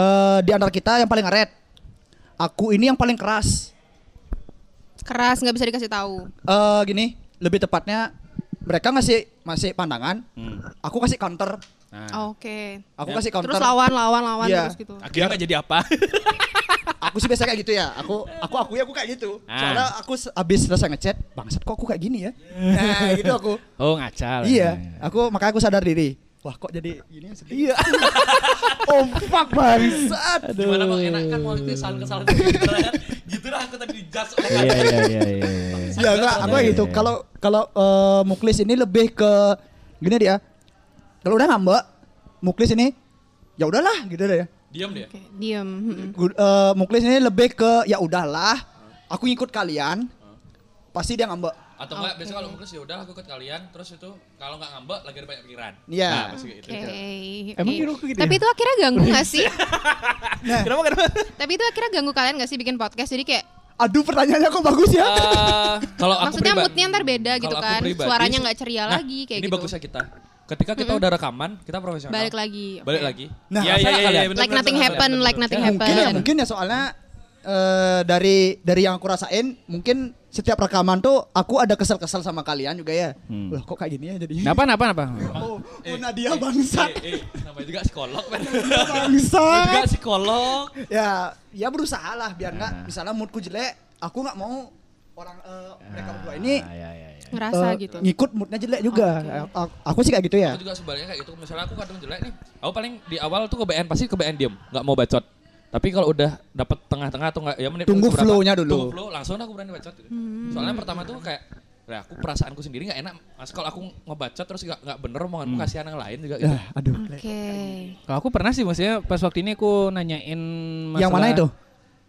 [SPEAKER 3] eh, di antara kita yang paling ngaret. Aku ini yang paling keras.
[SPEAKER 5] Keras nggak bisa dikasih tahu.
[SPEAKER 3] Eh gini, lebih tepatnya mereka ngasih masih pandangan,
[SPEAKER 4] Hmm.
[SPEAKER 3] aku kasih counter,
[SPEAKER 4] Nah,
[SPEAKER 3] Oh.
[SPEAKER 5] Oke.
[SPEAKER 3] aku kasih counter.
[SPEAKER 5] Terus lawan, lawan, lawan
[SPEAKER 3] Iya.
[SPEAKER 5] terus gitu.
[SPEAKER 4] akhirnya nggak jadi apa?
[SPEAKER 3] (laughs) Aku sih biasa kayak gitu ya. Aku aku aku aku kayak gitu.
[SPEAKER 4] Ah.
[SPEAKER 3] Soalnya aku se- abis selesai ngechat, bangsat kok aku kayak gini ya. Nah, gitu aku.
[SPEAKER 4] (laughs) oh ngacal.
[SPEAKER 3] Iya, aku makanya aku sadar diri. Wah, kok jadi gini yang sedih. Iya. (laughs) oh fuck bangsat.
[SPEAKER 2] Gimana bang enak kan mau itu kesalahan kesalahan gitu lah aku tadi di judge orang.
[SPEAKER 4] Iya iya iya iya.
[SPEAKER 3] Ya enggak, aku kayak gitu. Kalau kalau eh, Muklis ini lebih ke gini dia. Kalau udah ngambek, Muklis ini ya udahlah gitu deh ya.
[SPEAKER 2] Diam dia.
[SPEAKER 5] Oke, diem. Mm-mm.
[SPEAKER 3] Gu- eh, Muklis ini lebih ke ya udahlah, aku ngikut kalian. Pasti dia ngambek.
[SPEAKER 2] Atau enggak biasanya kalau ngurus ya udah aku ikut kalian terus itu kalau enggak ngambek lagi ada banyak pikiran.
[SPEAKER 3] Iya.
[SPEAKER 2] Nah, pasti kayak
[SPEAKER 5] Oke.
[SPEAKER 2] gitu.
[SPEAKER 3] Emang
[SPEAKER 5] Oke.
[SPEAKER 3] diri aku gitu
[SPEAKER 5] Tapi
[SPEAKER 3] ya? Nah.
[SPEAKER 5] itu akhirnya ganggu nggak
[SPEAKER 4] (laughs)
[SPEAKER 5] sih?
[SPEAKER 4] Kenapa kenapa?
[SPEAKER 5] Tapi itu akhirnya ganggu kalian nggak sih bikin podcast? Jadi kayak
[SPEAKER 3] Aduh, pertanyaannya kok bagus ya?
[SPEAKER 2] Eh, kalau aku
[SPEAKER 5] maksudnya
[SPEAKER 2] pribadi-
[SPEAKER 5] moodnya ntar beda gitu
[SPEAKER 2] kalau aku
[SPEAKER 5] kan,
[SPEAKER 2] pribadi
[SPEAKER 5] suaranya
[SPEAKER 2] sih-
[SPEAKER 5] nggak ceria
[SPEAKER 2] Nah,
[SPEAKER 5] lagi kayak
[SPEAKER 2] ini
[SPEAKER 5] gitu.
[SPEAKER 2] bagusnya kita. Ketika kita udah rekaman, kita profesional.
[SPEAKER 5] Balik lagi.
[SPEAKER 2] Balik lagi.
[SPEAKER 3] Nah,
[SPEAKER 2] Iya, iya, iya, iya, bener,
[SPEAKER 5] Like
[SPEAKER 2] bener,
[SPEAKER 5] nothing
[SPEAKER 2] bener,
[SPEAKER 5] happen,
[SPEAKER 2] bener,
[SPEAKER 5] like
[SPEAKER 2] bener.
[SPEAKER 5] nothing
[SPEAKER 3] (laughs) mungkin ya,
[SPEAKER 5] happen.
[SPEAKER 3] mungkin ya soalnya eh, dari dari yang aku rasain, mungkin setiap rekaman tuh aku ada kesel-kesel sama kalian juga ya.
[SPEAKER 4] Hmm.
[SPEAKER 3] Loh, kok kayak gini ya jadi?
[SPEAKER 4] Kenapa kenapa kenapa?
[SPEAKER 3] (laughs) Oh, oh Nadia bangsat.
[SPEAKER 2] Eh, eh, namanya juga psikolog, men. Namanya juga
[SPEAKER 3] (laughs) Bangsat.
[SPEAKER 2] psikolog.
[SPEAKER 3] ya, ya berusaha lah biar nggak
[SPEAKER 2] Nah.
[SPEAKER 3] misalnya moodku jelek, aku nggak mau orang eh,
[SPEAKER 2] Nah.
[SPEAKER 3] mereka berdua ini
[SPEAKER 4] Ya ya ya.
[SPEAKER 5] Ngerasa
[SPEAKER 3] eh,
[SPEAKER 5] gitu.
[SPEAKER 3] ngikut moodnya jelek juga. A- a- Aku sih kayak gitu ya.
[SPEAKER 2] Aku juga sebaliknya kayak gitu. Misalnya aku kadang jelek nih, aku paling di awal tuh kebaan pasti kebaan diem, nggak mau bacot. Tapi kalau udah dapet tengah-tengah atau nggak, ya menit
[SPEAKER 3] Tunggu
[SPEAKER 2] seberapa,
[SPEAKER 3] flow-nya dulu. Hmm.
[SPEAKER 2] Tunggu flow, langsung aku berani bacot. Gitu. Soalnya pertama tuh kayak, ya aku perasaanku sendiri nggak enak. Mas kalau aku ngebacot terus nggak nggak bener omonganku kasihan yang lain juga gitu.
[SPEAKER 3] Hmm. Ya, aduh.
[SPEAKER 5] Oke.
[SPEAKER 4] Kalau aku pernah sih maksudnya pas waktu ini aku nanyain masalah,
[SPEAKER 3] Yang mana itu?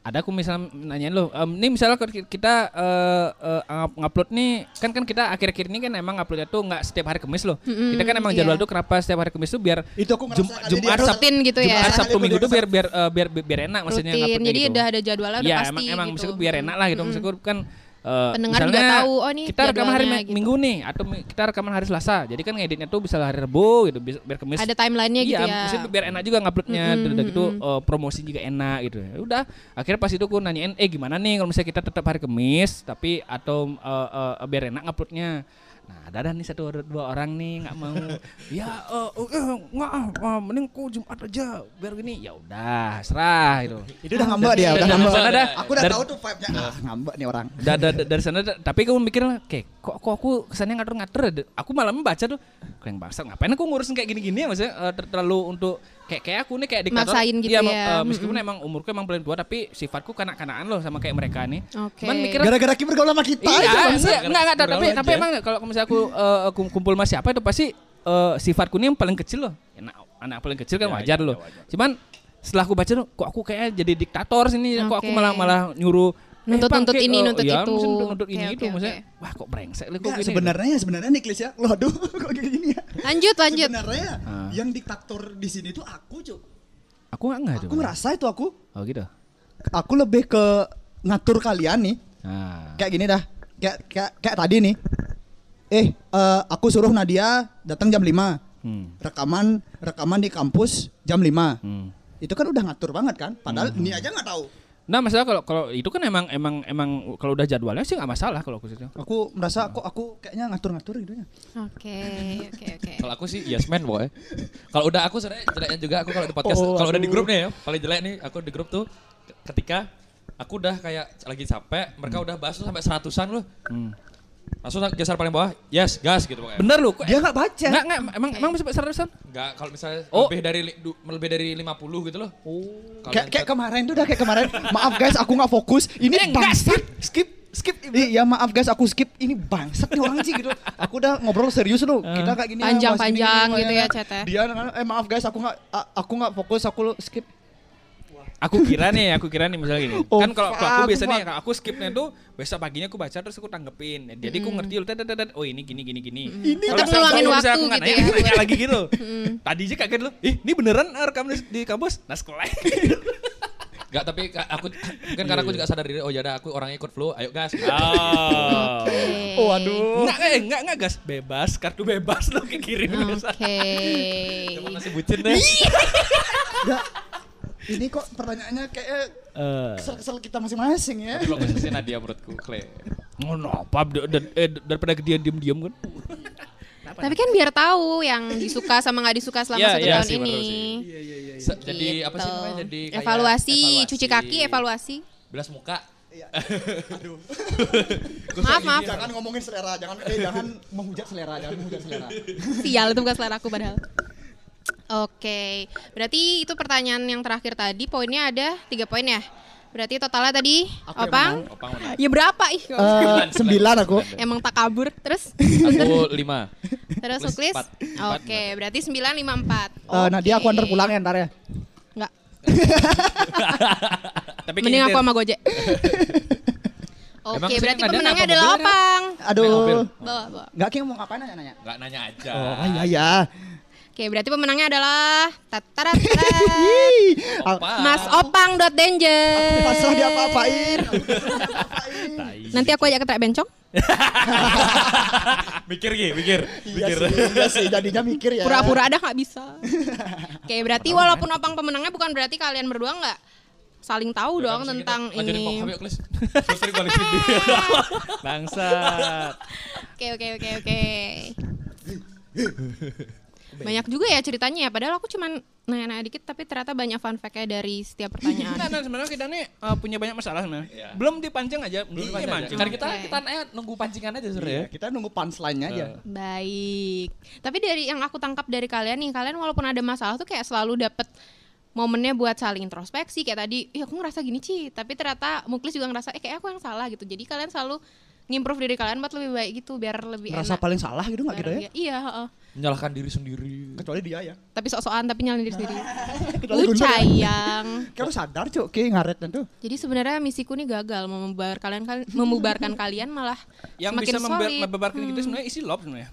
[SPEAKER 4] Ada aku misalnya nanyain lo, em, ini misalnya kalau ki- kita eh, eh, ngap- ngupload nih, kan kan kita akhir-akhir ini kan emang uploadnya tuh nggak setiap hari Kamis loh.
[SPEAKER 5] Mm-mm,
[SPEAKER 4] kita kan emang
[SPEAKER 5] iya.
[SPEAKER 4] jadwal tuh kenapa setiap hari Kamis tuh biar
[SPEAKER 3] Itu aku
[SPEAKER 4] Jum-
[SPEAKER 3] ngerasa kali
[SPEAKER 4] Jumat,
[SPEAKER 3] dia-
[SPEAKER 4] Sabtu,
[SPEAKER 5] Rutin gitu ya.
[SPEAKER 4] Jumat,
[SPEAKER 3] Aku
[SPEAKER 4] Sabtu Minggu
[SPEAKER 3] juga
[SPEAKER 4] tuh biar biar eh, biar biar enak maksudnya
[SPEAKER 5] Rutin.
[SPEAKER 4] nguploadnya
[SPEAKER 5] Jadi
[SPEAKER 4] gitu.
[SPEAKER 5] udah ada jadwalnya udah
[SPEAKER 4] Iya,
[SPEAKER 5] pasti
[SPEAKER 4] emang emang
[SPEAKER 5] gitu.
[SPEAKER 4] maksudku biar enak lah gitu. Maksudku kan eh,
[SPEAKER 5] Pendengar juga tahu, oh, ini
[SPEAKER 4] kita rekaman hari
[SPEAKER 5] jadwalnya gitu.
[SPEAKER 4] Minggu nih atau mi- kita rekaman hari Selasa. Jadi kan ngeditnya tuh bisa hari Rabu gitu bis- biar Kamis
[SPEAKER 5] Ada timelinenya gitu
[SPEAKER 4] Iya,
[SPEAKER 5] ya.
[SPEAKER 4] maksudnya biar enak juga nguploadnya
[SPEAKER 5] Mm-mm,
[SPEAKER 4] udah gitu eh, promosi juga enak gitu. Ya Udah, akhirnya pas itu aku nanyain, "Eh, gimana nih kalau misalnya kita tetap hari Kamis tapi atau eh, eh, biar enak nguploadnya?" Nah, ada ada nih satu or- dua orang nih nggak
[SPEAKER 5] (laughs)
[SPEAKER 4] mau. ya eh eh, eh, nggak ah, ah, mending ku Jumat aja biar gini. Ya udah, serah gitu.
[SPEAKER 3] Itu udah ngambek dia, udah
[SPEAKER 4] Dari
[SPEAKER 3] ngambek.
[SPEAKER 4] sana dah.
[SPEAKER 3] Aku udah
[SPEAKER 4] Dari-
[SPEAKER 3] tahu tuh vibe-nya.
[SPEAKER 4] Nah.
[SPEAKER 3] Ah, ngambek nih orang.
[SPEAKER 4] Da- da- da- dari sana da- tapi kamu mikir kayak kok kok aku kesannya ngatur-ngatur ya? aku malam baca tuh kayak bangsat ngapain aku ngurusin kayak gini-gini ya maksudnya eh, ter- terlalu untuk kayak kayak aku nih kayak diktator
[SPEAKER 5] Maksain gitu
[SPEAKER 4] Iya,
[SPEAKER 5] ya.
[SPEAKER 4] ma- eh,
[SPEAKER 5] Mm-mm.
[SPEAKER 4] meskipun emang umurku emang paling tua tapi sifatku kanak-kanaan loh sama kayak mereka nih
[SPEAKER 5] Oke.
[SPEAKER 4] cuman mikir
[SPEAKER 3] Gara-gara kita bergaul sama kita itu
[SPEAKER 4] iya, iya,
[SPEAKER 3] bangsat.
[SPEAKER 4] enggak, enggak, enggak, tapi
[SPEAKER 2] Bergaul
[SPEAKER 4] tapi
[SPEAKER 2] aja.
[SPEAKER 4] emang kalau misalnya aku eh, aku kumpul sama siapa itu pasti eh, sifatku ini yang paling kecil loh. Anak, anak paling kecil
[SPEAKER 2] Ya,
[SPEAKER 4] kan wajar
[SPEAKER 2] iya,
[SPEAKER 4] loh.
[SPEAKER 2] wajar.
[SPEAKER 4] Cuman setelah aku baca tuh kok aku kayak jadi diktator sini, kok aku
[SPEAKER 5] Oke.
[SPEAKER 4] malah malah nyuruh eh,
[SPEAKER 5] Nuntut-
[SPEAKER 4] Bang,
[SPEAKER 5] nuntut
[SPEAKER 4] kayak,
[SPEAKER 5] ini,
[SPEAKER 4] eh,
[SPEAKER 5] nuntut
[SPEAKER 4] iya,
[SPEAKER 5] itu.
[SPEAKER 4] maksudnya nuntut- nuntut
[SPEAKER 5] Oke,
[SPEAKER 4] ini
[SPEAKER 5] oke,
[SPEAKER 4] itu maksudnya.
[SPEAKER 5] oke.
[SPEAKER 4] Wah, kok brengsek lu kok
[SPEAKER 3] Enggak,
[SPEAKER 4] gini.
[SPEAKER 3] sebenarnya sebenarnya nih Klis ya. Loh aduh (laughs) kok kayak gini ya.
[SPEAKER 5] Lanjut, lanjut.
[SPEAKER 3] Sebenarnya
[SPEAKER 4] Ah.
[SPEAKER 3] yang diktator di sini tuh aku, Cuk.
[SPEAKER 4] Aku enggak enggak
[SPEAKER 3] Aku
[SPEAKER 4] coba.
[SPEAKER 3] ngerasa itu aku.
[SPEAKER 4] Oh gitu.
[SPEAKER 3] Aku lebih ke ngatur kalian nih.
[SPEAKER 4] Nah.
[SPEAKER 3] Kayak gini dah. Kayak kayak kayak tadi nih. Eh, eh, aku suruh Nadia datang jam 5.
[SPEAKER 4] Hmm.
[SPEAKER 3] Rekaman rekaman di kampus jam 5.
[SPEAKER 4] Hmm.
[SPEAKER 3] Itu kan udah ngatur banget kan? Padahal ini aja nggak tahu.
[SPEAKER 4] Nah, masalah kalau kalau itu kan emang emang emang kalau udah jadwalnya sih nggak masalah kalau aku sih.
[SPEAKER 3] Aku merasa kok aku kayaknya ngatur-ngatur gitu ya.
[SPEAKER 5] Oke,
[SPEAKER 4] (laughs)
[SPEAKER 5] oke, oke.
[SPEAKER 2] Kalau aku sih yes man pokoknya. Kalau udah aku sebenarnya jeleknya juga aku kalau di podcast,
[SPEAKER 3] Oh,
[SPEAKER 2] kalau udah di
[SPEAKER 3] aduh.
[SPEAKER 2] grup nih ya, paling jelek nih aku di grup tuh ke- ketika aku udah kayak lagi capek, mereka udah bahas tuh sampai seratusan loh. Langsung geser paling bawah, yes, gas gitu pokoknya.
[SPEAKER 4] Bener lu, kok
[SPEAKER 3] Dia nggak baca.
[SPEAKER 4] Enggak, enggak, emang emang sampai seratusan?
[SPEAKER 2] Enggak, kalau misalnya
[SPEAKER 4] Oh.
[SPEAKER 2] lebih dari li- du- lebih dari 50 gitu loh. Oh.
[SPEAKER 3] Kayak kayak kemarin tuh udah kayak kemarin. (laughs) Maaf guys, aku nggak fokus. Ini bangsat. Eh, Skip skip. Iya maaf guys, aku skip. Ini bangsat nih orang sih gitu. Aku udah ngobrol serius loh. Kita kayak gini. ya,
[SPEAKER 5] Panjang-
[SPEAKER 3] bahas ini,
[SPEAKER 5] panjang
[SPEAKER 3] ini, ini,
[SPEAKER 5] gitu
[SPEAKER 3] ini.
[SPEAKER 5] ya, chat ya.
[SPEAKER 3] Dia kadang-kadang, eh maaf guys, aku nggak a- aku nggak fokus, aku lo skip.
[SPEAKER 4] Aku kira nih, aku kira nih misalnya gini.
[SPEAKER 3] Oh,
[SPEAKER 4] kan kalau kalau aku
[SPEAKER 3] fuck,
[SPEAKER 4] biasanya
[SPEAKER 3] fuck.
[SPEAKER 4] kalau aku skipnya tuh besok paginya aku baca terus aku tanggepin. Jadi aku
[SPEAKER 3] Hmm.
[SPEAKER 4] ngerti loh, tet, tet, tet, oh ini gini gini gini.
[SPEAKER 3] Ini
[SPEAKER 4] Kalau
[SPEAKER 5] Tetap
[SPEAKER 4] misalnya-
[SPEAKER 5] ngeluangin
[SPEAKER 4] kalau misalnya
[SPEAKER 5] waktu
[SPEAKER 4] aku nggak
[SPEAKER 5] gitu
[SPEAKER 4] nanya,
[SPEAKER 5] ya, Hmm.
[SPEAKER 4] aku nanya
[SPEAKER 5] buat-
[SPEAKER 4] lagi
[SPEAKER 5] (laughs)
[SPEAKER 4] gitu. Tadi aja kaget loh. Ih, ini beneran eh, rekam di, di kampus? Nah, sekolah.
[SPEAKER 2] Enggak, tapi ka- aku mungkin karena aku juga sadar diri, oh ya udah aku orangnya ikut flow, ayo gas.
[SPEAKER 4] Oh.
[SPEAKER 5] (laughs) Oke.
[SPEAKER 4] Enggak, eh, enggak, enggak, gas. Bebas, kartu bebas lo ke kiri dulu.
[SPEAKER 5] Oke.
[SPEAKER 2] Masih bucin deh.
[SPEAKER 3] Ini kok pertanyaannya kayak kesel-kesel kita masing-masing ya.
[SPEAKER 2] Tapi bagus sih Nadia menurutku, Clay.
[SPEAKER 4] Ngono apa d- d- eh, daripada dia diem-diem kan.
[SPEAKER 5] Tapi kan biar tahu yang disuka sama nggak disuka selama
[SPEAKER 4] Iya,
[SPEAKER 5] satu
[SPEAKER 4] iya
[SPEAKER 5] tahun
[SPEAKER 2] sih,
[SPEAKER 5] ini.
[SPEAKER 2] betul sih.
[SPEAKER 3] iya.
[SPEAKER 2] Se- Jadi apa sih
[SPEAKER 5] Gitu.
[SPEAKER 2] namanya? Jadi kayak
[SPEAKER 5] evaluasi, cuci kaki, evaluasi.
[SPEAKER 2] Belas muka.
[SPEAKER 5] Maaf, maaf.
[SPEAKER 3] Jangan ngomongin selera, jangan eh jangan menghujat selera, jangan menghujat selera.
[SPEAKER 5] Sial itu bukan selera aku padahal. Oke, berarti itu pertanyaan yang terakhir tadi poinnya ada tiga poin ya. Berarti totalnya tadi
[SPEAKER 3] Aku yang
[SPEAKER 5] Opang
[SPEAKER 2] Opang menang.
[SPEAKER 5] ya berapa ih?
[SPEAKER 3] Eh, sembilan aku.
[SPEAKER 5] Emang tak kabur terus
[SPEAKER 2] Iya. Aku lima.
[SPEAKER 5] terus
[SPEAKER 2] plus
[SPEAKER 5] Suklis.
[SPEAKER 2] empat. Empat,
[SPEAKER 5] Oke, berarti sembilan lima empat.
[SPEAKER 3] Eh, Nadia aku antar pulang ya ntar ya.
[SPEAKER 5] Enggak.
[SPEAKER 2] (laughs)
[SPEAKER 4] Tapi
[SPEAKER 5] Mending
[SPEAKER 4] kayaknya
[SPEAKER 5] aku sama Gojek.
[SPEAKER 4] Emang
[SPEAKER 5] Oke,
[SPEAKER 4] kesini
[SPEAKER 5] berarti
[SPEAKER 4] nggak ada
[SPEAKER 5] pemenangnya
[SPEAKER 4] apa-apa boleh,
[SPEAKER 5] adalah
[SPEAKER 2] Main
[SPEAKER 5] Opang.
[SPEAKER 2] mobil.
[SPEAKER 3] Aduh.
[SPEAKER 5] Bawa, bawa.
[SPEAKER 3] Enggak kayak mau ngapain nanya-nanya.
[SPEAKER 2] Enggak nanya aja.
[SPEAKER 3] Oh iya iya.
[SPEAKER 5] Oke, berarti pemenangnya adalah tatarat. Eh.
[SPEAKER 3] (laughs) Al-
[SPEAKER 5] Mas Opang dot danger.
[SPEAKER 3] Pasrah dia apa-apain.
[SPEAKER 5] Nanti aku ajak ke trek bencong.
[SPEAKER 2] Mikir gih, mikir.
[SPEAKER 3] Iya sih, iya sih, jadinya mikir ya.
[SPEAKER 5] Pura-pura ada nggak bisa. Oke, berarti walaupun Opang pemenangnya bukan berarti kalian berdua nggak saling tahu dong tentang
[SPEAKER 2] Lanjutin
[SPEAKER 5] ini.
[SPEAKER 2] Clay. Terus sering balik sini.
[SPEAKER 4] Bangsat.
[SPEAKER 5] Oke, oke, oke, oke. Banyak juga ya ceritanya ya. Padahal aku cuman nanya-nanya dikit tapi ternyata banyak fun fact-nya dari
[SPEAKER 4] (laughs)
[SPEAKER 5] setiap
[SPEAKER 4] Nah,
[SPEAKER 5] pertanyaan.
[SPEAKER 4] nah, sebenarnya kita nih eh, punya banyak masalah sebenarnya. Belum dipancing aja, Iya. belum
[SPEAKER 2] Iya,
[SPEAKER 4] dipancing.
[SPEAKER 2] Kan kita
[SPEAKER 5] Oke.
[SPEAKER 2] kita eh, nunggu pancingan aja ya.
[SPEAKER 3] Iya,
[SPEAKER 2] sebenarnya.
[SPEAKER 3] kita nunggu punchline-nya aja.
[SPEAKER 5] Eh. Baik. Tapi dari yang aku tangkap dari kalian nih, kalian walaupun ada masalah tuh kayak selalu dapet momennya buat saling introspeksi kayak tadi, "Ih, aku ngerasa gini, Ci." Tapi ternyata Muklis juga ngerasa, "Eh, kayak aku yang salah." gitu. Jadi kalian selalu ngimprove diri kalian buat lebih baik gitu biar lebih
[SPEAKER 3] Merasa
[SPEAKER 5] enak.
[SPEAKER 3] paling salah gitu enggak gitu
[SPEAKER 5] bareng
[SPEAKER 3] ya?
[SPEAKER 5] dia. Iya, heeh.
[SPEAKER 2] Menyalahkan diri sendiri.
[SPEAKER 3] Kecuali dia ya.
[SPEAKER 5] Tapi sok-sokan tapi nyalahin diri sendiri.
[SPEAKER 3] (laughs) Kecuali
[SPEAKER 5] Lu
[SPEAKER 3] Guntur ya.
[SPEAKER 5] sayang.
[SPEAKER 3] Kayak lu sadar, Cuk, kayak ngaret tuh.
[SPEAKER 5] Jadi sebenarnya misiku nih gagal mau membubar kalian kal- membubarkan (laughs) kalian malah
[SPEAKER 4] Yang Hmm.
[SPEAKER 5] semakin
[SPEAKER 4] bisa membe-
[SPEAKER 5] solid.
[SPEAKER 2] gitu ya
[SPEAKER 4] membebarkan kita
[SPEAKER 2] Hmm.
[SPEAKER 4] sebenarnya isi lob sebenarnya.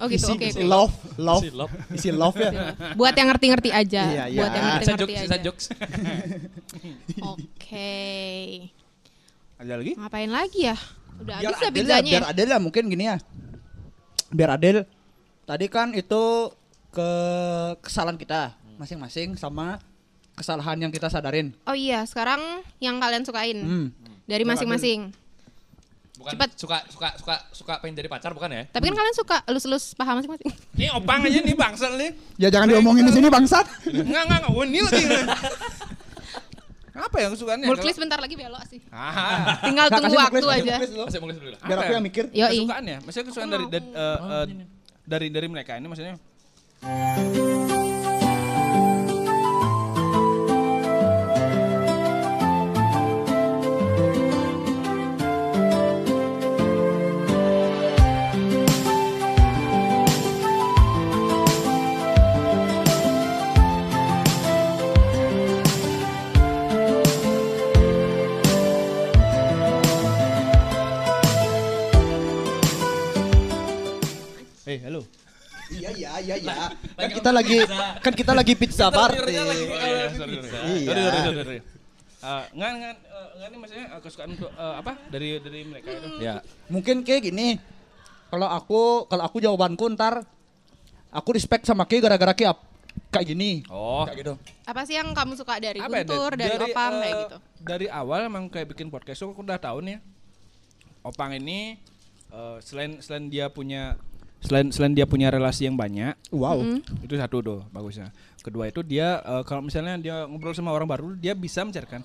[SPEAKER 5] Oh gitu, oke.
[SPEAKER 3] Isi
[SPEAKER 5] oke.
[SPEAKER 3] love, love.
[SPEAKER 2] Si love.
[SPEAKER 3] Isi love (laughs) ya.
[SPEAKER 5] Buat yang ngerti-ngerti aja.
[SPEAKER 3] Iya, iya.
[SPEAKER 5] Buat yang
[SPEAKER 3] Sisa
[SPEAKER 2] Sisa
[SPEAKER 5] ngerti-ngerti
[SPEAKER 2] jokes,
[SPEAKER 5] aja.
[SPEAKER 2] sisa jokes. (laughs)
[SPEAKER 5] Oke.
[SPEAKER 4] Ada lagi?
[SPEAKER 5] Ngapain lagi ya? Udah
[SPEAKER 3] biar
[SPEAKER 5] habis ya
[SPEAKER 3] adil lah,
[SPEAKER 5] pizzanya.
[SPEAKER 3] biar adil lah mungkin gini ya. Biar adil. Tadi kan itu ke kesalahan kita masing-masing sama kesalahan yang kita sadarin.
[SPEAKER 5] Oh iya, sekarang yang kalian sukain
[SPEAKER 3] Hmm.
[SPEAKER 5] dari
[SPEAKER 3] Biar
[SPEAKER 5] masing-masing.
[SPEAKER 2] Bukan
[SPEAKER 5] Cepat.
[SPEAKER 2] suka suka suka suka pengen jadi pacar bukan ya?
[SPEAKER 5] Tapi kan kalian suka elus-elus paham
[SPEAKER 4] (laughs)
[SPEAKER 5] masing-masing.
[SPEAKER 4] Ini opang aja nih bangsat nih.
[SPEAKER 3] Ya jangan diomongin di sini bangsat.
[SPEAKER 4] Enggak, enggak, enggak. Ini lagi. Apa yang kesukaannya?
[SPEAKER 5] Mulklis bentar lagi belok sih.
[SPEAKER 4] Ah.
[SPEAKER 5] Tinggal
[SPEAKER 3] Nggak,
[SPEAKER 5] tunggu
[SPEAKER 3] kasih
[SPEAKER 5] waktu
[SPEAKER 3] Muklis, kasih
[SPEAKER 5] aja.
[SPEAKER 3] Muklis dulu.
[SPEAKER 2] Masih mulai dulu lah.
[SPEAKER 3] Biar
[SPEAKER 4] Apa
[SPEAKER 3] aku
[SPEAKER 4] ya?
[SPEAKER 3] yang mikir.
[SPEAKER 5] Yoi.
[SPEAKER 4] Kesukaan ya? Maksudnya kesukaan dari dari, eh, eh, dari dari mereka ini maksudnya. Eh, halo.
[SPEAKER 3] Iya iya iya iya. Kan kita lagi kan kita lagi pizza party.
[SPEAKER 4] Sorry, sorry, sorry, sorry,
[SPEAKER 3] Iya.
[SPEAKER 4] sorry, sorry. Eh, enggak, enggak, eh, enggak ini maksudnya eh, kesukaan untuk eh, apa dari dari mereka itu.
[SPEAKER 2] Ya.
[SPEAKER 3] Mungkin kayak gini. Kalau aku kalau aku jawabanku ntar aku respect sama Ki gara-gara Ki ap- kayak gini.
[SPEAKER 4] Oh,
[SPEAKER 3] Kayak gitu.
[SPEAKER 5] Apa sih yang kamu suka dari
[SPEAKER 4] apa ya,
[SPEAKER 5] Guntur, dari, Opang kayak
[SPEAKER 4] eh,
[SPEAKER 5] gitu?
[SPEAKER 4] Dari awal emang kayak bikin podcast ya. tuh aku udah tahu nih. Opang ini eh, selain selain dia punya selain selain dia punya relasi yang banyak
[SPEAKER 3] Wow.
[SPEAKER 4] itu satu tuh bagusnya kedua itu dia eh, kalau misalnya dia ngobrol sama orang baru dia bisa mencairkan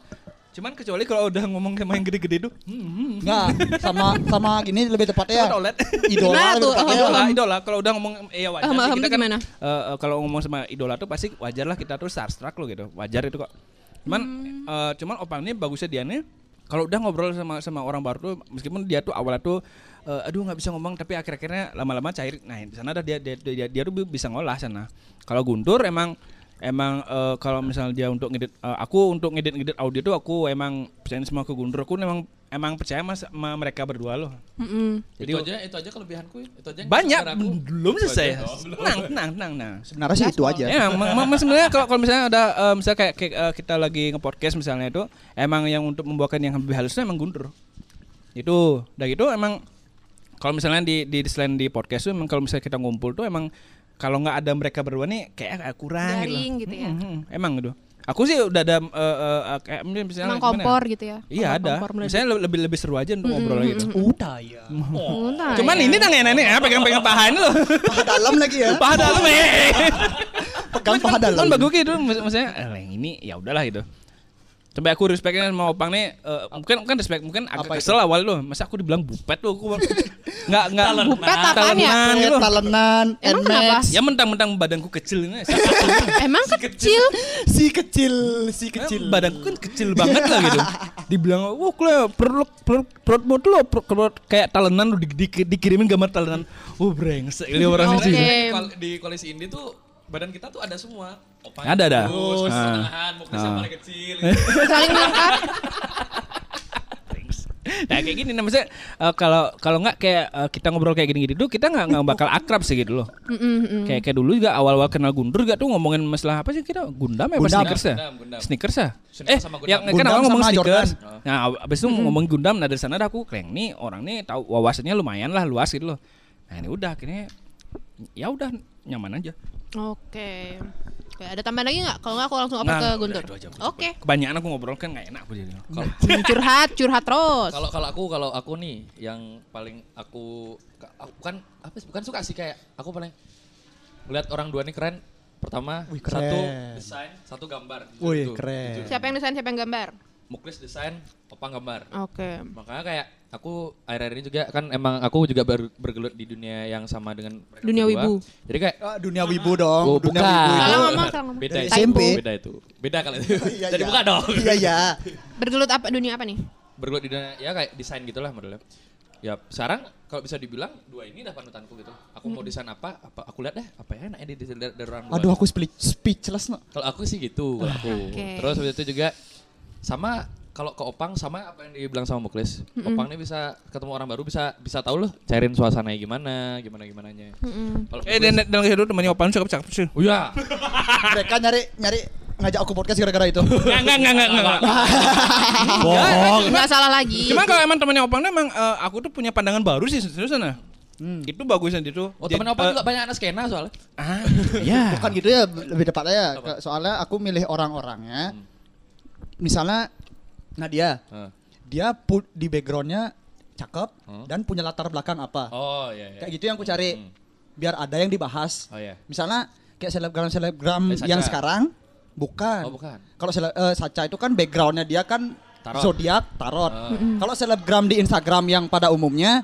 [SPEAKER 4] cuman kecuali kalau udah ngomong sama yang gede-gede tuh hmm, hmm,
[SPEAKER 3] Enggak, sama sama gini lebih tepatnya.
[SPEAKER 4] Cuman oled
[SPEAKER 5] Gimana
[SPEAKER 3] Idola lebih
[SPEAKER 5] tuh?
[SPEAKER 3] tepatnya.
[SPEAKER 4] idola idola kalau udah ngomong ya wajar
[SPEAKER 5] Ahmad
[SPEAKER 4] sih,
[SPEAKER 5] Hamdi
[SPEAKER 4] kita kan
[SPEAKER 5] Ah, gimana?
[SPEAKER 4] eh, eh, kalau ngomong sama idola tuh pasti wajar lah kita tuh starstruck lo gitu wajar itu kok cuman
[SPEAKER 5] Hmm.
[SPEAKER 4] eh, cuman opang ini bagusnya dia nih kalau udah ngobrol sama sama orang baru tuh meskipun dia tuh awalnya tuh eh, aduh nggak bisa ngomong tapi akhir-akhirnya lama-lama cair nah di sana dah dia dia, dia dia tuh bisa ngolah sana kalau Guntur emang emang eh, kalau misalnya dia untuk ngedit eh, aku untuk ngedit ngedit audio tuh aku emang percaya semua ke Guntur aku emang emang percaya mas sama mereka berdua loh
[SPEAKER 5] Mm-mm.
[SPEAKER 2] itu aja itu aja kelebihanku ya. itu aja yang
[SPEAKER 4] banyak
[SPEAKER 2] kesalahan aku.
[SPEAKER 4] belum selesai
[SPEAKER 2] Oh, belum.
[SPEAKER 4] tenang tenang tenang nah
[SPEAKER 3] Sebenarnya sih itu aja.
[SPEAKER 4] ya emang emang sebenarnya kalau kalau misalnya ada eh, misalnya kayak, kayak, eh, kita lagi nge-podcast misalnya itu emang yang untuk membuatkan yang lebih halusnya emang Guntur itu udah gitu emang kalau misalnya di, di di- selain di podcast tuh emang kalau misalnya kita ngumpul tuh emang kalau nggak ada mereka berdua nih kayak agak kurang
[SPEAKER 5] Garing gitu ya.
[SPEAKER 4] Mm, mm, emang gitu aku sih udah ada eh, eh, eh, kayak misalnya
[SPEAKER 5] Emang
[SPEAKER 4] gimana ya?
[SPEAKER 5] kompor gitu ya.
[SPEAKER 4] iya
[SPEAKER 5] Kompor-
[SPEAKER 4] ada
[SPEAKER 5] kompor meledak. Mm-hmm.
[SPEAKER 4] misalnya le- lebih lebih seru aja untuk ngobrol gitu
[SPEAKER 3] Udah ya.
[SPEAKER 5] Nah,
[SPEAKER 4] Oh. cuman
[SPEAKER 5] ya.
[SPEAKER 4] ini tangan ini ya pegang-pegang paha ini loh
[SPEAKER 3] Paha dalam lagi ya.
[SPEAKER 4] paha dalam eh
[SPEAKER 3] Pegang paha dalam.
[SPEAKER 4] Kan bagus gitu mak- maksudnya eh, yang ini ya udahlah gitu. Sampai aku respectnya sama Opang nih eh, mungkin kan respect mungkin agak
[SPEAKER 3] Apa itu?
[SPEAKER 4] kesel awal loh. Masa aku dibilang bupet loh aku. Enggak enggak
[SPEAKER 5] Bupet apaan ya?
[SPEAKER 4] talenan
[SPEAKER 3] Eh,
[SPEAKER 4] gitu.
[SPEAKER 3] talenan,
[SPEAKER 5] Emang
[SPEAKER 3] Nmax.
[SPEAKER 5] kenapa?
[SPEAKER 4] Ya mentang-mentang badanku kecil ini.
[SPEAKER 5] Emang kecil.
[SPEAKER 3] (laughs) Si kecil, si kecil.
[SPEAKER 4] Kecil. Badanku kan kecil banget lah gitu. Dibilang, "Wah, kalo perut perut perutmu tuh lo per- perut kayak talenan lu di, di- dikirimin gambar talenan." Oh, brengsek
[SPEAKER 3] Iya,
[SPEAKER 4] ini orang
[SPEAKER 5] Oke.
[SPEAKER 4] sih.
[SPEAKER 2] Di koal- di koalisi Indi tuh badan kita tuh ada semua. Opang
[SPEAKER 4] Ada, ada.
[SPEAKER 2] kurus,
[SPEAKER 4] Ah.
[SPEAKER 2] pertengahan, Muklis yang
[SPEAKER 4] Ah.
[SPEAKER 2] paling kecil. gitu.
[SPEAKER 5] Saling lengkap.
[SPEAKER 4] Nah kayak gini nah, maksudnya eh, kalau kalau nggak kayak eh, kita ngobrol kayak gini-gini dulu kita nggak nggak bakal akrab sih gitu loh. Kayak kayak dulu juga awal-awal kenal Guntur gak tuh ngomongin masalah apa sih kita Gundam ya apa
[SPEAKER 3] Gundam.
[SPEAKER 4] sneakers ya?
[SPEAKER 2] Gundam, Gundam.
[SPEAKER 4] Sneakers ya?
[SPEAKER 2] Sneakers
[SPEAKER 4] eh
[SPEAKER 2] sama Gundam.
[SPEAKER 4] yang kan
[SPEAKER 3] Gundam
[SPEAKER 4] awal ngomong
[SPEAKER 3] sama
[SPEAKER 4] sneakers.
[SPEAKER 2] Jordan.
[SPEAKER 4] Nah ab- abis itu ngomong Gundam nah dari sana dah aku kleng nih orang nih tahu wawasannya lumayan lah luas gitu loh. Nah ini udah akhirnya ya udah nyaman aja.
[SPEAKER 5] Oke. Oke, Ada tambahan lagi nggak? Kalau nggak aku langsung open
[SPEAKER 4] Nah,
[SPEAKER 5] ke
[SPEAKER 4] udah,
[SPEAKER 5] Guntur.
[SPEAKER 4] itu aja, aku
[SPEAKER 5] Oke. Nah.
[SPEAKER 4] Kebanyakan aku ngobrol kan nggak enak aku jadi. Kalau
[SPEAKER 5] Curhat, curhat terus.
[SPEAKER 2] Kalau kalau aku kalau aku nih yang paling aku ka- aku kan apa sih, bukan suka sih kayak aku paling melihat orang dua nih keren. Pertama
[SPEAKER 3] Wih, keren.
[SPEAKER 2] satu desain, satu gambar. Jujur
[SPEAKER 3] Wih,
[SPEAKER 2] itu.
[SPEAKER 3] keren.
[SPEAKER 2] Jujur.
[SPEAKER 5] Siapa yang desain, siapa yang gambar?
[SPEAKER 2] Muklis desain, Opang gambar.
[SPEAKER 5] Oke.
[SPEAKER 2] Makanya kayak aku akhir-akhir ini juga kan emang aku juga ber- bergelut di dunia yang sama dengan mereka
[SPEAKER 5] Dunia
[SPEAKER 2] berdua.
[SPEAKER 5] wibu.
[SPEAKER 2] Jadi kayak
[SPEAKER 3] Ah, dunia wibu dong.
[SPEAKER 2] Oh,
[SPEAKER 3] dunia
[SPEAKER 2] bukan.
[SPEAKER 3] wibu itu.
[SPEAKER 5] Salah ngomong, salah ngomong.
[SPEAKER 2] beda
[SPEAKER 3] Dari
[SPEAKER 2] itu.
[SPEAKER 3] SMP.
[SPEAKER 2] Beda itu. Beda kalau itu.
[SPEAKER 3] Iya,
[SPEAKER 2] Jadi
[SPEAKER 3] iya.
[SPEAKER 2] bukan dong.
[SPEAKER 3] Iya
[SPEAKER 2] (laughs)
[SPEAKER 3] ya.
[SPEAKER 5] Bergelut apa dunia apa nih?
[SPEAKER 2] Bergelut di dunia ya kayak desain gitulah modelnya. Ya sekarang kalau bisa dibilang dua ini dah panutanku gitu. Aku mau desain apa? Apa aku lihat deh apa ya enaknya di desain dari, dari orang dua.
[SPEAKER 3] Aduh aku spli- speechless nak.
[SPEAKER 2] Kalau aku sih gitu kalau aku.
[SPEAKER 5] Oke.
[SPEAKER 2] Terus habis itu juga sama kalau ke Opang sama apa yang dibilang sama Muklis. Opang ini bisa ketemu orang baru bisa bisa tahu loh cairin suasananya gimana, gimana gimananya. Kalau
[SPEAKER 4] eh dan dan itu temannya Opan cakep-cakep sih.
[SPEAKER 2] Oh ya,
[SPEAKER 3] Mereka nyari nyari ngajak aku podcast gara-gara
[SPEAKER 2] (laughs)
[SPEAKER 3] itu.
[SPEAKER 4] Enggak enggak enggak enggak enggak.
[SPEAKER 3] Eh,
[SPEAKER 5] Nggak Oh, salah lagi.
[SPEAKER 4] Ya, kan Cuma kalau emang temennya Opang tuh emang eh, aku tuh punya pandangan baru sih seriusan nah. Itu bagusnya itu. eh,
[SPEAKER 2] oh teman
[SPEAKER 3] eh,
[SPEAKER 2] Opang juga banyak anak skena soalnya.
[SPEAKER 4] Ah,
[SPEAKER 3] Bukan gitu ya, lebih tepatnya ya. Ke- Soalnya aku milih orang-orangnya. Hmm. Misalnya Nadia,
[SPEAKER 2] Heeh.
[SPEAKER 3] dia put di backgroundnya cakep
[SPEAKER 2] Hmm.
[SPEAKER 3] dan punya latar belakang apa.
[SPEAKER 2] Oh iya iya.
[SPEAKER 3] Kayak gitu yang aku cari.
[SPEAKER 2] Hmm.
[SPEAKER 3] Biar ada yang dibahas.
[SPEAKER 2] Oh iya.
[SPEAKER 3] Misalnya kayak selebgram-selebgram
[SPEAKER 2] Eh, Sacha.
[SPEAKER 3] yang sekarang bukan.
[SPEAKER 2] Oh, bukan.
[SPEAKER 3] Kalau sele- eh, Sacha itu kan backgroundnya dia kan
[SPEAKER 2] Tarot.
[SPEAKER 3] zodiak tarot.
[SPEAKER 2] Ah.
[SPEAKER 3] Kalau selebgram di Instagram yang pada umumnya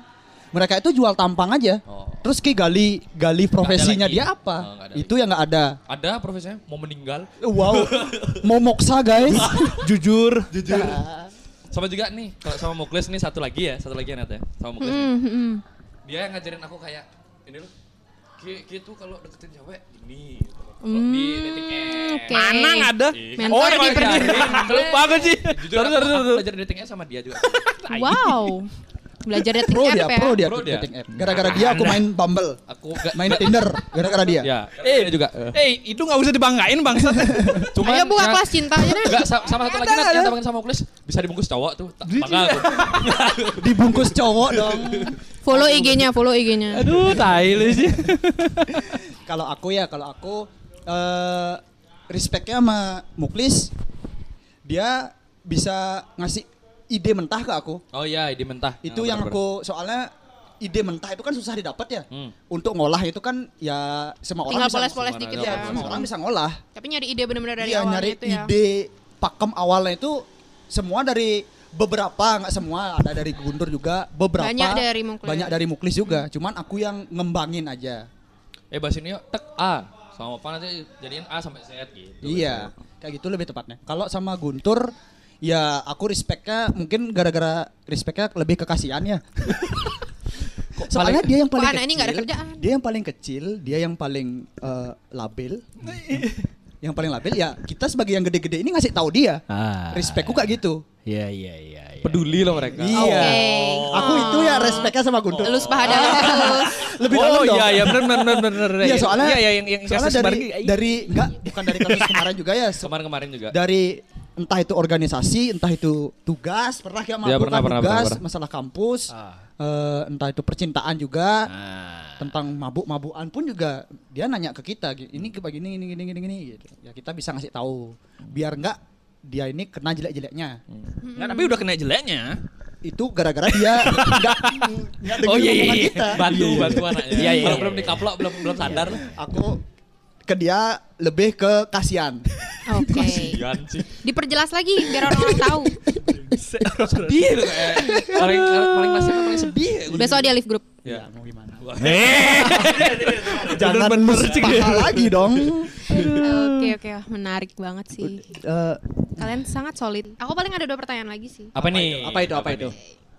[SPEAKER 3] mereka itu jual tampang aja.
[SPEAKER 2] Oh.
[SPEAKER 3] Terus ki gali gali profesinya
[SPEAKER 2] lagi.
[SPEAKER 3] dia apa?
[SPEAKER 2] Oh, nggak ada
[SPEAKER 3] itu yang nggak
[SPEAKER 2] (laughs)
[SPEAKER 3] ada.
[SPEAKER 2] Ada profesinya mau meninggal.
[SPEAKER 3] Wow, mau moksa
[SPEAKER 2] (laughs)
[SPEAKER 3] guys.
[SPEAKER 4] jujur.
[SPEAKER 2] Sama juga nih, kalau sama Muklis nih satu lagi ya, satu lagi ya Nat ya. Sama Muklis. nih.
[SPEAKER 5] Mm,
[SPEAKER 3] Hmm,
[SPEAKER 5] mm.
[SPEAKER 2] Dia yang ngajarin aku kayak ini loh. Ki, ki tuh kalau deketin cewek ini. gitu. Kalau di
[SPEAKER 3] Hmm,
[SPEAKER 2] dating apps.
[SPEAKER 5] Hmm, Oke.
[SPEAKER 4] Mana nggak ada?
[SPEAKER 2] Iya.
[SPEAKER 3] Oh,
[SPEAKER 5] Mentor
[SPEAKER 4] emang
[SPEAKER 5] di
[SPEAKER 4] iya. Lupa aku sih.
[SPEAKER 2] Jujur
[SPEAKER 4] Terus
[SPEAKER 2] aku,
[SPEAKER 4] terus
[SPEAKER 2] aku
[SPEAKER 4] terus.
[SPEAKER 2] belajar dating apps sama dia
[SPEAKER 4] (laughs)
[SPEAKER 2] juga.
[SPEAKER 5] (laughs) Wow. Belajar dari
[SPEAKER 3] Pro dia,
[SPEAKER 5] app ya.
[SPEAKER 3] pro dia,
[SPEAKER 4] Oh,
[SPEAKER 2] Pro
[SPEAKER 3] tuh
[SPEAKER 2] dia.
[SPEAKER 3] dating app. Gara-gara dia aku main Bumble,
[SPEAKER 2] Aku gak
[SPEAKER 3] main Tinder, gara-gara dia.
[SPEAKER 2] ya. Eh
[SPEAKER 4] Eh,
[SPEAKER 2] juga. eh.
[SPEAKER 4] Eh, itu nggak usah dibanggain bangsat.
[SPEAKER 2] Cuman
[SPEAKER 5] Ayo buka
[SPEAKER 2] yang-
[SPEAKER 5] kelas cinta aja deh.
[SPEAKER 2] Enggak, sa- sama satu lagi
[SPEAKER 4] Ada,
[SPEAKER 2] Nat yang
[SPEAKER 4] ada.
[SPEAKER 2] tambahin sama Muklis bisa dibungkus cowok tuh. Ta- Bangga aku.
[SPEAKER 3] Dibungkus cowok dong.
[SPEAKER 5] Follow IG-nya, follow
[SPEAKER 3] Eh,
[SPEAKER 5] IG-nya.
[SPEAKER 4] Aduh, tai lu sih.
[SPEAKER 3] kalau aku ya, kalau aku eh respectnya sama Muklis, dia bisa ngasih ide mentah ke aku.
[SPEAKER 2] Oh iya, di mentah.
[SPEAKER 3] Itu
[SPEAKER 2] Ya,
[SPEAKER 3] yang
[SPEAKER 2] bener-bener.
[SPEAKER 3] aku soalnya ide mentah itu kan susah didapat ya.
[SPEAKER 2] Hmm.
[SPEAKER 3] Untuk ngolah itu kan ya semua orang
[SPEAKER 5] Tinggal
[SPEAKER 3] bisa
[SPEAKER 5] poles-poles dikit
[SPEAKER 3] Iya,
[SPEAKER 5] ya.
[SPEAKER 3] semua orang
[SPEAKER 2] Hmm.
[SPEAKER 3] bisa ngolah.
[SPEAKER 5] Tapi nyari ide bener-bener dari
[SPEAKER 3] Iya,
[SPEAKER 5] awal
[SPEAKER 3] nyari
[SPEAKER 5] gitu ya.
[SPEAKER 3] ide pakem awalnya itu semua dari beberapa nggak semua ada dari Guntur juga beberapa
[SPEAKER 5] Banyak dari Muklis.
[SPEAKER 3] banyak dari Muklis juga cuman aku yang ngembangin aja
[SPEAKER 2] Eh bahas ini yuk, tek A. Sama Opang nanti jadiin A sampai Z gitu.
[SPEAKER 3] iya kayak gitu lebih tepatnya kalau sama Guntur ya aku respectnya mungkin gara-gara respectnya lebih ke kasihan (laughs) ya soalnya dia yang
[SPEAKER 5] Kok
[SPEAKER 3] paling
[SPEAKER 5] anak ini nggak ada
[SPEAKER 3] kecil,
[SPEAKER 5] kerjaan?
[SPEAKER 3] dia yang paling kecil dia yang paling eh, (laughs) labil yang paling labil ya kita sebagai yang gede-gede ini ngasih tahu dia
[SPEAKER 4] Ah.
[SPEAKER 3] respectku kayak gitu
[SPEAKER 4] Iya iya iya. iya.
[SPEAKER 2] Peduli loh mereka.
[SPEAKER 3] Iya.
[SPEAKER 5] Oke. Oh,
[SPEAKER 3] Aku itu ya respeknya sama Guntur. Ah.
[SPEAKER 5] Lu sepahada terus.
[SPEAKER 3] (laughs) Lebih dalam
[SPEAKER 4] oh
[SPEAKER 3] dong.
[SPEAKER 4] iya iya benar benar benar benar.
[SPEAKER 3] Iya, soalnya
[SPEAKER 4] iya, iya, yang yang
[SPEAKER 3] soalnya
[SPEAKER 4] kasus
[SPEAKER 3] dari
[SPEAKER 4] kemarin, iya.
[SPEAKER 3] dari enggak bukan dari kasus kemarin juga ya. se-
[SPEAKER 2] Kemarin-kemarin juga.
[SPEAKER 3] Dari entah itu organisasi, entah itu tugas, pernah
[SPEAKER 6] Iya,
[SPEAKER 3] ya melakukan
[SPEAKER 6] pernah, pernah,
[SPEAKER 3] tugas,
[SPEAKER 6] pernah, pernah.
[SPEAKER 3] masalah kampus,
[SPEAKER 4] Ah.
[SPEAKER 3] eh, entah itu percintaan juga,
[SPEAKER 4] Ah.
[SPEAKER 3] tentang mabuk-mabukan pun juga dia nanya ke kita, "Gi- ini ke begini, ini gini gini gini gitu. Ya kita bisa ngasih tahu biar enggak dia ini kena jelek-jeleknya.
[SPEAKER 4] Nggak, tapi udah kena jeleknya.
[SPEAKER 3] Itu gara-gara dia enggak enggak dengerin
[SPEAKER 4] Oh, iya, iya,
[SPEAKER 3] omongan
[SPEAKER 4] iya.
[SPEAKER 3] kita.
[SPEAKER 2] Bantu, bantu anaknya.
[SPEAKER 4] Iya, iya,
[SPEAKER 2] Kalau
[SPEAKER 4] iya,
[SPEAKER 2] belum
[SPEAKER 4] iya.
[SPEAKER 2] dikaplok, belum belum sadar.
[SPEAKER 3] aku ke dia lebih ke kasihan.
[SPEAKER 5] Oke.
[SPEAKER 2] Jangan
[SPEAKER 5] Iya.
[SPEAKER 2] sih.
[SPEAKER 5] Diperjelas lagi biar orang-orang
[SPEAKER 3] (laughs)
[SPEAKER 5] tahu.
[SPEAKER 2] Sedih loh kayak. eh, Paling paling kasihan paling sedih. ya, udah.
[SPEAKER 5] Besok dia live group.
[SPEAKER 2] Ya.
[SPEAKER 3] mau gimana?
[SPEAKER 4] Eh.
[SPEAKER 3] Jangan bener paha lagi dong.
[SPEAKER 5] Oke oke, Wah, menarik banget sih.
[SPEAKER 3] Eh,
[SPEAKER 5] Kalian sangat solid. Aku paling ada dua pertanyaan lagi sih.
[SPEAKER 2] Apa ya?
[SPEAKER 4] Iya.
[SPEAKER 2] nih?
[SPEAKER 3] apa itu? Apa itu?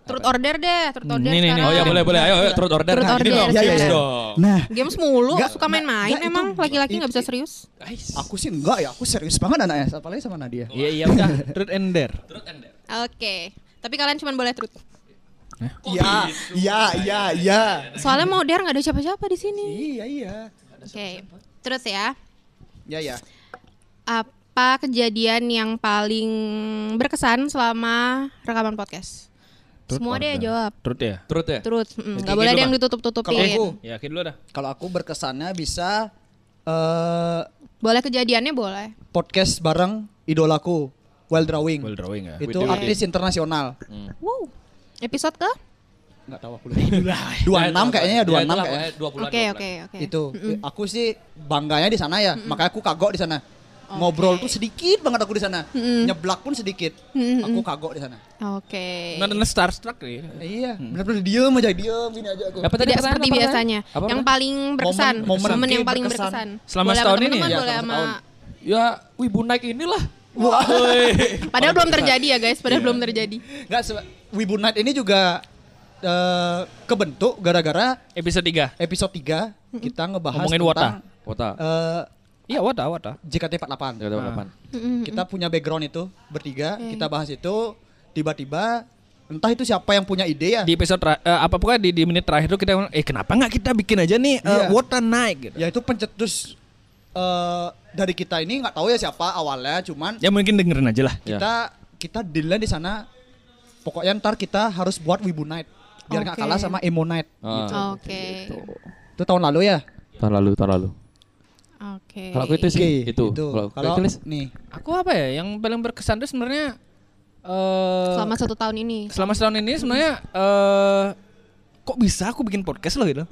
[SPEAKER 5] Truth order deh, truth
[SPEAKER 4] Nih,
[SPEAKER 5] order
[SPEAKER 4] iya, nih, nih.
[SPEAKER 5] sekarang.
[SPEAKER 2] Oh ya boleh boleh. Ayo ayo turut order.
[SPEAKER 5] Turut
[SPEAKER 2] Nah, gini
[SPEAKER 5] order.
[SPEAKER 2] dong.
[SPEAKER 5] Iya, iya,
[SPEAKER 2] Serius
[SPEAKER 5] iya.
[SPEAKER 2] dong.
[SPEAKER 3] Nah,
[SPEAKER 5] Games mulu,
[SPEAKER 3] Nggak,
[SPEAKER 5] suka main-main
[SPEAKER 3] nggak, itu-
[SPEAKER 5] emang laki-laki nggak bisa
[SPEAKER 3] itu-
[SPEAKER 5] serius.
[SPEAKER 2] Guys.
[SPEAKER 3] aku sih enggak ya. Aku serius banget anaknya. Apalagi sama Nadia.
[SPEAKER 4] Iya iya udah truth and dare.
[SPEAKER 2] Turut order.
[SPEAKER 5] Oke. Tapi kalian cuma boleh truth.
[SPEAKER 2] gitu?
[SPEAKER 3] Iya, iya, iya, iya.
[SPEAKER 5] Soalnya mau dare nggak ada siapa-siapa di sini.
[SPEAKER 3] Iya, iya.
[SPEAKER 5] Oke. Truth ya.
[SPEAKER 3] Iya, iya.
[SPEAKER 5] Apa kejadian yang paling berkesan selama rekaman podcast?
[SPEAKER 4] Truth
[SPEAKER 5] Semua
[SPEAKER 4] or
[SPEAKER 5] deh
[SPEAKER 4] dare?
[SPEAKER 5] jawab.
[SPEAKER 4] Truth ya.
[SPEAKER 2] Turut ya.
[SPEAKER 5] Truth. Mm,
[SPEAKER 4] Oke,
[SPEAKER 5] Nggak
[SPEAKER 4] gitu,
[SPEAKER 5] boleh ada yang
[SPEAKER 4] Bang.
[SPEAKER 5] ditutup-tutupin.
[SPEAKER 3] Kalau aku,
[SPEAKER 4] Ya, akhir dulu dah.
[SPEAKER 3] kalau aku berkesannya bisa eh
[SPEAKER 5] Boleh kejadiannya boleh.
[SPEAKER 3] podcast bareng idolaku Wild Drawing.
[SPEAKER 4] Well drawing ya.
[SPEAKER 3] Itu artis internasional.
[SPEAKER 5] Wow. Episode ke?
[SPEAKER 3] Enggak tahu aku lupa. 26 kayaknya ya, 26 kayaknya.
[SPEAKER 5] Oke oke oke.
[SPEAKER 3] itu aku sih bangganya di sana ya makanya aku kagok di sana ngobrol tuh sedikit banget aku di sana nyeblak pun sedikit aku kagok di sana
[SPEAKER 5] Oke.
[SPEAKER 4] Nggak ada starstruck nih.
[SPEAKER 3] iya
[SPEAKER 4] Hmm.
[SPEAKER 3] benar-benar diem aja diem gini aja aku
[SPEAKER 2] Apa tadi
[SPEAKER 5] Tidak
[SPEAKER 2] pertanyaan,
[SPEAKER 5] seperti
[SPEAKER 2] apa
[SPEAKER 5] biasanya.
[SPEAKER 2] Apa,
[SPEAKER 5] yang
[SPEAKER 2] apa?
[SPEAKER 5] paling berkesan,
[SPEAKER 3] Momen- momen
[SPEAKER 5] yang
[SPEAKER 3] berkesan.
[SPEAKER 5] paling berkesan.
[SPEAKER 4] Selama
[SPEAKER 5] Boleh sama
[SPEAKER 4] setahun ini
[SPEAKER 5] teman-teman,
[SPEAKER 4] ya?
[SPEAKER 5] Boleh
[SPEAKER 3] Iya,
[SPEAKER 5] sama
[SPEAKER 3] selama
[SPEAKER 2] Ya, wibu naik inilah.
[SPEAKER 3] wah
[SPEAKER 4] Eh,
[SPEAKER 5] Padahal belum terjadi ya guys,
[SPEAKER 4] Iya.
[SPEAKER 5] padahal belum terjadi.
[SPEAKER 3] nggak se- Wibu Night ini juga eh, kebentuk gara-gara
[SPEAKER 4] Episode 3.
[SPEAKER 3] episode 3 kita ngebahas
[SPEAKER 4] Ngomongin
[SPEAKER 3] tentang
[SPEAKER 4] Wota.
[SPEAKER 2] Kota.
[SPEAKER 3] eh,
[SPEAKER 4] Iya, wata wata.
[SPEAKER 3] JKT48
[SPEAKER 2] Kota delapan.
[SPEAKER 3] kita punya background itu bertiga kita bahas itu tiba-tiba entah itu siapa yang punya ide ya
[SPEAKER 4] Di episode tra- eh, apa pokoknya di, di menit terakhir tuh kita ngomong, eh kenapa nggak kita bikin aja nih eh,
[SPEAKER 3] Iya.
[SPEAKER 4] wata naik gitu.
[SPEAKER 3] Ya itu pencetus eh, dari kita ini nggak tahu ya siapa awalnya, cuman
[SPEAKER 4] Ya mungkin dengerin aja lah.
[SPEAKER 3] kita kita dealnya di sana. Pokoknya ntar kita harus buat Wibu Night biar nggak
[SPEAKER 5] Oke.
[SPEAKER 3] kalah sama Emo Night.
[SPEAKER 4] Oh.
[SPEAKER 2] Ah,
[SPEAKER 5] Oke.
[SPEAKER 3] Itu tahun lalu ya.
[SPEAKER 6] Tahun lalu, tahun lalu.
[SPEAKER 5] Oke.
[SPEAKER 2] Kalau aku itu sih itu.
[SPEAKER 3] Kalau
[SPEAKER 2] Kalau itu
[SPEAKER 3] nih
[SPEAKER 4] Aku apa ya yang paling berkesan tuh sebenarnya eh
[SPEAKER 5] Selama satu tahun ini.
[SPEAKER 4] selama setahun ini sebenarnya eh kok bisa aku bikin podcast (laughs) loh gitu.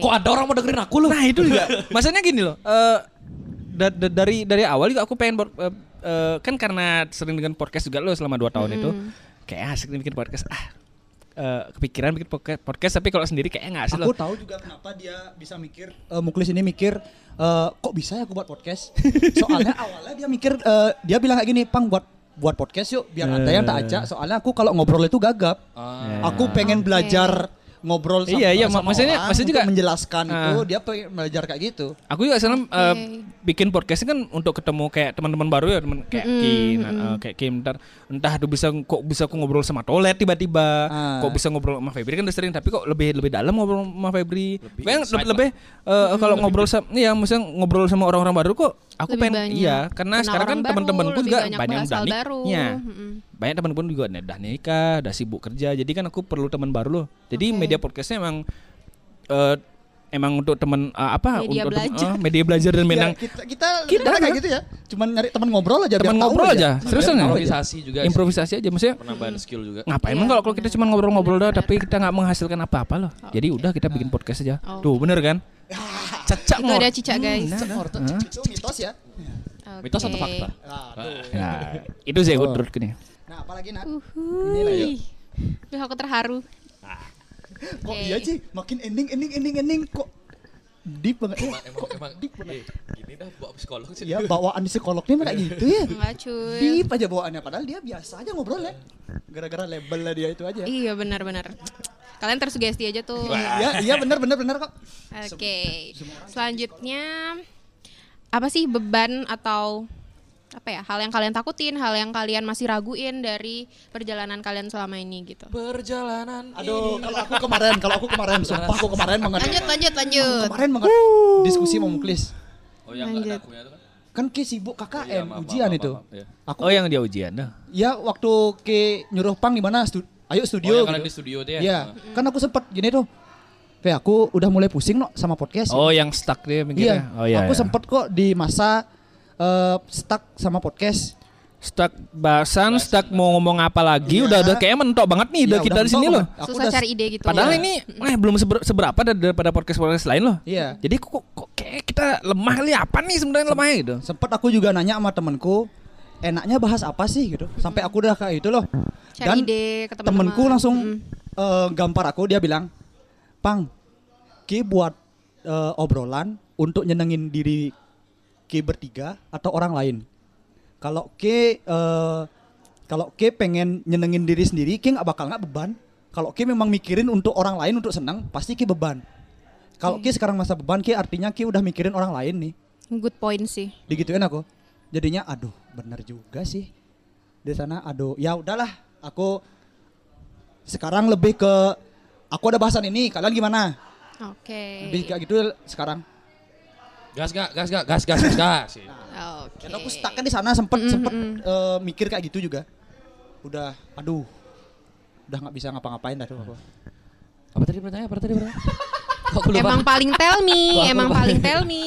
[SPEAKER 2] Kok ada orang mau dengerin aku lu?
[SPEAKER 4] Nah itu juga. (laughs) Maksudnya gini loh. eh, da- da- dari dari awal juga aku pengen bor- eh, eh, kan karena sering dengan podcast juga lo selama 2 tahun itu kayak asik nih bikin podcast ah eh, kepikiran bikin podcast, podcast tapi kalau sendiri kayaknya nggak asik
[SPEAKER 3] aku
[SPEAKER 4] loh.
[SPEAKER 3] tahu juga kenapa dia bisa mikir eh, Muklis ini mikir eh, kok bisa ya aku buat
[SPEAKER 4] (laughs)
[SPEAKER 3] podcast. Soalnya awalnya dia mikir eh, dia bilang kayak gini, "Pang buat buat podcast yuk biar ada
[SPEAKER 4] Eh.
[SPEAKER 3] yang tak ajak." Soalnya aku kalau ngobrol itu gagap. Aku pengen belajar ngobrol sama,
[SPEAKER 4] Ah. Iya, iya,
[SPEAKER 3] sama
[SPEAKER 4] maksudnya-
[SPEAKER 3] orang
[SPEAKER 4] maksudnya
[SPEAKER 3] untuk
[SPEAKER 4] juga-
[SPEAKER 3] menjelaskan itu
[SPEAKER 4] Ah.
[SPEAKER 3] dia pengen belajar kayak gitu.
[SPEAKER 4] Aku juga sekarang eh,
[SPEAKER 5] Oke.
[SPEAKER 4] bikin podcast kan untuk ketemu kayak teman-teman baru ya teman kayak Ki, nah, eh, kayak Kim ntar entah tuh bisa kok bisa aku ngobrol sama Tolet tiba-tiba,
[SPEAKER 3] Ah.
[SPEAKER 4] kok bisa ngobrol sama Febri kan udah sering tapi kok lebih lebih dalam ngobrol sama Febri. Lebih lebih, lebih, eh, kalau ngobrol sama iya maksudnya ngobrol sama orang-orang baru kok aku
[SPEAKER 5] Lebih
[SPEAKER 4] pengen
[SPEAKER 5] banyak.
[SPEAKER 4] iya karena
[SPEAKER 5] Kenal
[SPEAKER 4] sekarang kan
[SPEAKER 5] orang baru,
[SPEAKER 4] teman-temanku
[SPEAKER 5] lebih
[SPEAKER 4] juga
[SPEAKER 5] banyak
[SPEAKER 4] banyak, yang
[SPEAKER 5] bahas
[SPEAKER 4] udah
[SPEAKER 5] hal
[SPEAKER 4] nik-
[SPEAKER 5] baru.
[SPEAKER 4] iya.
[SPEAKER 5] Mm-mm.
[SPEAKER 4] Banyak teman pun juga udah nikah, udah sibuk kerja. Jadi kan aku perlu teman baru loh. Jadi media podcastnya emang eh, emang untuk teman eh, apa
[SPEAKER 5] Media
[SPEAKER 4] untuk tem-
[SPEAKER 5] belajar. Iya, gitu.
[SPEAKER 4] eh, media belajar dan
[SPEAKER 3] Ya,
[SPEAKER 5] (laughs)
[SPEAKER 4] menang
[SPEAKER 3] kita kita,
[SPEAKER 4] Kita
[SPEAKER 3] kita kayak
[SPEAKER 4] kan-
[SPEAKER 3] gitu ya. cuman nyari teman ngobrol aja Iya, biar
[SPEAKER 4] Teman
[SPEAKER 3] tahu
[SPEAKER 4] ngobrol aja. Seriusan ya?
[SPEAKER 2] improvisasi juga sih.
[SPEAKER 4] Improvisasi aja maksudnya.
[SPEAKER 2] penambahan skill juga
[SPEAKER 4] Ngapain
[SPEAKER 5] Iya.
[SPEAKER 4] emang kalau kalau kita cuma ngobrol-ngobrol doang tapi kita nggak menghasilkan apa-apa loh. Jadi udah kita bikin podcast aja.
[SPEAKER 5] Ah. Oke.
[SPEAKER 4] Tuh, bener
[SPEAKER 5] (laughs)
[SPEAKER 4] kan? Hmm, Cacak
[SPEAKER 5] Itu ada cicak guys.
[SPEAKER 3] Itu mitos ya.
[SPEAKER 5] Oke.
[SPEAKER 2] mitos atau fakta
[SPEAKER 3] Aduh.
[SPEAKER 4] Nah, itu sih gue menurut gini.
[SPEAKER 3] Nah, apalagi nak?
[SPEAKER 5] Uhuy.
[SPEAKER 4] ya.
[SPEAKER 5] Duh, aku terharu.
[SPEAKER 3] Kok iya sih? Makin ending ending ending ending kok deep banget. Eh,
[SPEAKER 2] emang emang eh, gini dah buat psikolog sih
[SPEAKER 3] ya bawaan psikolognya emang kayak gitu ya.
[SPEAKER 5] Enggak cuy.
[SPEAKER 4] Iya.
[SPEAKER 3] Deep aja bawaannya padahal dia biasa aja ngobrol ya. Gara-gara label lah dia itu aja.
[SPEAKER 5] Iya benar-benar. Kalian tersugesti aja tuh.
[SPEAKER 3] Iya, iya benar benar benar kok.
[SPEAKER 5] Oke.
[SPEAKER 3] eh,
[SPEAKER 5] Selanjutnya apa sih beban atau apa ya hal yang kalian takutin, hal yang kalian masih raguin dari perjalanan kalian selama ini gitu.
[SPEAKER 2] perjalanan
[SPEAKER 3] Aduh, kalau aku kemarin, kalau aku kemarin,
[SPEAKER 2] Iya.
[SPEAKER 3] sumpah aku kemarin banget.
[SPEAKER 5] Lanjut, lanjut, lanjut.
[SPEAKER 3] Kemarin banget diskusi sama Muklis.
[SPEAKER 2] oh yang nggak ada akunya itu kan
[SPEAKER 3] Kan Ki sibuk KKM
[SPEAKER 2] Iya, maaf,
[SPEAKER 3] ujian
[SPEAKER 2] maaf,
[SPEAKER 3] itu.
[SPEAKER 2] maaf, maaf, iya.
[SPEAKER 3] Aku
[SPEAKER 4] Oh, yang dia ujian dah.
[SPEAKER 3] ya waktu Ki nyuruh Pang di mana? Stu-
[SPEAKER 2] oh
[SPEAKER 3] ayo
[SPEAKER 2] yang
[SPEAKER 3] studio.
[SPEAKER 2] kalian
[SPEAKER 3] gitu.
[SPEAKER 2] di studio tuh ya
[SPEAKER 3] Iya, kan aku sempet gini tuh. Ve, aku udah mulai pusing no sama podcast.
[SPEAKER 4] Oh, yang stuck dia mikirnya.
[SPEAKER 3] iya.
[SPEAKER 4] Oh iya.
[SPEAKER 3] aku
[SPEAKER 4] iya.
[SPEAKER 3] sempet kok di masa eh, stuck sama podcast.
[SPEAKER 4] stuck bahasan, stuck mau ngomong apa lagi,
[SPEAKER 3] Iya.
[SPEAKER 4] udah udah kayak mentok banget nih udah
[SPEAKER 3] Iya,
[SPEAKER 4] kita di
[SPEAKER 3] mentok
[SPEAKER 4] sini loh.
[SPEAKER 3] banget. Aku
[SPEAKER 5] Susah
[SPEAKER 3] udah-
[SPEAKER 5] cari ide gitu.
[SPEAKER 4] Padahal ini eh belum seber- seberapa dar- daripada podcast-podcast lain loh.
[SPEAKER 3] Iya.
[SPEAKER 4] Jadi kok kok- kok kayak kita lemah kali apa nih sebenarnya lemahnya gitu.
[SPEAKER 3] Sempet aku juga nanya sama temanku, enaknya bahas apa sih gitu. Sampai aku udah kayak itu loh.
[SPEAKER 5] Cari ide ke teman-teman.
[SPEAKER 3] temanku langsung
[SPEAKER 5] Mm.
[SPEAKER 3] eh, gampar aku dia bilang, "Pang, Ki buat eh, obrolan untuk nyenengin diri Ki bertiga atau orang lain. Kalau Ki eh, kalau Ki pengen nyenengin diri sendiri, Ki nggak bakal nggak beban. Kalau Ki memang mikirin untuk orang lain untuk senang, pasti Ki beban. Kalau Ki sekarang masa beban, Ki artinya Ki udah mikirin orang lain nih."
[SPEAKER 5] Good point sih.
[SPEAKER 3] digituin aku jadinya aduh bener juga sih di sana aduh ya udahlah aku sekarang lebih ke aku ada bahasan ini kalian gimana
[SPEAKER 5] Oke.
[SPEAKER 3] lebih kayak gitu sekarang
[SPEAKER 2] gas gas gas gas gas gas gas, gas
[SPEAKER 5] Oke.
[SPEAKER 3] dan aku stuck kan di sana sempet
[SPEAKER 5] Mm,
[SPEAKER 3] sempet
[SPEAKER 5] mm.
[SPEAKER 3] eh, mikir kayak gitu juga udah aduh udah nggak bisa ngapa-ngapain dah tuh aku
[SPEAKER 2] apa tadi pertanyaan apa tadi pertanyaan kok lupa
[SPEAKER 5] Emang paling tell
[SPEAKER 3] (laughs)
[SPEAKER 5] me, emang paling tell me,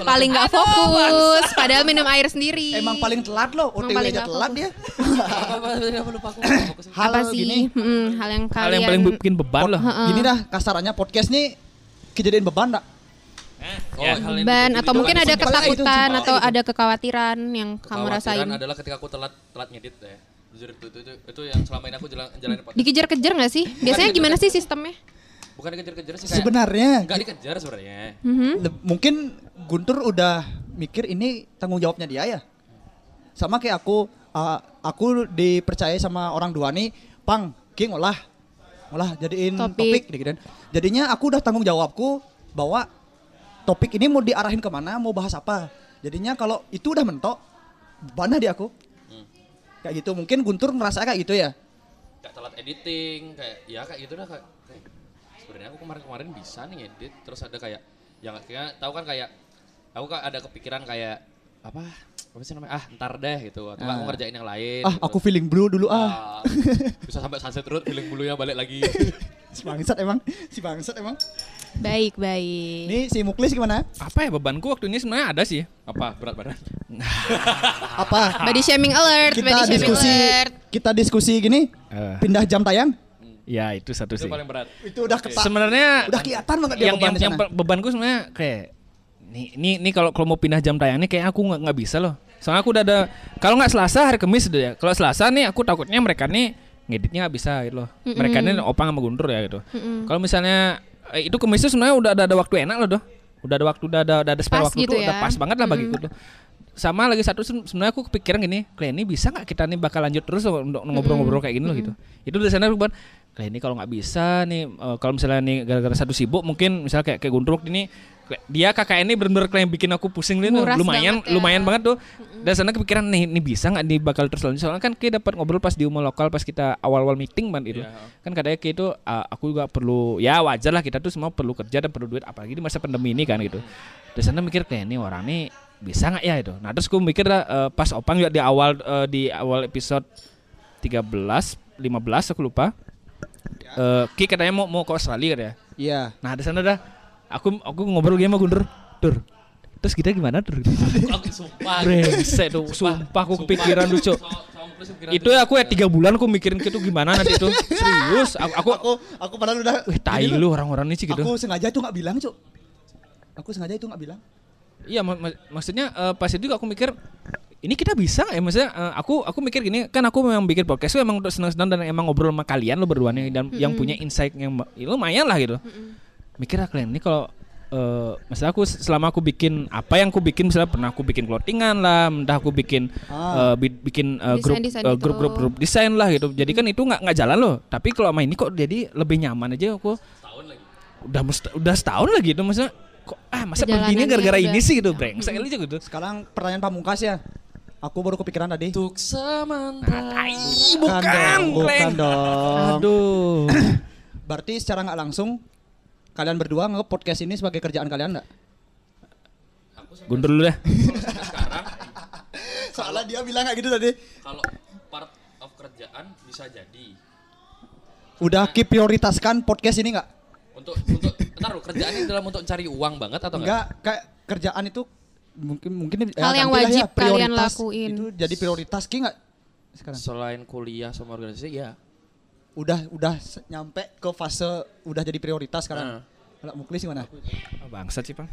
[SPEAKER 5] paling nggak fokus. Padahal minum air sendiri.
[SPEAKER 3] emang paling telat loh
[SPEAKER 5] Emang
[SPEAKER 3] OTW
[SPEAKER 5] paling
[SPEAKER 3] aja
[SPEAKER 5] nggak
[SPEAKER 3] telat
[SPEAKER 5] fokus.
[SPEAKER 3] dia
[SPEAKER 2] apa apa tadi aku lupa aku fokus
[SPEAKER 3] hal
[SPEAKER 5] apa sih?
[SPEAKER 3] gini
[SPEAKER 5] Mm, hal yang kalian
[SPEAKER 4] Hal yang paling bikin beban loh.
[SPEAKER 3] gini dah kasarannya podcast nih kejadian beban dah
[SPEAKER 2] oh, hal yang
[SPEAKER 5] ban
[SPEAKER 2] ditutupi
[SPEAKER 5] atau
[SPEAKER 2] itu
[SPEAKER 5] mungkin
[SPEAKER 2] kan
[SPEAKER 5] ada
[SPEAKER 3] Simpelnya itu,
[SPEAKER 5] ketakutan
[SPEAKER 3] simpelnya
[SPEAKER 5] atau
[SPEAKER 3] itu.
[SPEAKER 5] ada kekhawatiran yang kamu
[SPEAKER 2] Kekhawatiran
[SPEAKER 5] rasain
[SPEAKER 2] adalah ketika aku telat telat ngedit ya jujur itu, itu, itu, itu yang selama ini aku jalan jalanin podcast
[SPEAKER 5] dikejar-kejar nggak sih biasanya gimana sih sistemnya
[SPEAKER 2] bukan dikejar-kejar sih kayak
[SPEAKER 3] sebenarnya
[SPEAKER 2] nggak dikejar sebenarnya
[SPEAKER 3] Le- mungkin Guntur udah mikir ini tanggung jawabnya dia ya. Sama kayak aku, uh, aku dipercaya sama orang dua nih, Pang, King olah, olah jadiin
[SPEAKER 5] Topik.
[SPEAKER 3] topik, gitu kan. Jadinya aku udah tanggung jawabku bahwa topik ini mau diarahin kemana, mau bahas apa. Jadinya kalau itu udah mentok, bebannya di aku. Kayak gitu, mungkin Guntur ngerasa kayak gitu ya.
[SPEAKER 2] kayak telat editing kayak ya kayak gitu dah kayak, kayak sebenarnya aku kemarin-kemarin bisa nih edit terus ada kayak yang akhirnya tahu kan kayak aku kan ada kepikiran kayak apa apa sih namanya ah ntar deh gitu atau nggak aku ngerjain yang lain
[SPEAKER 3] Ah,
[SPEAKER 2] gitu.
[SPEAKER 3] aku feeling blue dulu ah.
[SPEAKER 2] Ah, (laughs) bisa sampai sunset terus feeling bulunya balik lagi
[SPEAKER 3] Si bangsat emang, (laughs) si bangsat emang.
[SPEAKER 5] baik baik
[SPEAKER 3] Ini si Muklis gimana?
[SPEAKER 4] Apa ya bebanku waktu ini sebenarnya ada sih.
[SPEAKER 2] apa berat
[SPEAKER 4] (laughs)
[SPEAKER 2] badan
[SPEAKER 3] Apa?
[SPEAKER 5] body shaming alert body
[SPEAKER 3] kita
[SPEAKER 5] shaming
[SPEAKER 3] diskusi
[SPEAKER 5] alert
[SPEAKER 3] kita diskusi gini
[SPEAKER 4] Eh.
[SPEAKER 3] pindah jam tayang
[SPEAKER 4] Ya itu satu
[SPEAKER 2] itu
[SPEAKER 4] sih.
[SPEAKER 2] paling berat
[SPEAKER 3] itu udah ketat
[SPEAKER 4] Sebenarnya
[SPEAKER 3] udah kelihatan banget dia
[SPEAKER 4] yang
[SPEAKER 3] beban
[SPEAKER 4] yang,
[SPEAKER 3] di
[SPEAKER 4] yang
[SPEAKER 3] sana.
[SPEAKER 4] pe- bebanku sebenarnya kayak nih nih nih kalau kalau mau pindah jam tayangnya kayak aku nggak nggak bisa loh. Soalnya aku udah ada kalau nggak Selasa hari Kamis udah ya. Kalau Selasa nih aku takutnya mereka nih ngeditnya nggak bisa gitu loh. Mereka nih opang sama guntur ya gitu. Kalau misalnya eh, itu Kamis tuh sebenarnya udah ada, ada waktu enak loh doh. Udah ada waktu udah ada udah ada spare
[SPEAKER 5] Pas
[SPEAKER 4] waktu
[SPEAKER 5] gitu
[SPEAKER 4] tuh udah
[SPEAKER 5] ya.
[SPEAKER 4] pas banget lah bagiku tuh. Sama lagi satu se- sebenarnya aku kepikiran gini, kayak ini bisa nggak kita nih bakal lanjut terus loh untuk
[SPEAKER 5] Hmm.
[SPEAKER 4] ngobrol-ngobrol kayak gini loh gitu. Itu udah sana buat kayak ini kalau nggak bisa nih eh, kalau misalnya nih gara-gara satu sibuk mungkin misalnya kayak kayak Guntur waktu ini kayak- dia kakak ini bener-bener kayak yang bikin aku pusing nih tuh.
[SPEAKER 5] Nguras
[SPEAKER 4] lumayan
[SPEAKER 5] banget ya.
[SPEAKER 4] lumayan banget tuh dan sana kepikiran nih ini bisa nggak nih bakal terus lanjut soalnya kan kayak dapat ngobrol pas di umum lokal pas kita awal-awal meeting man itu kan katanya kayak itu ah, aku juga perlu ya wajar lah kita tuh semua perlu kerja dan perlu duit apalagi di masa pandemi ini kan gitu terus sana mikir kayak ini orang nih bisa nggak ya itu nah terus gue mikir eh, pas opang juga di awal eh, di awal episode 13 15 aku lupa Eh, Ki katanya mau mau ke Australia katanya
[SPEAKER 3] iya
[SPEAKER 4] Nah di sana dah aku aku ngobrol game sama Guntur. Dur, (laughs) Terus kita gimana tuh?
[SPEAKER 2] Aku gitu." sumpah.
[SPEAKER 4] Brengsek tuh, sumpah aku kepikiran tuh, Cok. Itu aku ya tiga bulan aku mikirin gitu gimana nanti (laughs) tuh. Serius, aku, aku
[SPEAKER 3] aku aku padahal udah
[SPEAKER 4] Wih, tai
[SPEAKER 3] Ini
[SPEAKER 4] lu orang-orang ini sih gitu.
[SPEAKER 3] Aku sengaja itu nggak bilang, Cuk. Aku sengaja itu nggak bilang.
[SPEAKER 4] Iya, mak- mak- maksudnya eh, pas itu juga aku mikir ini kita bisa nggak ya maksudnya eh, aku aku mikir gini kan aku memang bikin podcast tuh emang untuk senang-senang dan emang ngobrol sama kalian lo berdua nih dan yang punya insight yang ba- ya lumayan lah gitu. Mikir ah kalian ini kalau eh masalah aku selama aku bikin apa yang aku bikin misalnya pernah aku bikin clothingan lah, entah aku bikin eh, bi- bikin eh,
[SPEAKER 5] Desain-
[SPEAKER 4] grup
[SPEAKER 5] desain
[SPEAKER 4] eh,
[SPEAKER 5] gitu.
[SPEAKER 4] grup-grup grup desain lah gitu. Jadi kan itu nggak nggak jalan loh. Tapi kalau sama ini kok jadi lebih nyaman aja aku. Udah must- udah setahun lagi itu maksudnya kok ah masa begini
[SPEAKER 5] Perjalanannya
[SPEAKER 4] gara-gara
[SPEAKER 5] udah-
[SPEAKER 4] ini sih gitu brengsek aja gitu.
[SPEAKER 3] Sekarang pertanyaan pamungkas ya. Aku baru kepikiran tadi.
[SPEAKER 2] Untuk sementara.
[SPEAKER 4] Ih,
[SPEAKER 3] dong, bukan
[SPEAKER 4] Kleng.
[SPEAKER 3] dong.
[SPEAKER 2] (clears throat)
[SPEAKER 4] Aduh.
[SPEAKER 3] Berarti secara nggak langsung kalian berdua nge podcast ini sebagai kerjaan kalian nggak?
[SPEAKER 4] Guntur dulu deh.
[SPEAKER 3] Soalnya dia bilang kayak gitu tadi.
[SPEAKER 2] Kalau part of kerjaan bisa jadi.
[SPEAKER 3] Udah prioritaskan podcast ini nggak?
[SPEAKER 2] Untuk untuk entar lu kerjaan ini dalam untuk cari uang banget atau enggak?
[SPEAKER 3] Enggak, kayak kerjaan itu mungkin mungkin ya,
[SPEAKER 5] Hal yang
[SPEAKER 3] nantilah
[SPEAKER 5] wajib kalian
[SPEAKER 3] prioritas.
[SPEAKER 5] lakuin.
[SPEAKER 3] Itu jadi prioritas ki nggak? Sekarang
[SPEAKER 2] Selain kuliah sama organisasi ya.
[SPEAKER 3] udah udah se- nyampe ke fase udah jadi prioritas
[SPEAKER 2] Nah.
[SPEAKER 3] sekarang. Kalau Muklis gimana?
[SPEAKER 4] Oh, bangsat sih, Bang.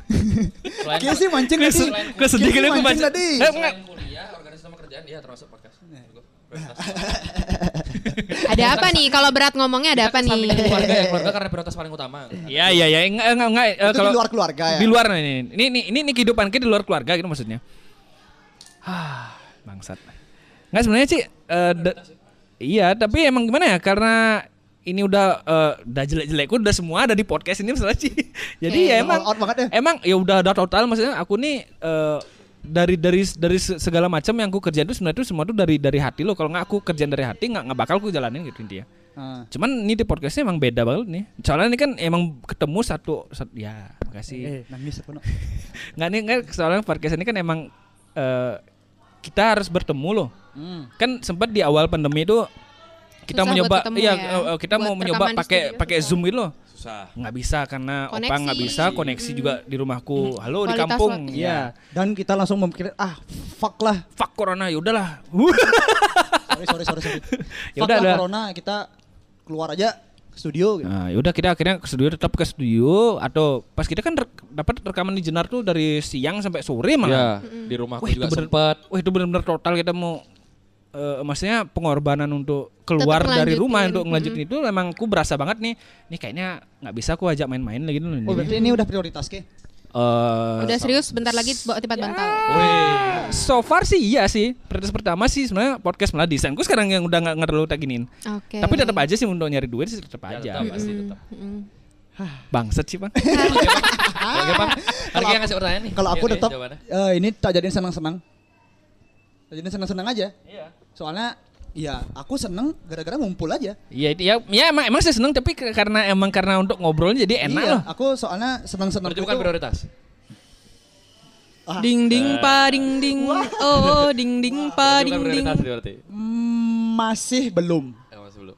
[SPEAKER 2] Selain
[SPEAKER 3] Ki Iya sih mancing tadi.
[SPEAKER 4] Gue sedih
[SPEAKER 3] Ki
[SPEAKER 4] kali aku
[SPEAKER 3] mancing
[SPEAKER 4] baca.
[SPEAKER 3] tadi.
[SPEAKER 4] Eh, enggak.
[SPEAKER 2] selain kuliah, organisasi sama kerjaan ya termasuk podcast. Menurut gua, prioritas.
[SPEAKER 5] Ada apa nih? Kalau berat ngomongnya (laughs) ada apa nih?
[SPEAKER 2] Sampingin keluarga ya, keluarga karena prioritas paling utama.
[SPEAKER 4] Iya, iya, iya. Enggak, enggak, enggak. Eh,
[SPEAKER 3] ya? Itu
[SPEAKER 4] kalau
[SPEAKER 3] di luar keluarga ya.
[SPEAKER 4] di luar nih, ini ini ini, ini, ini kehidupan kita di luar keluarga gitu maksudnya. Hah, bangsat. Enggak sebenarnya sih eh, da- iya, tapi emang gimana ya? Karena ini udah eh, udah jelek-jelekku udah semua ada di podcast ini misalnya sih. (laughs) Jadi
[SPEAKER 5] Oke.
[SPEAKER 4] ya emang
[SPEAKER 3] All out banget ya.
[SPEAKER 4] Emang ya udah udah total maksudnya aku nih eh, dari dari dari se- segala macam yang aku kerjain itu sebenarnya itu semua tuh dari dari hati lo. Kalau nggak aku kerjain dari hati nggak nggak bakal aku jalanin gitu intinya.
[SPEAKER 3] (laughs) Ah.
[SPEAKER 4] Cuman ini di podcastnya emang beda banget nih. Soalnya ini kan emang ketemu satu, satu ya
[SPEAKER 3] Eh,
[SPEAKER 4] makasih.
[SPEAKER 3] nangis aku no.
[SPEAKER 4] Nggak nih nggak soalnya podcast ini kan emang eh, kita harus bertemu loh.
[SPEAKER 3] Hmm.
[SPEAKER 4] Kan sempat di awal pandemi itu kita
[SPEAKER 5] Susah buat
[SPEAKER 4] mencoba
[SPEAKER 5] ketemu
[SPEAKER 4] iya,
[SPEAKER 5] ya.
[SPEAKER 4] eh, eh, kita
[SPEAKER 5] Buat
[SPEAKER 4] mau mencoba
[SPEAKER 5] rekaman di
[SPEAKER 4] pakai
[SPEAKER 5] studio
[SPEAKER 4] pakai
[SPEAKER 5] susah.
[SPEAKER 4] Zoom gitu loh.
[SPEAKER 2] Susah.
[SPEAKER 4] Nggak bisa karena
[SPEAKER 5] Koneksi.
[SPEAKER 4] opang nggak bisa, koneksi juga di rumahku. Halo di
[SPEAKER 5] Kualitas
[SPEAKER 4] kampung.
[SPEAKER 5] waktu.
[SPEAKER 4] Iya.
[SPEAKER 3] Dan kita langsung memikir ah fuck lah.
[SPEAKER 4] Fuck corona ya udahlah. (laughs)
[SPEAKER 3] Sorry sorry sorry. sorry.
[SPEAKER 4] Ya
[SPEAKER 3] fuck
[SPEAKER 4] udah,
[SPEAKER 3] lah
[SPEAKER 4] udah.
[SPEAKER 3] corona kita keluar aja ke studio gitu.
[SPEAKER 4] Nah, yaudah kita akhirnya ke studio tetap ke studio atau pas kita kan rek- dapat rekaman di Jenar tuh dari siang sampai sore malah.
[SPEAKER 2] Ya, di rumahku
[SPEAKER 4] Wah, itu
[SPEAKER 2] juga
[SPEAKER 4] bener-
[SPEAKER 2] sempat
[SPEAKER 4] Wah itu benar-benar total kita mau eh, maksudnya pengorbanan untuk keluar
[SPEAKER 5] Tetap
[SPEAKER 4] dari
[SPEAKER 5] ngelanjutin.
[SPEAKER 4] rumah untuk ngelanjutin itu emang aku berasa banget nih. Nih kayaknya nggak bisa aku ajak main-main lagi dulu Eh,
[SPEAKER 3] Oh, berarti ini udah prioritas ki.
[SPEAKER 5] (laughs) Udah serius bentar lagi
[SPEAKER 3] Ya.
[SPEAKER 5] bawa tipat bantal.
[SPEAKER 4] So far sih iya sih. Prioritas pertama sih sebenarnya podcast malah desainku sekarang yang udah nggak nggak terlalu tak giniin.
[SPEAKER 5] Oke.
[SPEAKER 4] Tapi tetap aja sih untuk nyari duit sih Iya, tetap
[SPEAKER 2] Ya,
[SPEAKER 4] aja.
[SPEAKER 2] tetap, pasti tetap.
[SPEAKER 5] Mm-mm.
[SPEAKER 4] Bangsat sih,
[SPEAKER 5] (laughs)
[SPEAKER 4] Bang.
[SPEAKER 2] Oke, Bang. Harga yang ngasih pertanyaan nih.
[SPEAKER 3] Kalau aku
[SPEAKER 2] Iya, iya,
[SPEAKER 3] tetap
[SPEAKER 2] jawabannya.
[SPEAKER 3] eh, ini tak jadiin senang-senang. Tak jadiin senang-senang aja.
[SPEAKER 2] Iya.
[SPEAKER 3] Soalnya ya aku seneng gara-gara ngumpul aja.
[SPEAKER 4] Iya, itu- ya, ya emang emang saya seneng tapi ke- karena emang karena untuk ngobrolnya jadi enak
[SPEAKER 3] Iya,
[SPEAKER 4] loh.
[SPEAKER 3] Aku soalnya senang-senang
[SPEAKER 2] Berarti bukan prioritas.
[SPEAKER 3] Ah.
[SPEAKER 5] Oh, Ding ding pa ding ding. Oh, ding ding
[SPEAKER 2] Bukan
[SPEAKER 5] pa ding ding.
[SPEAKER 2] prioritas Iya, berarti.
[SPEAKER 3] Mm, masih belum.
[SPEAKER 2] Eh, masih belum.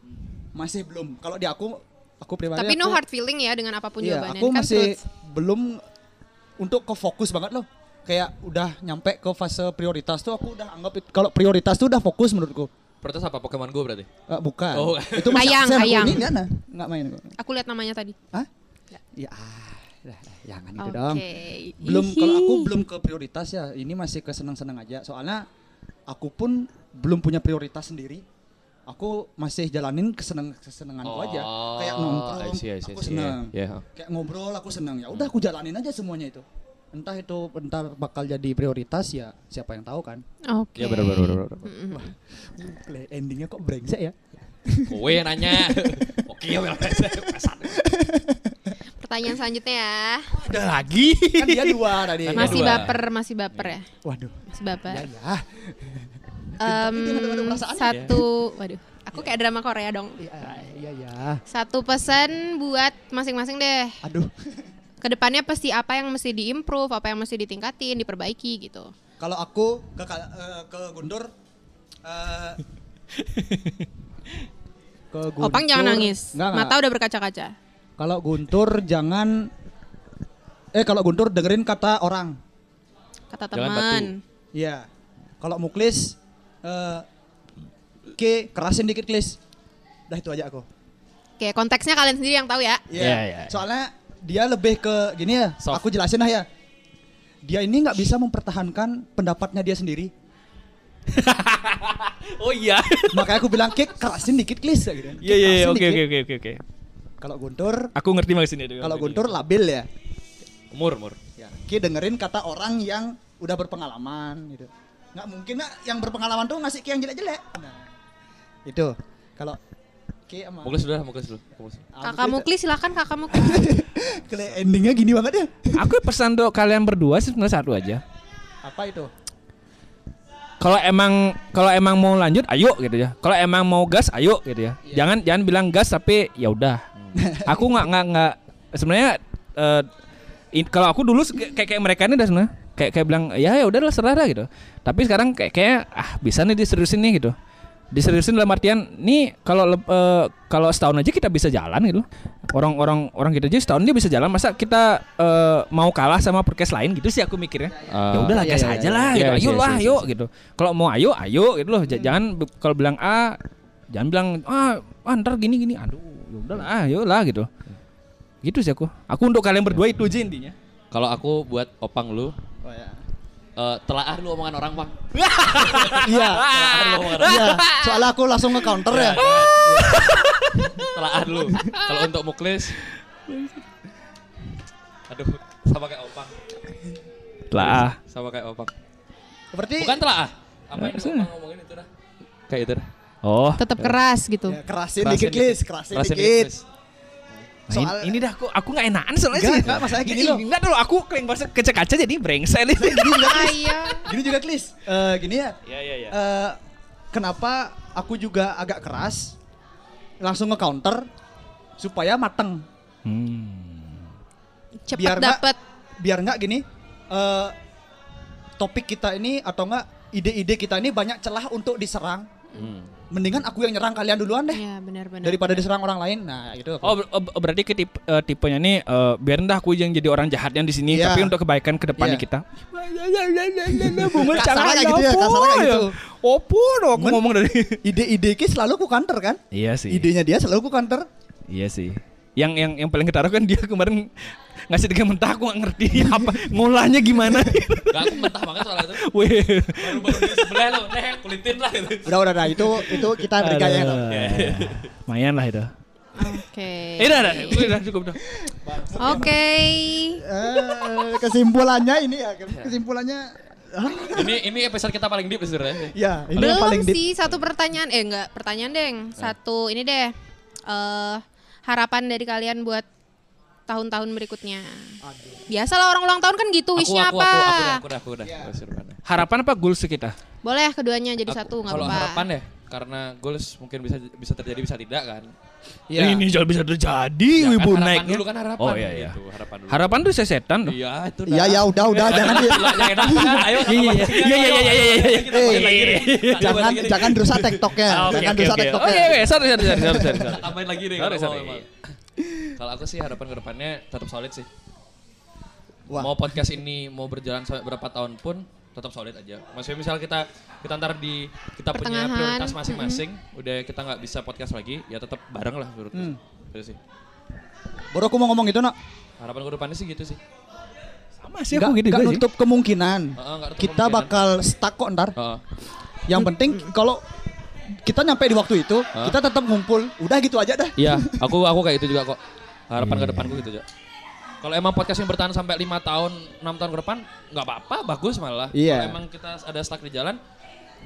[SPEAKER 3] Masih belum. Kalau di aku aku pribadi
[SPEAKER 5] Tapi
[SPEAKER 3] aku,
[SPEAKER 5] no hard feeling ya dengan apapun
[SPEAKER 3] Iya,
[SPEAKER 5] jawabannya.
[SPEAKER 3] aku
[SPEAKER 5] Kan
[SPEAKER 3] masih
[SPEAKER 5] truth.
[SPEAKER 3] belum untuk ke fokus banget loh. Kayak udah nyampe ke fase prioritas tuh aku udah anggap it- kalau prioritas tuh udah fokus menurutku.
[SPEAKER 2] Prioritas apa Pokemon Go berarti?
[SPEAKER 3] Eh, bukan.
[SPEAKER 2] Oh.
[SPEAKER 3] Itu masih
[SPEAKER 5] Ayang,
[SPEAKER 3] absen aku.
[SPEAKER 5] ayang.
[SPEAKER 3] Ini enggak nah, enggak main kok.
[SPEAKER 5] Aku lihat namanya tadi.
[SPEAKER 3] Hah? Ya, ah, lah, lah,
[SPEAKER 2] ya kan
[SPEAKER 3] jangan
[SPEAKER 2] gitu
[SPEAKER 3] itu
[SPEAKER 5] Oke.
[SPEAKER 3] dong. belum kalau aku belum ke prioritas ya ini masih ke senang-senang aja soalnya aku pun belum punya prioritas sendiri aku masih jalanin kesenang kesenanganku aja kayak nongkrong
[SPEAKER 2] Oh, I see, I see, Iya. I
[SPEAKER 3] aku
[SPEAKER 2] see.
[SPEAKER 3] senang
[SPEAKER 2] Yeah, yeah.
[SPEAKER 3] kayak ngobrol aku senang ya udah aku jalanin aja semuanya itu entah itu bentar bakal jadi prioritas ya siapa yang tahu kan
[SPEAKER 5] Oke.
[SPEAKER 2] Ya benar benar benar. benar.
[SPEAKER 3] Kle- endingnya kok brengsek ya
[SPEAKER 2] Kowe yang nanya. Oke, ya benar.
[SPEAKER 5] Pertanyaan selanjutnya ya.
[SPEAKER 4] Ada lagi.
[SPEAKER 3] kan dia dua tadi
[SPEAKER 2] Kan
[SPEAKER 5] Masih
[SPEAKER 2] Dua.
[SPEAKER 5] baper, masih baper ya.
[SPEAKER 3] waduh
[SPEAKER 5] Masih baper.
[SPEAKER 3] ya ya
[SPEAKER 5] Em,
[SPEAKER 3] Itu ada perasaan ya?
[SPEAKER 5] satu, waduh. Aku kayak drama Korea dong.
[SPEAKER 3] ya ya, ya.
[SPEAKER 5] Satu pesan buat masing-masing deh.
[SPEAKER 3] aduh
[SPEAKER 5] Kedepannya pasti apa yang mesti diimprove, apa yang mesti ditingkatin, diperbaiki gitu.
[SPEAKER 3] Kalau aku ke kal- eh, ke Gundur eh, ke
[SPEAKER 5] Opang jangan nangis.
[SPEAKER 3] Enggak,
[SPEAKER 5] Mata udah berkaca-kaca.
[SPEAKER 3] Kalau Guntur jangan eh kalau Guntur dengerin kata orang.
[SPEAKER 5] kata
[SPEAKER 2] Jalan Batu.
[SPEAKER 5] teman.
[SPEAKER 3] Iya. Kalau muklis eh K kerasin dikit klis. Udah itu aja aku.
[SPEAKER 5] Oke, konteksnya kalian sendiri yang tahu ya.
[SPEAKER 2] Iya,
[SPEAKER 3] Iya.
[SPEAKER 2] iya, iya.
[SPEAKER 3] Soalnya dia lebih ke gini ya.
[SPEAKER 2] Soft.
[SPEAKER 3] Aku jelasin lah ya. Dia ini nggak bisa mempertahankan pendapatnya dia sendiri.
[SPEAKER 4] Oh iya.
[SPEAKER 3] Makanya aku bilang K kerasin dikit klis ya gitu.
[SPEAKER 4] (laughs) Iya iya iya,
[SPEAKER 3] Kerasin
[SPEAKER 4] oke
[SPEAKER 3] dikit.
[SPEAKER 4] oke oke oke oke.
[SPEAKER 3] Kalau guntur,
[SPEAKER 4] Aku ngerti maksudnya. dia.
[SPEAKER 3] kalau guntur labil ya.
[SPEAKER 4] umur umur.
[SPEAKER 3] Ya, Ki dengerin kata orang yang udah berpengalaman gitu. Nggak mungkin lah yang berpengalaman tuh ngasih Ki yang jelek-jelek. Nah, itu kalau Ki sama
[SPEAKER 2] Muklis dulu lah, muklis dulu. Muklis dulu.
[SPEAKER 3] Ah,
[SPEAKER 5] Kakak
[SPEAKER 3] mungkin- (laughs)
[SPEAKER 5] Mukli silakan Kakak Mukli.
[SPEAKER 3] Kele endingnya gini banget ya.
[SPEAKER 4] Aku pesan untuk kalian berdua sih sebenarnya satu aja.
[SPEAKER 3] Apa itu?
[SPEAKER 4] Kalau emang kalau emang mau lanjut, ayo gitu ya. Kalau emang mau gas, ayo gitu ya.
[SPEAKER 3] Iya.
[SPEAKER 4] Jangan jangan bilang gas tapi ya udah.
[SPEAKER 3] Hmm.
[SPEAKER 4] aku nggak nggak nggak sebenarnya eh, in- kalau aku dulu se- kayak kayak mereka ini udah sebenarnya kayak kayak bilang ya ya udahlah serah dah," gitu. Tapi sekarang kayak kayak ah bisa nih diseriusin nih gitu. Diseriusin dalam artian nih kalau leb- eh, kalau setahun aja kita bisa jalan gitu. Orang-orang orang kita aja setahun dia bisa jalan masa kita eh, mau kalah sama podcast lain gitu sih aku mikirnya ya
[SPEAKER 2] Ah,
[SPEAKER 4] udahlah
[SPEAKER 3] Iya,
[SPEAKER 4] gas
[SPEAKER 3] iya,
[SPEAKER 4] aja
[SPEAKER 3] iya.
[SPEAKER 4] lah
[SPEAKER 2] Iya,
[SPEAKER 4] gitu.
[SPEAKER 2] iya,
[SPEAKER 4] ayo
[SPEAKER 2] iya,
[SPEAKER 4] lah
[SPEAKER 2] iya,
[SPEAKER 4] ayo gitu kalau mau ayo ayo gitu loh J-
[SPEAKER 3] Hmm.
[SPEAKER 4] jangan be- kalau bilang a jangan bilang ah, ah ntar gini gini aduh ya udahlah ayo lah gitu gitu sih aku aku untuk kalian berdua itu aja intinya
[SPEAKER 2] Kalau aku buat opang lu,
[SPEAKER 3] Oh ya.
[SPEAKER 2] eh, telaah lu omongan orang, Bang.
[SPEAKER 3] Iya.
[SPEAKER 2] Telaah lu omongan orang.
[SPEAKER 3] Iya. Soalnya aku langsung ke counter ya.
[SPEAKER 2] Telaah lu. Kalau untuk muklis Aduh, sama kayak opang.
[SPEAKER 3] ah.
[SPEAKER 4] lah
[SPEAKER 2] Sama kayak opang.
[SPEAKER 3] Berarti
[SPEAKER 2] Bukan telaah. Apa yang opang ngomongin itu dah? Kayak itu dah.
[SPEAKER 4] oh
[SPEAKER 5] Tetap keras gitu.
[SPEAKER 3] ya, kerasin dikit Klis, kerasin
[SPEAKER 2] Kerasin
[SPEAKER 3] dikit.
[SPEAKER 2] Liz.
[SPEAKER 4] nah,
[SPEAKER 3] Soal
[SPEAKER 4] ini, ini dah aku aku nggak enakan soalnya
[SPEAKER 3] Enggak,
[SPEAKER 4] sih
[SPEAKER 3] enggak, masalahnya gini
[SPEAKER 4] Ih,
[SPEAKER 3] loh.
[SPEAKER 4] enggak dulu aku kering bahasa kecek kaca jadi brengsek nih
[SPEAKER 3] gini
[SPEAKER 4] (laughs)
[SPEAKER 3] juga
[SPEAKER 5] Ah,
[SPEAKER 3] Klis.
[SPEAKER 5] iya.
[SPEAKER 3] Gini juga Klis. Eh, gini ya.
[SPEAKER 4] ya ya ya
[SPEAKER 3] Eh, kenapa aku juga agak keras langsung nge counter supaya mateng Biar
[SPEAKER 5] Cepet
[SPEAKER 3] nggak-
[SPEAKER 5] dapet
[SPEAKER 3] biar nggak gini eh topik kita ini atau enggak ide-ide kita ini banyak celah untuk diserang
[SPEAKER 2] Hmm.
[SPEAKER 3] mendingan aku yang nyerang kalian duluan deh
[SPEAKER 5] Iya, benar-benar.
[SPEAKER 3] daripada diserang orang lain nah itu aku.
[SPEAKER 4] Oh, ber- oh, berarti ke tip- eh, tipenya nih eh, biar dah aku yang jadi orang jahatnya di sini
[SPEAKER 3] Iya.
[SPEAKER 4] tapi untuk kebaikan ke depannya
[SPEAKER 3] Iya.
[SPEAKER 4] kita.
[SPEAKER 3] (laughs)
[SPEAKER 4] Bunga
[SPEAKER 3] Kasarnya
[SPEAKER 4] cangkang
[SPEAKER 3] kayak gitu ya,
[SPEAKER 4] apa
[SPEAKER 3] kasarnya kayak
[SPEAKER 4] ya?
[SPEAKER 3] gitu.
[SPEAKER 4] Opo dong aku
[SPEAKER 3] Men-
[SPEAKER 4] ngomong dari.
[SPEAKER 3] ide-ide ki selalu aku counter kan
[SPEAKER 4] Iya sih.
[SPEAKER 3] idenya dia selalu aku counter
[SPEAKER 4] Iya sih. Yang yang yang paling ketara kan dia kemarin ngasih dengan mentah aku gak ngerti (laughs) apa ngolahnya gimana. (laughs)
[SPEAKER 2] Gak aku mentah banget soal itu.
[SPEAKER 4] Weh.
[SPEAKER 2] Baru-baru di sebelah lu, nih kulitin lah gitu.
[SPEAKER 3] udah udah udah itu itu kita berikan ya
[SPEAKER 4] Aduh. Lumayan lah itu.
[SPEAKER 5] Oke.
[SPEAKER 4] Eh, udah, udah, udah, cukup dah.
[SPEAKER 5] Oke.
[SPEAKER 3] Eh, kesimpulannya ini ya kesimpulannya
[SPEAKER 2] Ini ini episode kita paling deep sebenarnya.
[SPEAKER 3] ya ini yang
[SPEAKER 5] Belum
[SPEAKER 3] paling deep.
[SPEAKER 5] sih satu pertanyaan. Eh, enggak, pertanyaan, Deng. Satu ini deh. Eh, harapan dari kalian buat tahun-tahun berikutnya. Biasalah orang ulang tahun kan gitu
[SPEAKER 2] Aku
[SPEAKER 5] wishnya
[SPEAKER 2] aku
[SPEAKER 5] apa.
[SPEAKER 2] aku aku udah aku udah aku udah. Aku suruh mana.
[SPEAKER 4] Harapan apa goals kita?
[SPEAKER 5] Boleh keduanya jadi
[SPEAKER 2] Aku-
[SPEAKER 5] satu nggak
[SPEAKER 2] Kalau
[SPEAKER 5] apa-apa.
[SPEAKER 2] harapan ya, karena goals mungkin bisa bisa terjadi bisa tidak kan.
[SPEAKER 3] Iya.
[SPEAKER 4] Ini jauh bisa terjadi,
[SPEAKER 2] Ya kan,
[SPEAKER 4] wibu
[SPEAKER 2] harapan
[SPEAKER 4] naiknya.
[SPEAKER 2] dulu kan harapan.
[SPEAKER 4] Oh iya iya.
[SPEAKER 2] gitu, harapan dulu.
[SPEAKER 4] Harapan tuh sesetan loh.
[SPEAKER 2] Iya itu.
[SPEAKER 3] Iya ya udah
[SPEAKER 2] (laughs)
[SPEAKER 3] udah jangan di-
[SPEAKER 2] Yang enak kan, ayo
[SPEAKER 4] Iya iya iya iya iya iya iya.
[SPEAKER 2] Kita balik lagi nih. Kita balik
[SPEAKER 3] jangan
[SPEAKER 2] lagi nih.
[SPEAKER 3] jangan rusak tiktoknya
[SPEAKER 4] Ah, Oke
[SPEAKER 3] jangan
[SPEAKER 4] oke
[SPEAKER 3] rusak
[SPEAKER 4] oke.
[SPEAKER 3] tiktoknya
[SPEAKER 4] Oke oke. iya. Sorry sorry sorry sorry, sorry sorry.
[SPEAKER 3] (laughs)
[SPEAKER 2] Kita tambahin lagi nih.
[SPEAKER 4] Sorry,
[SPEAKER 2] kalau
[SPEAKER 4] sorry.
[SPEAKER 2] mau emang. Kalau aku sih harapan kedepannya tetap solid sih.
[SPEAKER 3] Wah.
[SPEAKER 2] Mau podcast ini mau berjalan sampai berapa tahun pun tetap solid aja. Maksudnya misal kita kita ntar di kita punya
[SPEAKER 5] Pertengahan,
[SPEAKER 2] prioritas masing-masing, udah kita nggak bisa podcast lagi, ya tetap bareng lah menurutku.
[SPEAKER 3] Hmm.
[SPEAKER 2] Gitu sih.
[SPEAKER 3] baru aku mau ngomong itu nak
[SPEAKER 2] Harapan kedepannya sih gitu sih.
[SPEAKER 4] Sama sih
[SPEAKER 3] nggak
[SPEAKER 4] aku gitu
[SPEAKER 3] nggak
[SPEAKER 4] juga sih.
[SPEAKER 3] nutup kemungkinan
[SPEAKER 2] Heeh, Ah, nggak nutup
[SPEAKER 3] kita
[SPEAKER 2] kemungkinan.
[SPEAKER 3] bakal stuck kok ntar
[SPEAKER 2] Heeh.
[SPEAKER 3] yang penting kalau kita nyampe di waktu itu kita tetap ngumpul udah gitu aja dah
[SPEAKER 2] Ah. Iya, aku aku kayak itu juga kok. Harapan ke depanku gitu aja. Kalau emang podcast yang bertahan sampai lima tahun, enam tahun ke depan, nggak apa-apa, bagus malah. Kalau
[SPEAKER 3] Iya.
[SPEAKER 2] emang kita ada stuck di jalan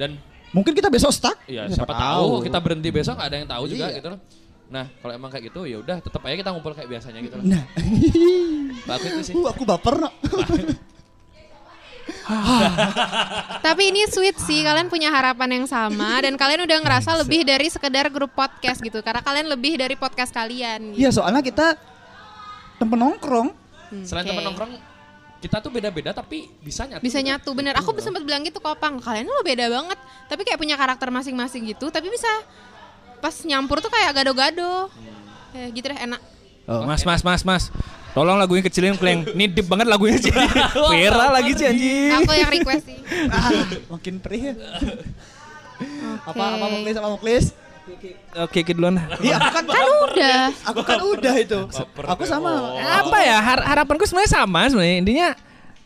[SPEAKER 2] dan
[SPEAKER 3] mungkin kita besok stuck
[SPEAKER 2] ya siapa, tahu, kita berhenti besok nggak ada yang tahu juga gitu loh. Nah, kalau emang kayak gitu ya udah tetap aja kita ngumpul kayak biasanya gitu
[SPEAKER 3] (laughs)
[SPEAKER 2] loh.
[SPEAKER 3] nah
[SPEAKER 2] Bagus itu sih.
[SPEAKER 3] uh, aku baper nak (laughs)
[SPEAKER 5] Tapi ini sweet sih, kalian punya harapan yang sama dan kalian udah ngerasa lebih dari sekedar grup podcast gitu. Karena kalian lebih dari podcast kalian. Hmm,
[SPEAKER 3] iya soalnya kita tempat nongkrong
[SPEAKER 2] Selain teman nongkrong, kita tuh beda-beda tapi bisa nyatu.
[SPEAKER 5] bisa
[SPEAKER 2] gitu.
[SPEAKER 5] nyatu bener.
[SPEAKER 2] (laughs)
[SPEAKER 4] iya.
[SPEAKER 5] Aku sempat bilang gitu ke Opang, kalian lo beda banget. Tapi kayak punya karakter masing-masing gitu, tapi bisa
[SPEAKER 4] Hmm.
[SPEAKER 5] pas nyampur tuh kayak gado-gado. Eh, gitu deh enak.
[SPEAKER 4] Oh, mas mas mas mas. Tolong lagunya kecilin kleng. Ini deep banget lagunya sih. (laughs) Vera lagi sih anjing.
[SPEAKER 5] Aku yang request
[SPEAKER 4] (laughs)
[SPEAKER 5] sih.
[SPEAKER 3] Ah, Makin perih. ya.
[SPEAKER 5] Oke.
[SPEAKER 3] Apa apa muklis apa muklis?
[SPEAKER 4] Oke, oke duluan.
[SPEAKER 3] Iya, aku kan
[SPEAKER 5] Kan udah.
[SPEAKER 3] aku kan udah itu. Aku sama.
[SPEAKER 4] Apa ya har- harapanku sebenarnya sama sebenarnya. Intinya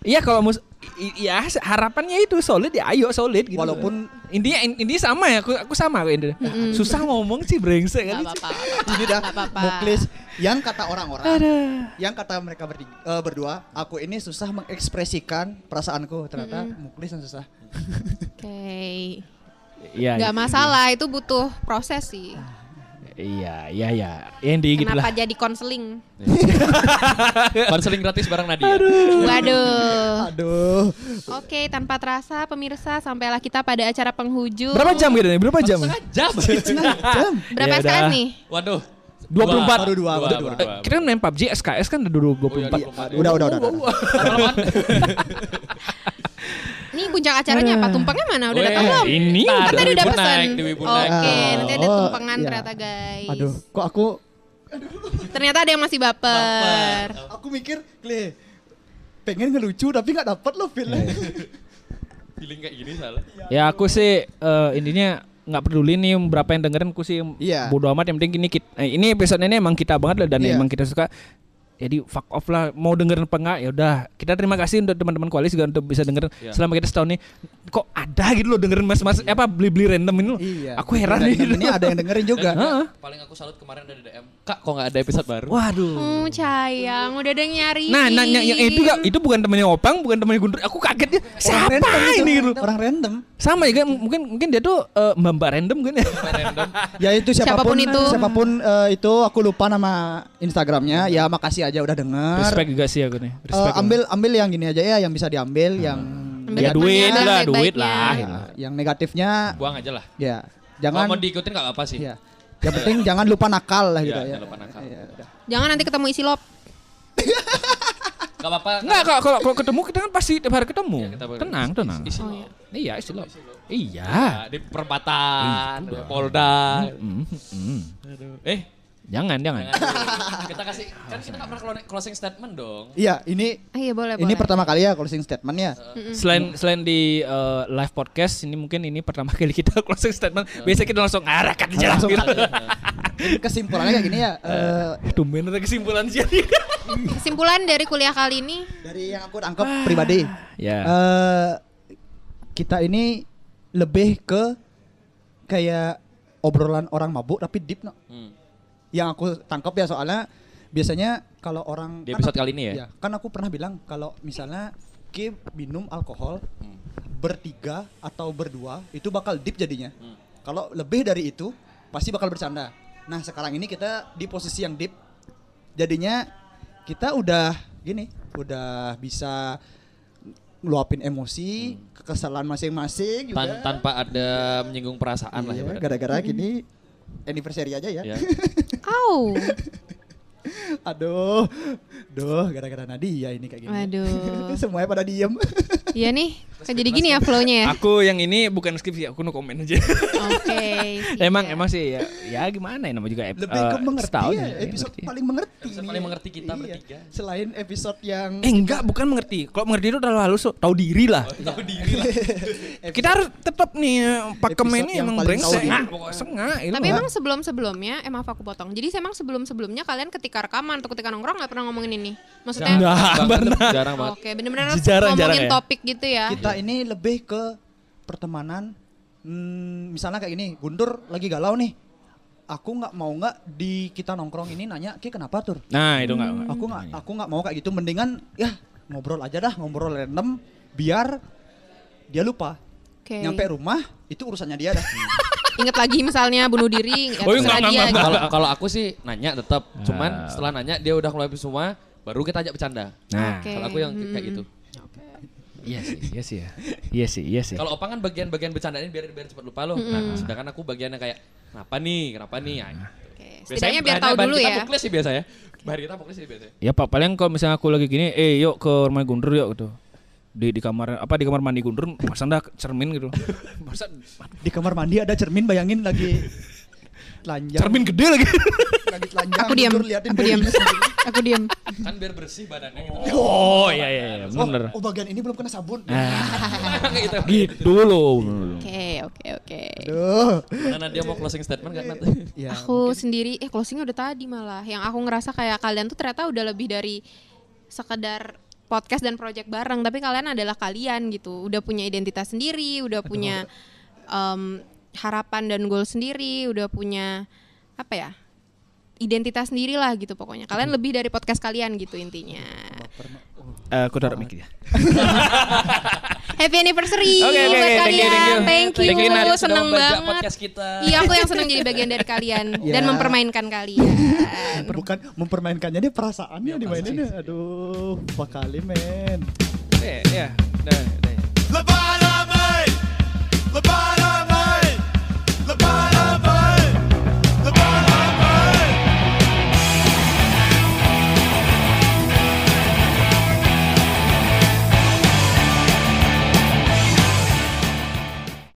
[SPEAKER 4] iya kalau mus i- iya harapannya itu solid ya ayo solid gitu.
[SPEAKER 3] Walaupun-
[SPEAKER 4] intinya in- intinya sama ya aku aku sama aku intinya. Susah ngomong sih brengsek kan.
[SPEAKER 5] Gak
[SPEAKER 4] kali.
[SPEAKER 5] apa-apa.
[SPEAKER 3] Ini dah
[SPEAKER 5] Gak apa-apa.
[SPEAKER 3] muklis yang kata orang-orang, yang kata mereka berdi- eh, berdua, aku ini susah mengekspresikan perasaanku. Ternyata muklis yang susah.
[SPEAKER 5] Oke.
[SPEAKER 4] Iya.
[SPEAKER 5] Gak masalah, itu butuh proses sih.
[SPEAKER 4] Iya, iya, iya. Ini gitu
[SPEAKER 5] Kenapa
[SPEAKER 4] lah.
[SPEAKER 5] jadi
[SPEAKER 4] (laughs)
[SPEAKER 5] konseling?
[SPEAKER 2] Konseling gratis bareng Nadia.
[SPEAKER 5] Waduh.
[SPEAKER 3] Aduh.
[SPEAKER 5] Oke, tanpa terasa pemirsa sampailah kita pada acara penghujung.
[SPEAKER 4] Berapa jam gitu nih? Berapa jam?
[SPEAKER 2] Jam.
[SPEAKER 3] Jam.
[SPEAKER 5] Berapa
[SPEAKER 4] Ya
[SPEAKER 5] SKS
[SPEAKER 4] udah.
[SPEAKER 5] nih?
[SPEAKER 2] Waduh.
[SPEAKER 4] 24.
[SPEAKER 3] Baru dua, baru dua.
[SPEAKER 2] Dua.
[SPEAKER 4] Kira Eh, main PUBG SKS kan udah
[SPEAKER 2] Oh
[SPEAKER 4] 24.
[SPEAKER 2] iya,
[SPEAKER 3] Iya, Udah, udah, udah. udah.
[SPEAKER 5] Ini puncak acaranya
[SPEAKER 3] Eh.
[SPEAKER 5] apa? Tumpengnya mana? Udah datang
[SPEAKER 2] Weh,
[SPEAKER 5] belum?
[SPEAKER 4] ini
[SPEAKER 5] Kan tadi udah
[SPEAKER 2] Dewi
[SPEAKER 5] pesan.
[SPEAKER 2] Punaik, Dewi Punaik.
[SPEAKER 5] Oke,
[SPEAKER 3] Oh,
[SPEAKER 5] nanti ada tumpengan
[SPEAKER 3] iya.
[SPEAKER 5] ternyata guys.
[SPEAKER 3] Aduh, kok aku
[SPEAKER 5] Ternyata ada yang masih baper.
[SPEAKER 3] aku mikir, Kle, pengen ngelucu tapi nggak dapat loh filmnya.
[SPEAKER 2] Feeling kayak gini salah.
[SPEAKER 4] Ya aku sih eh, intinya nggak peduli nih berapa yang dengerin aku sih
[SPEAKER 3] Iya.
[SPEAKER 4] bodo amat yang penting ini kit- eh, ini episode ini emang kita banget lah dan
[SPEAKER 3] Iya.
[SPEAKER 4] emang kita suka jadi fuck off lah mau dengerin apa enggak ya udah kita terima kasih untuk teman-teman koalisi juga untuk bisa dengerin selama kita setahun nih kok ada gitu loh dengerin mas-mas apa beli-beli random ini loh. Iya. aku heran
[SPEAKER 3] Iya. Dan
[SPEAKER 4] nih
[SPEAKER 3] Iya. Ini ada yang dengerin juga.
[SPEAKER 4] Heeh.
[SPEAKER 2] Paling aku salut kemarin dari DM. Kak, kok nggak ada episode baru?
[SPEAKER 4] (laughs) waduh
[SPEAKER 5] Oh, sayang, udah ada yang nyari.
[SPEAKER 4] nah nah yang
[SPEAKER 3] eh,
[SPEAKER 4] yang itu gak, itu bukan temannya opang bukan temannya guntur aku kaget ya siapa ini gitu
[SPEAKER 3] Orang random.
[SPEAKER 4] sama ya kan? mungkin mungkin dia tuh eh, mbak-mbak random kan ya
[SPEAKER 3] Ya itu siapapun,
[SPEAKER 5] Siapapun itu.
[SPEAKER 3] siapapun eh, itu aku lupa nama Instagramnya. Ya makasih aja udah dengar.
[SPEAKER 4] respect juga sih aku nih
[SPEAKER 3] Eh,
[SPEAKER 4] respect
[SPEAKER 3] ambil ambil yang gini aja ya yang bisa diambil yang
[SPEAKER 5] Ambil
[SPEAKER 4] Ya
[SPEAKER 5] temannya,
[SPEAKER 4] duit
[SPEAKER 5] ambil
[SPEAKER 4] lah,
[SPEAKER 5] yang
[SPEAKER 4] duit
[SPEAKER 5] baiknya.
[SPEAKER 4] lah.
[SPEAKER 3] Ya, yang negatifnya
[SPEAKER 2] Buang aja lah.
[SPEAKER 3] ya
[SPEAKER 2] Kalau
[SPEAKER 3] jangan
[SPEAKER 2] mau diikutin nggak apa sih.
[SPEAKER 3] ya. Yang penting jangan lupa nakal lah
[SPEAKER 2] Iya,
[SPEAKER 3] gitu ya.
[SPEAKER 2] jangan lupa nakal.
[SPEAKER 3] Iya, udah.
[SPEAKER 5] Jangan nanti ketemu isi lop.
[SPEAKER 2] Nggak apa-apa.
[SPEAKER 4] Enggak kalau kalau kalau ketemu kita kan pasti tiap hari ketemu.
[SPEAKER 2] kita bakal-
[SPEAKER 4] tenang, tenang.
[SPEAKER 2] Isi
[SPEAKER 5] Oh,
[SPEAKER 2] lo.
[SPEAKER 5] iya.
[SPEAKER 4] Iya, isi lo. Iya.
[SPEAKER 2] Di perempatan, Polda.
[SPEAKER 4] Mm, mm.
[SPEAKER 2] Eh,
[SPEAKER 4] Jangan, jangan.
[SPEAKER 2] (laughs) kita kasih kan kita nggak pernah closing- closing statement dong.
[SPEAKER 3] Iya, ini
[SPEAKER 5] Ah, iya
[SPEAKER 3] ini
[SPEAKER 5] boleh, boleh. Hmm.
[SPEAKER 3] pertama kali ya closing statement ya.
[SPEAKER 4] Selain selain di eh, live podcast ini mungkin ini pertama kali kita (laughs) closing statement. Biasanya kita langsung arakat di jalan
[SPEAKER 3] Langsung
[SPEAKER 4] gitu.
[SPEAKER 3] Kesimpulannya kayak gini ya. eh,
[SPEAKER 4] Tumben ada kesimpulan sih.
[SPEAKER 5] Kesimpulan dari kuliah kali ini,
[SPEAKER 3] dari yang aku tangkap pribadi.
[SPEAKER 2] Iya.
[SPEAKER 4] Ya.
[SPEAKER 3] eh kita ini lebih ke kayak obrolan orang mabuk tapi deep no.
[SPEAKER 2] Hmm.
[SPEAKER 3] Yang aku tangkap ya soalnya biasanya kalau orang
[SPEAKER 2] Di episode kali ini ya?
[SPEAKER 3] Iya, kan aku pernah bilang kalau misalnya Ki minum alkohol
[SPEAKER 2] Hmm.
[SPEAKER 3] bertiga atau berdua itu bakal deep jadinya.
[SPEAKER 2] Hmm.
[SPEAKER 3] Kalau lebih dari itu pasti bakal bercanda. Nah, sekarang ini kita di posisi yang deep. Jadinya kita udah gini, udah bisa ngeluapin emosi, kekesalan masing-masing juga.
[SPEAKER 2] Hmm. Tan- tanpa ada menyinggung perasaan lah
[SPEAKER 3] Iya,
[SPEAKER 2] ya. Badan.
[SPEAKER 3] gara-gara gini anniversary aja ya.
[SPEAKER 2] Ya.
[SPEAKER 5] au,
[SPEAKER 3] (laughs) Aduh. Duh, gara-gara Nadia ini kayak gini.
[SPEAKER 5] Waduh.
[SPEAKER 3] (laughs) Semuanya pada
[SPEAKER 2] (laughs)
[SPEAKER 3] diem.
[SPEAKER 5] iya nih, kan jadi gini ya flownya ya.
[SPEAKER 4] Aku yang ini bukan skripsi, aku no komen aja.
[SPEAKER 5] Iya. Oke. iya.
[SPEAKER 4] emang
[SPEAKER 5] siap.
[SPEAKER 4] emang sih ya, ya gimana ya namanya juga ep-
[SPEAKER 3] Lebih
[SPEAKER 4] eh,
[SPEAKER 3] ke mengerti
[SPEAKER 4] setahun
[SPEAKER 3] ya,
[SPEAKER 4] ya,
[SPEAKER 3] episode
[SPEAKER 4] mengerti.
[SPEAKER 3] paling mengerti.
[SPEAKER 2] Episode
[SPEAKER 3] nih
[SPEAKER 2] paling
[SPEAKER 3] ya.
[SPEAKER 2] mengerti kita bertiga.
[SPEAKER 3] Selain episode yang
[SPEAKER 4] Eh enggak, bukan mengerti. Kalau mengerti itu terlalu halus, tahu diri lah.
[SPEAKER 2] Tahu diri (laughs)
[SPEAKER 3] (laughs)
[SPEAKER 2] lah.
[SPEAKER 4] Kita harus tetap nih pakem
[SPEAKER 3] Episode
[SPEAKER 4] ini
[SPEAKER 3] yang
[SPEAKER 4] emang
[SPEAKER 3] paling
[SPEAKER 4] brengsek.
[SPEAKER 3] tahu diri.
[SPEAKER 4] Nah, pokoknya sengak.
[SPEAKER 5] Tapi emang sebelum-sebelumnya, emang aku potong. Jadi emang sebelum-sebelumnya kalian ketika rekaman atau ketika nongkrong nggak pernah ngomongin ini. Maksudnya
[SPEAKER 2] Benar. Jarang banget.
[SPEAKER 5] Oke, bener-bener harus
[SPEAKER 4] Jarang, jarang
[SPEAKER 5] ngomongin
[SPEAKER 4] ya?
[SPEAKER 5] topik gitu ya.
[SPEAKER 3] kita ini lebih ke pertemanan. Hmm, misalnya kayak gini, Guntur lagi galau nih. Aku nggak mau nggak di kita nongkrong ini nanya, Ki kenapa tur?
[SPEAKER 5] Hmm.
[SPEAKER 4] Nah, itu enggak. enggak.
[SPEAKER 3] Aku nggak aku nggak mau kayak gitu. Mendingan ya ngobrol aja dah, ngobrol random biar dia lupa.
[SPEAKER 5] Oke.
[SPEAKER 3] Nyampe rumah itu urusannya dia dah.
[SPEAKER 5] Ingat lagi misalnya bunuh
[SPEAKER 4] (laughs)
[SPEAKER 5] diri, ya,
[SPEAKER 4] Oh,
[SPEAKER 5] terserah
[SPEAKER 4] enggak,
[SPEAKER 5] dia
[SPEAKER 4] enggak,
[SPEAKER 5] gitu.
[SPEAKER 3] (laughs) Nah.
[SPEAKER 2] Kalau kalau aku sih nanya tetap, cuman setelah nanya dia udah ngeluarin semua, baru kita ajak bercanda.
[SPEAKER 4] Nah,
[SPEAKER 5] Oke.
[SPEAKER 2] Kalau aku yang kayak gitu.
[SPEAKER 4] iya sih, iya sih ya. Iya sih, iya sih.
[SPEAKER 2] Kalau Opang kan bagian-bagian bercandain biar biar cepat lupa loh. Nah, sedangkan aku bagian yang kayak kenapa nih, kenapa nih? Ya,
[SPEAKER 5] Oke, Setidaknya biar tahu dulu
[SPEAKER 2] kita
[SPEAKER 5] ya.
[SPEAKER 2] muklis sih biasanya. Bahan kita muklis sih biasanya.
[SPEAKER 4] Ya Pak, paling kalau misalnya aku lagi gini, eh yuk ke rumah Guntur yuk gitu. Di di kamar apa di kamar mandi Guntur pasang dah cermin (laughs) gitu.
[SPEAKER 5] (laughs)
[SPEAKER 3] Di kamar mandi ada cermin, bayangin lagi telanjang.
[SPEAKER 4] Cermin gede lagi.
[SPEAKER 3] lagi telanjang
[SPEAKER 5] Aku diam.
[SPEAKER 3] tidur, liatin
[SPEAKER 5] Aku
[SPEAKER 2] (laughs)
[SPEAKER 5] diam.
[SPEAKER 3] bodinya sendiri.
[SPEAKER 5] Aku diam.
[SPEAKER 2] kan biar bersih badannya gitu.
[SPEAKER 4] (laughs) Oh iya iya iya,
[SPEAKER 3] Oh,
[SPEAKER 4] bener.
[SPEAKER 3] oh, bagian ini belum kena sabun.
[SPEAKER 5] Nah.
[SPEAKER 2] gitu.
[SPEAKER 4] Gitu loh.
[SPEAKER 5] Oke, oke, oke.
[SPEAKER 3] Aduh.
[SPEAKER 2] Karena dia mau closing statement kan Nat?
[SPEAKER 3] Ya,
[SPEAKER 5] Aku sendiri eh closing udah tadi malah. Yang aku ngerasa kayak kalian tuh ternyata udah lebih dari sekedar podcast dan project bareng, tapi kalian adalah kalian gitu. Udah punya identitas sendiri, udah punya em, harapan dan goal sendiri, udah punya apa ya? identitas sendiri lah gitu pokoknya. Kalian lebih dari podcast kalian gitu intinya.
[SPEAKER 4] Aku taruh mic ya.
[SPEAKER 5] Happy anniversary
[SPEAKER 4] Oke, oke,
[SPEAKER 5] buat
[SPEAKER 4] oke, thank you,
[SPEAKER 5] kalian.
[SPEAKER 4] thank you.
[SPEAKER 5] Thank you.
[SPEAKER 4] Thank you, Nat, sudah
[SPEAKER 5] seneng
[SPEAKER 2] membajak
[SPEAKER 5] banget.
[SPEAKER 2] podcast kita.
[SPEAKER 5] Iya, aku yang seneng jadi bagian dari
[SPEAKER 4] (laughs)
[SPEAKER 5] kalian dan
[SPEAKER 3] Ya.
[SPEAKER 5] mempermainkan kalian.
[SPEAKER 3] Bukan mempermainkannya dia perasaannya
[SPEAKER 2] Iya,
[SPEAKER 3] dimainin. Aduh, bakal men.
[SPEAKER 4] Eh, Iya, iya. Udah, udah.
[SPEAKER 7] Lepas